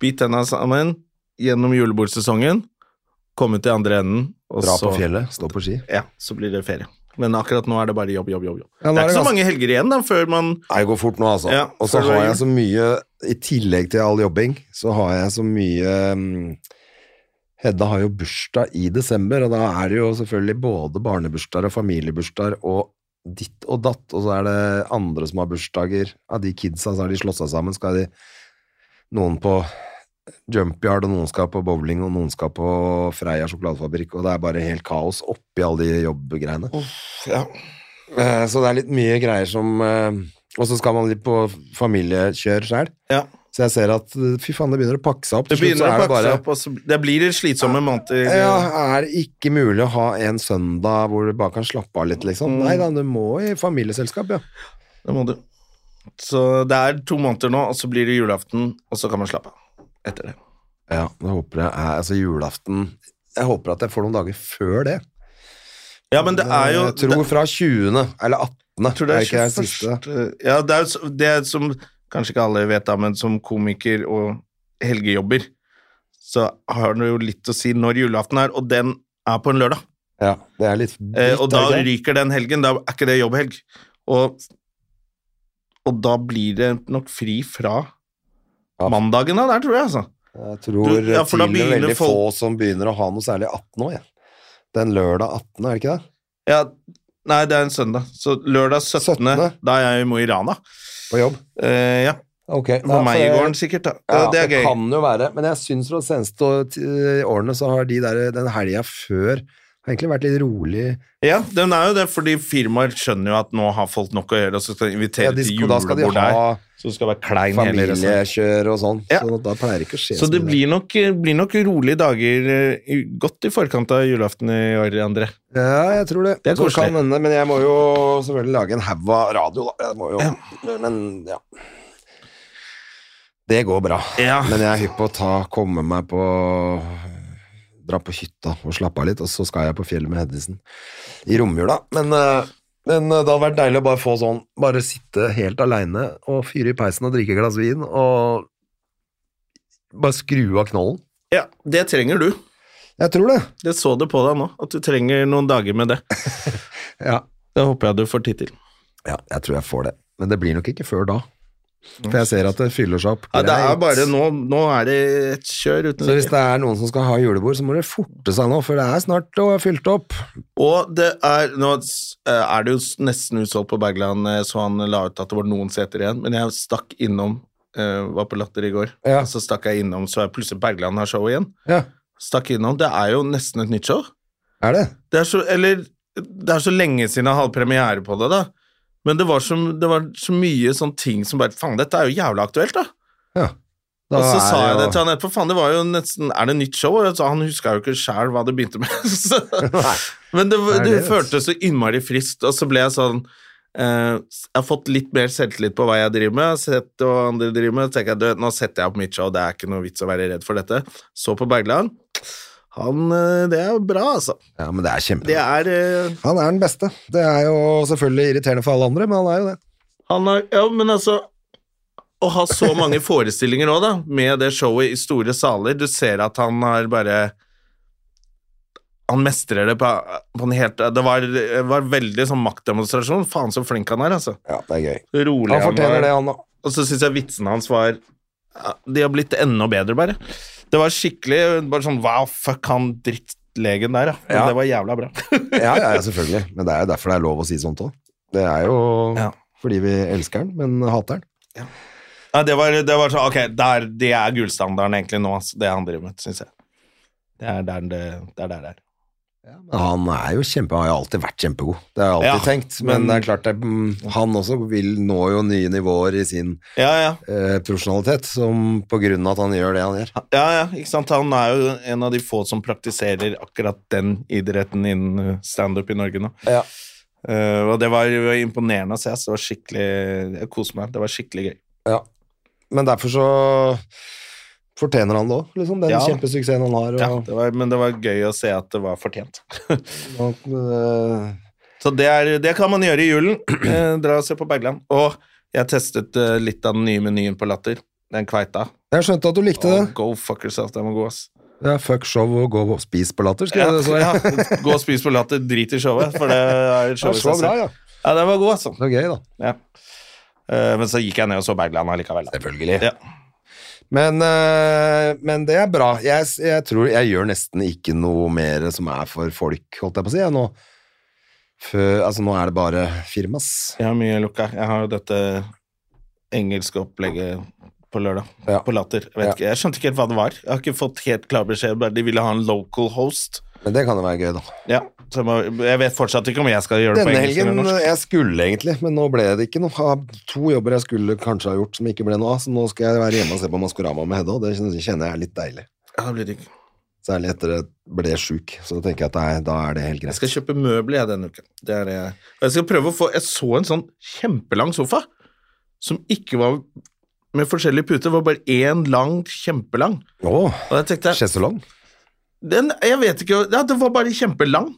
[SPEAKER 1] Bit tenna sammen gjennom julebordsesongen, komme til andre enden, og
[SPEAKER 2] Dra
[SPEAKER 1] så,
[SPEAKER 2] på fjellet, stå på ski.
[SPEAKER 1] ja, så blir det ferie. Men akkurat nå er det bare jobb, jobb, jobb. jobb.
[SPEAKER 2] Ja, nå
[SPEAKER 1] det er
[SPEAKER 2] er
[SPEAKER 1] ikke
[SPEAKER 2] det
[SPEAKER 1] så
[SPEAKER 2] ganske-
[SPEAKER 1] mange helger igjen da, før man
[SPEAKER 2] Nei, det går fort nå, altså.
[SPEAKER 1] Ja,
[SPEAKER 2] og så
[SPEAKER 1] før det
[SPEAKER 2] har
[SPEAKER 1] er
[SPEAKER 2] jeg så mye, i tillegg til all jobbing, så har jeg så mye mm, Hedda har jo bursdag i desember, og da er det jo selvfølgelig både barnebursdager og familiebursdager og ditt og datt, og så er det andre som har bursdager av de kidsa, så har de slått seg sammen, skal de noen på jumpyard, og noen skal på bowling, og noen skal på Freia sjokoladefabrikk, og det er bare helt kaos oppi alle de jobbgreiene.
[SPEAKER 1] ja.
[SPEAKER 2] Eh, Så det er litt mye greier som eh, Og så skal man litt på familiekjør sjøl.
[SPEAKER 1] ja.
[SPEAKER 2] Så jeg ser at eh, fy faen, det begynner å pakke seg opp.
[SPEAKER 1] Det
[SPEAKER 2] Til slutt
[SPEAKER 1] begynner
[SPEAKER 2] så
[SPEAKER 1] å
[SPEAKER 2] er det
[SPEAKER 1] pakke
[SPEAKER 2] bare-
[SPEAKER 1] seg opp, og så det blir slitsomme måneder.
[SPEAKER 2] Ja, er det ikke mulig å ha en søndag hvor du bare kan slappe av litt, liksom?
[SPEAKER 1] Mm.
[SPEAKER 2] Nei da, du må i familieselskap, ja.
[SPEAKER 1] Det må du. Så det er to måneder nå, og så blir det julaften, og så kan man slappe av etter det.
[SPEAKER 2] Ja, jeg håper jeg er Altså, julaften Jeg håper at jeg får noen dager før det. Eh,
[SPEAKER 1] Ja, men det er jo
[SPEAKER 2] jeg tror fra 20. eller 18.
[SPEAKER 1] jeg tror det er
[SPEAKER 2] ikke
[SPEAKER 1] 21. Ja, det er jo så- det er som kanskje ikke alle vet, da, men som komiker og helgejobber, så har det jo litt å si når julaften er, og den er på en lørdag.
[SPEAKER 2] Ja, det er litt
[SPEAKER 1] Eh, og da
[SPEAKER 2] dritt, er det ikke?
[SPEAKER 1] ryker den helgen. Da er ikke det jobbhelg. Og, og da blir det nok fri fra
[SPEAKER 2] Ja.
[SPEAKER 1] mandagen, da, der, tror jeg, altså.
[SPEAKER 2] Jeg tror
[SPEAKER 1] Du- ja, for da
[SPEAKER 2] til og med
[SPEAKER 1] begynner
[SPEAKER 2] veldig
[SPEAKER 1] folk-
[SPEAKER 2] få som begynner å ha noe særlig 18 år, jeg. Den lørdag 18., er det ikke det?
[SPEAKER 1] Ja, nei, det er en søndag. Så lørdag 17.
[SPEAKER 2] 17..
[SPEAKER 1] Da er jeg i Mo i Rana.
[SPEAKER 2] På jobb?
[SPEAKER 1] Eh, ja.
[SPEAKER 2] Okay.
[SPEAKER 1] På
[SPEAKER 2] ja, for jeg-
[SPEAKER 1] Meiergården, sikkert. da.
[SPEAKER 2] Ja,
[SPEAKER 1] Eh, det er gøy.
[SPEAKER 2] kan jo være, men jeg syns for de seneste å- t- årene så har de der, den helga før har egentlig vært litt rolig.
[SPEAKER 1] Ja, den er jo det, fordi firmaer skjønner jo at nå har folk nok å gjøre, og så skal de invitere
[SPEAKER 2] Ja, de
[SPEAKER 1] til
[SPEAKER 2] skal- da skal de
[SPEAKER 1] julebord der.
[SPEAKER 2] ha
[SPEAKER 1] Så det skal være klein hele resten.
[SPEAKER 2] Familiekjør og sånn.
[SPEAKER 1] Ja.
[SPEAKER 2] Så da pleier det ikke å skje
[SPEAKER 1] Så det
[SPEAKER 2] mye.
[SPEAKER 1] blir nok, blir nok rolige dager eh, i- godt i forkant av julaften i år, André.
[SPEAKER 2] Ja, jeg tror det.
[SPEAKER 1] Det er
[SPEAKER 2] Så kan
[SPEAKER 1] koselig.
[SPEAKER 2] hende, men jeg må jo selvfølgelig lage en haug av radio, da. Jeg må jo, Men ja. Det går bra.
[SPEAKER 1] Ja.
[SPEAKER 2] Men jeg er hypp på å ta, komme meg på Dra på hytta og slappe av litt, og så skal jeg på fjellet med Hedvigsen i romjula. Men, eh, men eh, det hadde vært deilig å bare få sånn Bare sitte helt aleine og fyre i peisen og drikke et glass vin og bare skru av knollen.
[SPEAKER 1] Ja, det trenger du.
[SPEAKER 2] Jeg tror det.
[SPEAKER 1] Jeg så det på deg nå, at du trenger noen dager med det.
[SPEAKER 2] Ja.
[SPEAKER 1] Det håper jeg du får tid til.
[SPEAKER 2] Ja, jeg tror jeg får det. Men det blir nok ikke før da. For jeg ser at det fyller seg opp.
[SPEAKER 1] Ja, det er
[SPEAKER 2] greit.
[SPEAKER 1] bare nå, nå er det et kjør uten
[SPEAKER 2] Så hvis det er noen som skal ha julebord, så må det forte seg nå, for det er snart å, fylt opp.
[SPEAKER 1] Og det er, nå s- eh, er det jo s- nesten utsolgt på Bergland, eh, så han la ut at det var noen seter igjen, men jeg stakk innom, eh, var på latter i går,
[SPEAKER 2] Ja.
[SPEAKER 1] og så stakk jeg innom, så er plutselig Bergland har show igjen.
[SPEAKER 2] Ja.
[SPEAKER 1] stakk innom. Det er jo nesten et nytt show.
[SPEAKER 2] Er det?
[SPEAKER 1] Det er så, eller, det er så lenge siden jeg hadde premiere på det, da. Men det var så, det var så mye sånn ting som bare Faen, dette er jo jævla aktuelt, da.
[SPEAKER 2] Ja. Da
[SPEAKER 1] og så
[SPEAKER 2] er
[SPEAKER 1] sa jeg
[SPEAKER 2] jo-
[SPEAKER 1] det til han etterpå. Faen, det var jo nesten Er det nytt show? Og jeg sa, han huska jo ikke sjæl hva det begynte med. så, men det, var-
[SPEAKER 2] Nei,
[SPEAKER 1] det
[SPEAKER 2] det vet.
[SPEAKER 1] føltes så innmari friskt, og så ble jeg sånn eh, jeg har fått litt mer selvtillit på hva jeg driver med. Sett hva andre driver med Så tenker jeg, du, Nå setter jeg opp mitt show, det er ikke noe vits å være redd for dette. Så på Bergland. Han, eh, Det er bra, altså.
[SPEAKER 2] Ja, men det er
[SPEAKER 1] Det
[SPEAKER 2] kjempe...
[SPEAKER 1] er eh,
[SPEAKER 2] Han er den beste. Det er jo selvfølgelig irriterende for alle andre, men han er jo det.
[SPEAKER 1] Han har, ja, men altså Å ha så mange forestillinger òg, da, med det showet i store saler Du ser at han har bare Han mestrer det på, på en helt Det var, det var veldig sånn maktdemonstrasjon. Faen, så flink han er, altså.
[SPEAKER 2] Ja, det er gøy.
[SPEAKER 1] Så Rolig
[SPEAKER 2] Han fortjener
[SPEAKER 1] var.
[SPEAKER 2] det, han òg.
[SPEAKER 1] Og så syns jeg vitsene hans var ja, De har blitt enda bedre, bare. Det var skikkelig bare sånn Wow, fuck han drittlegen der, ja. Men
[SPEAKER 2] Ja.
[SPEAKER 1] Det var jævla bra.
[SPEAKER 2] Ja, ja, ja, selvfølgelig. Men det er jo derfor det er lov å si sånt òg. Det er jo
[SPEAKER 1] Ja.
[SPEAKER 2] fordi vi elsker den, men hater den.
[SPEAKER 1] Ja, det, var, det var så, ok, der, det er gullstandarden egentlig nå, altså, det han driver med, synes jeg. Det er der det, det er. Der, det er.
[SPEAKER 2] Han er jo kjempe, har jo alltid vært kjempegod, det har jeg
[SPEAKER 1] Ja,
[SPEAKER 2] alltid tenkt. Men,
[SPEAKER 1] men-
[SPEAKER 2] det er klart, det, mm, han også vil nå jo nye nivåer i sin
[SPEAKER 1] Ja, ja,
[SPEAKER 2] eh, profesjonalitet, som på grunn av at han gjør det han gjør.
[SPEAKER 1] ja, ja, ikke sant? Han er jo en av de få som praktiserer akkurat den idretten innen uh, stand-up i Norge nå.
[SPEAKER 2] Ja.
[SPEAKER 1] Eh, og det var jo imponerende å se, ass. det var skikkelig, jeg koser meg, det var skikkelig gøy.
[SPEAKER 2] Men derfor så fortjener han det òg, liksom. Den
[SPEAKER 1] Ja.
[SPEAKER 2] kjempesuksessen han har.
[SPEAKER 1] Ja,
[SPEAKER 2] Og,
[SPEAKER 1] det var, men det var gøy å se at det var fortjent.
[SPEAKER 2] og, eh,
[SPEAKER 1] Så det, er, det kan man gjøre i julen. Eh, dra og se på Bergland. Og jeg testet eh, litt av den nye menyen på Latter, den kveita.
[SPEAKER 2] jeg skjønte at du likte
[SPEAKER 1] Å,
[SPEAKER 2] det.
[SPEAKER 1] go fuck yourself, den må gå, ass.
[SPEAKER 2] Ja, fuck show og gå og spis på latter, skrev
[SPEAKER 1] Ja,
[SPEAKER 2] jeg det. Så, ja.
[SPEAKER 1] ja. Gå og spis på latter, drit i showet, for det er
[SPEAKER 2] Det
[SPEAKER 1] showet
[SPEAKER 2] var så bra, ja.
[SPEAKER 1] Ja, den var god, altså.
[SPEAKER 2] Så gøy, da.
[SPEAKER 1] Ja. Eh, Men så gikk jeg ned og så Bergland allikevel. da.
[SPEAKER 2] Selvfølgelig.
[SPEAKER 1] Ja.
[SPEAKER 2] Men, eh, men det er bra. Jeg, jeg tror jeg gjør nesten ikke noe mer som er for folk, holdt jeg på å si. Jeg, nå. Før, altså, nå er det bare firmas.
[SPEAKER 1] Jeg har mye lukka. Jeg har jo dette engelske opplegget på lørdag,
[SPEAKER 2] Ja.
[SPEAKER 1] på Latter. Jeg, vet
[SPEAKER 2] Ja.
[SPEAKER 1] ikke. jeg skjønte ikke helt hva det var. Jeg har ikke fått helt klar beskjed, bare de ville ha en local host.
[SPEAKER 2] Men det kan jo være gøy, da.
[SPEAKER 1] Ja, så jeg, må, jeg vet fortsatt ikke om jeg skal gjøre det
[SPEAKER 2] Denne
[SPEAKER 1] på engelsk
[SPEAKER 2] helgen eh,
[SPEAKER 1] eller norsk.
[SPEAKER 2] jeg skulle egentlig, men nå ble det ikke noe. Jeg har to jobber jeg skulle kanskje ha gjort som ikke ble noe av, så nå skal jeg være hjemme og se på Maskorama med Hedda, og det kjenner kjenner jeg er litt deilig.
[SPEAKER 1] Ja, det blir digg.
[SPEAKER 2] Særlig etter at jeg ble sjuk, så tenker jeg at nei, da er det helt
[SPEAKER 1] Jeg
[SPEAKER 2] greit.
[SPEAKER 1] skal kjøpe møbler jeg denne uken. Det er det jeg. Og jeg skal prøve å få Jeg så en sånn kjempelang sofa som ikke var med forskjellige puter. Det var bare én lang, kjempelang.
[SPEAKER 2] Å,
[SPEAKER 1] Og jeg tenkte
[SPEAKER 2] sjeselong?
[SPEAKER 1] den, Jeg vet ikke Ja, det var bare kjempelang.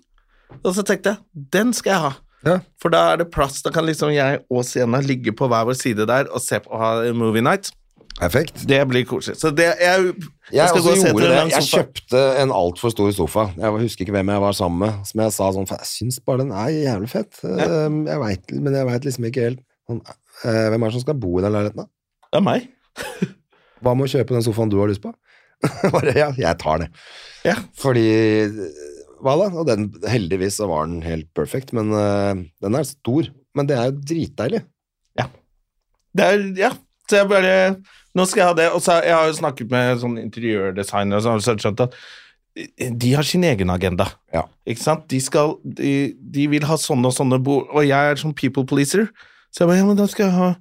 [SPEAKER 1] Og så tenkte jeg den skal jeg ha.
[SPEAKER 2] Ja.
[SPEAKER 1] For da er det plass. Da kan liksom jeg og Sienna ligge på hver vår side der og se på ha movie night.
[SPEAKER 2] Perfekt.
[SPEAKER 1] Det blir koselig. Så det Jeg, jeg,
[SPEAKER 2] Jeg,
[SPEAKER 1] skal gå
[SPEAKER 2] også
[SPEAKER 1] og se etter
[SPEAKER 2] gjorde
[SPEAKER 1] en
[SPEAKER 2] det.
[SPEAKER 1] lang
[SPEAKER 2] Jeg
[SPEAKER 1] sofa.
[SPEAKER 2] kjøpte en altfor stor sofa. Jeg husker ikke hvem jeg var sammen med. Som jeg sa sånn "Faen, Jeg syns bare den er jævlig fett. Um, Jeg vet, men jeg veit liksom ikke helt sånn, eh, Hvem er det som skal bo i den leiligheten, da?
[SPEAKER 1] Det er meg.
[SPEAKER 2] Hva med å kjøpe den sofaen du har lyst på? bare ja, jeg tar det.
[SPEAKER 1] Ja.
[SPEAKER 2] Fordi Hva da? Og den, heldigvis så var den helt perfect, men eh, den er stor. Men det er jo dritdeilig.
[SPEAKER 1] Det er, ja, så jeg bare Nå skal jeg ha det. Og så jeg har jo snakket med sånn interiørdesignere, og sånn, så har jeg skjønt at eh, de har sin egen agenda.
[SPEAKER 2] Ja.
[SPEAKER 1] Ikke sant? De, skal, de, de vil ha sånne og sånne bord, og jeg er sånn people pleaser. Så jeg bare Ja, men da skal jeg ha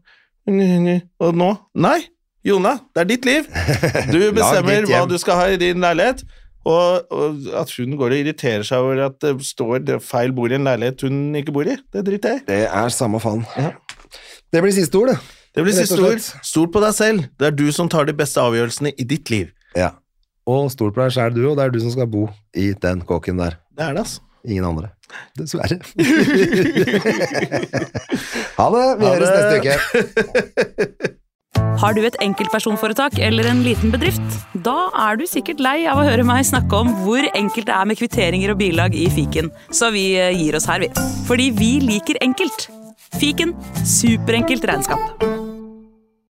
[SPEAKER 1] Og nå? Nei! Jona, det er ditt liv! Du
[SPEAKER 2] Lag
[SPEAKER 1] bestemmer
[SPEAKER 2] ditt
[SPEAKER 1] hva
[SPEAKER 2] hjem.
[SPEAKER 1] du skal ha i din leilighet. Og, og at hun går og irriterer seg over at det står det feil bord i en leilighet hun ikke bor i, det driter jeg i.
[SPEAKER 2] Det er samme faen.
[SPEAKER 1] Ja.
[SPEAKER 2] Det blir siste ord, det.
[SPEAKER 1] Det blir
[SPEAKER 2] Rett og
[SPEAKER 1] siste ord.
[SPEAKER 2] slett.
[SPEAKER 1] Stol på deg selv. Det er du som tar de beste avgjørelsene i ditt liv.
[SPEAKER 2] Ja. Og stol på deg sjæl, du, og det er du som skal bo i den kåken der.
[SPEAKER 1] Det er det, altså.
[SPEAKER 2] Ingen andre. Dessverre. ha det! Vi
[SPEAKER 1] Ha det.
[SPEAKER 2] høres neste uke.
[SPEAKER 3] Har du et enkeltpersonforetak eller en liten bedrift? Da er du sikkert lei av å høre meg snakke om hvor enkelt det er med kvitteringer og bilag i fiken, så vi eh, gir oss her, vi. Fordi vi liker enkelt. Fiken superenkelt regnskap.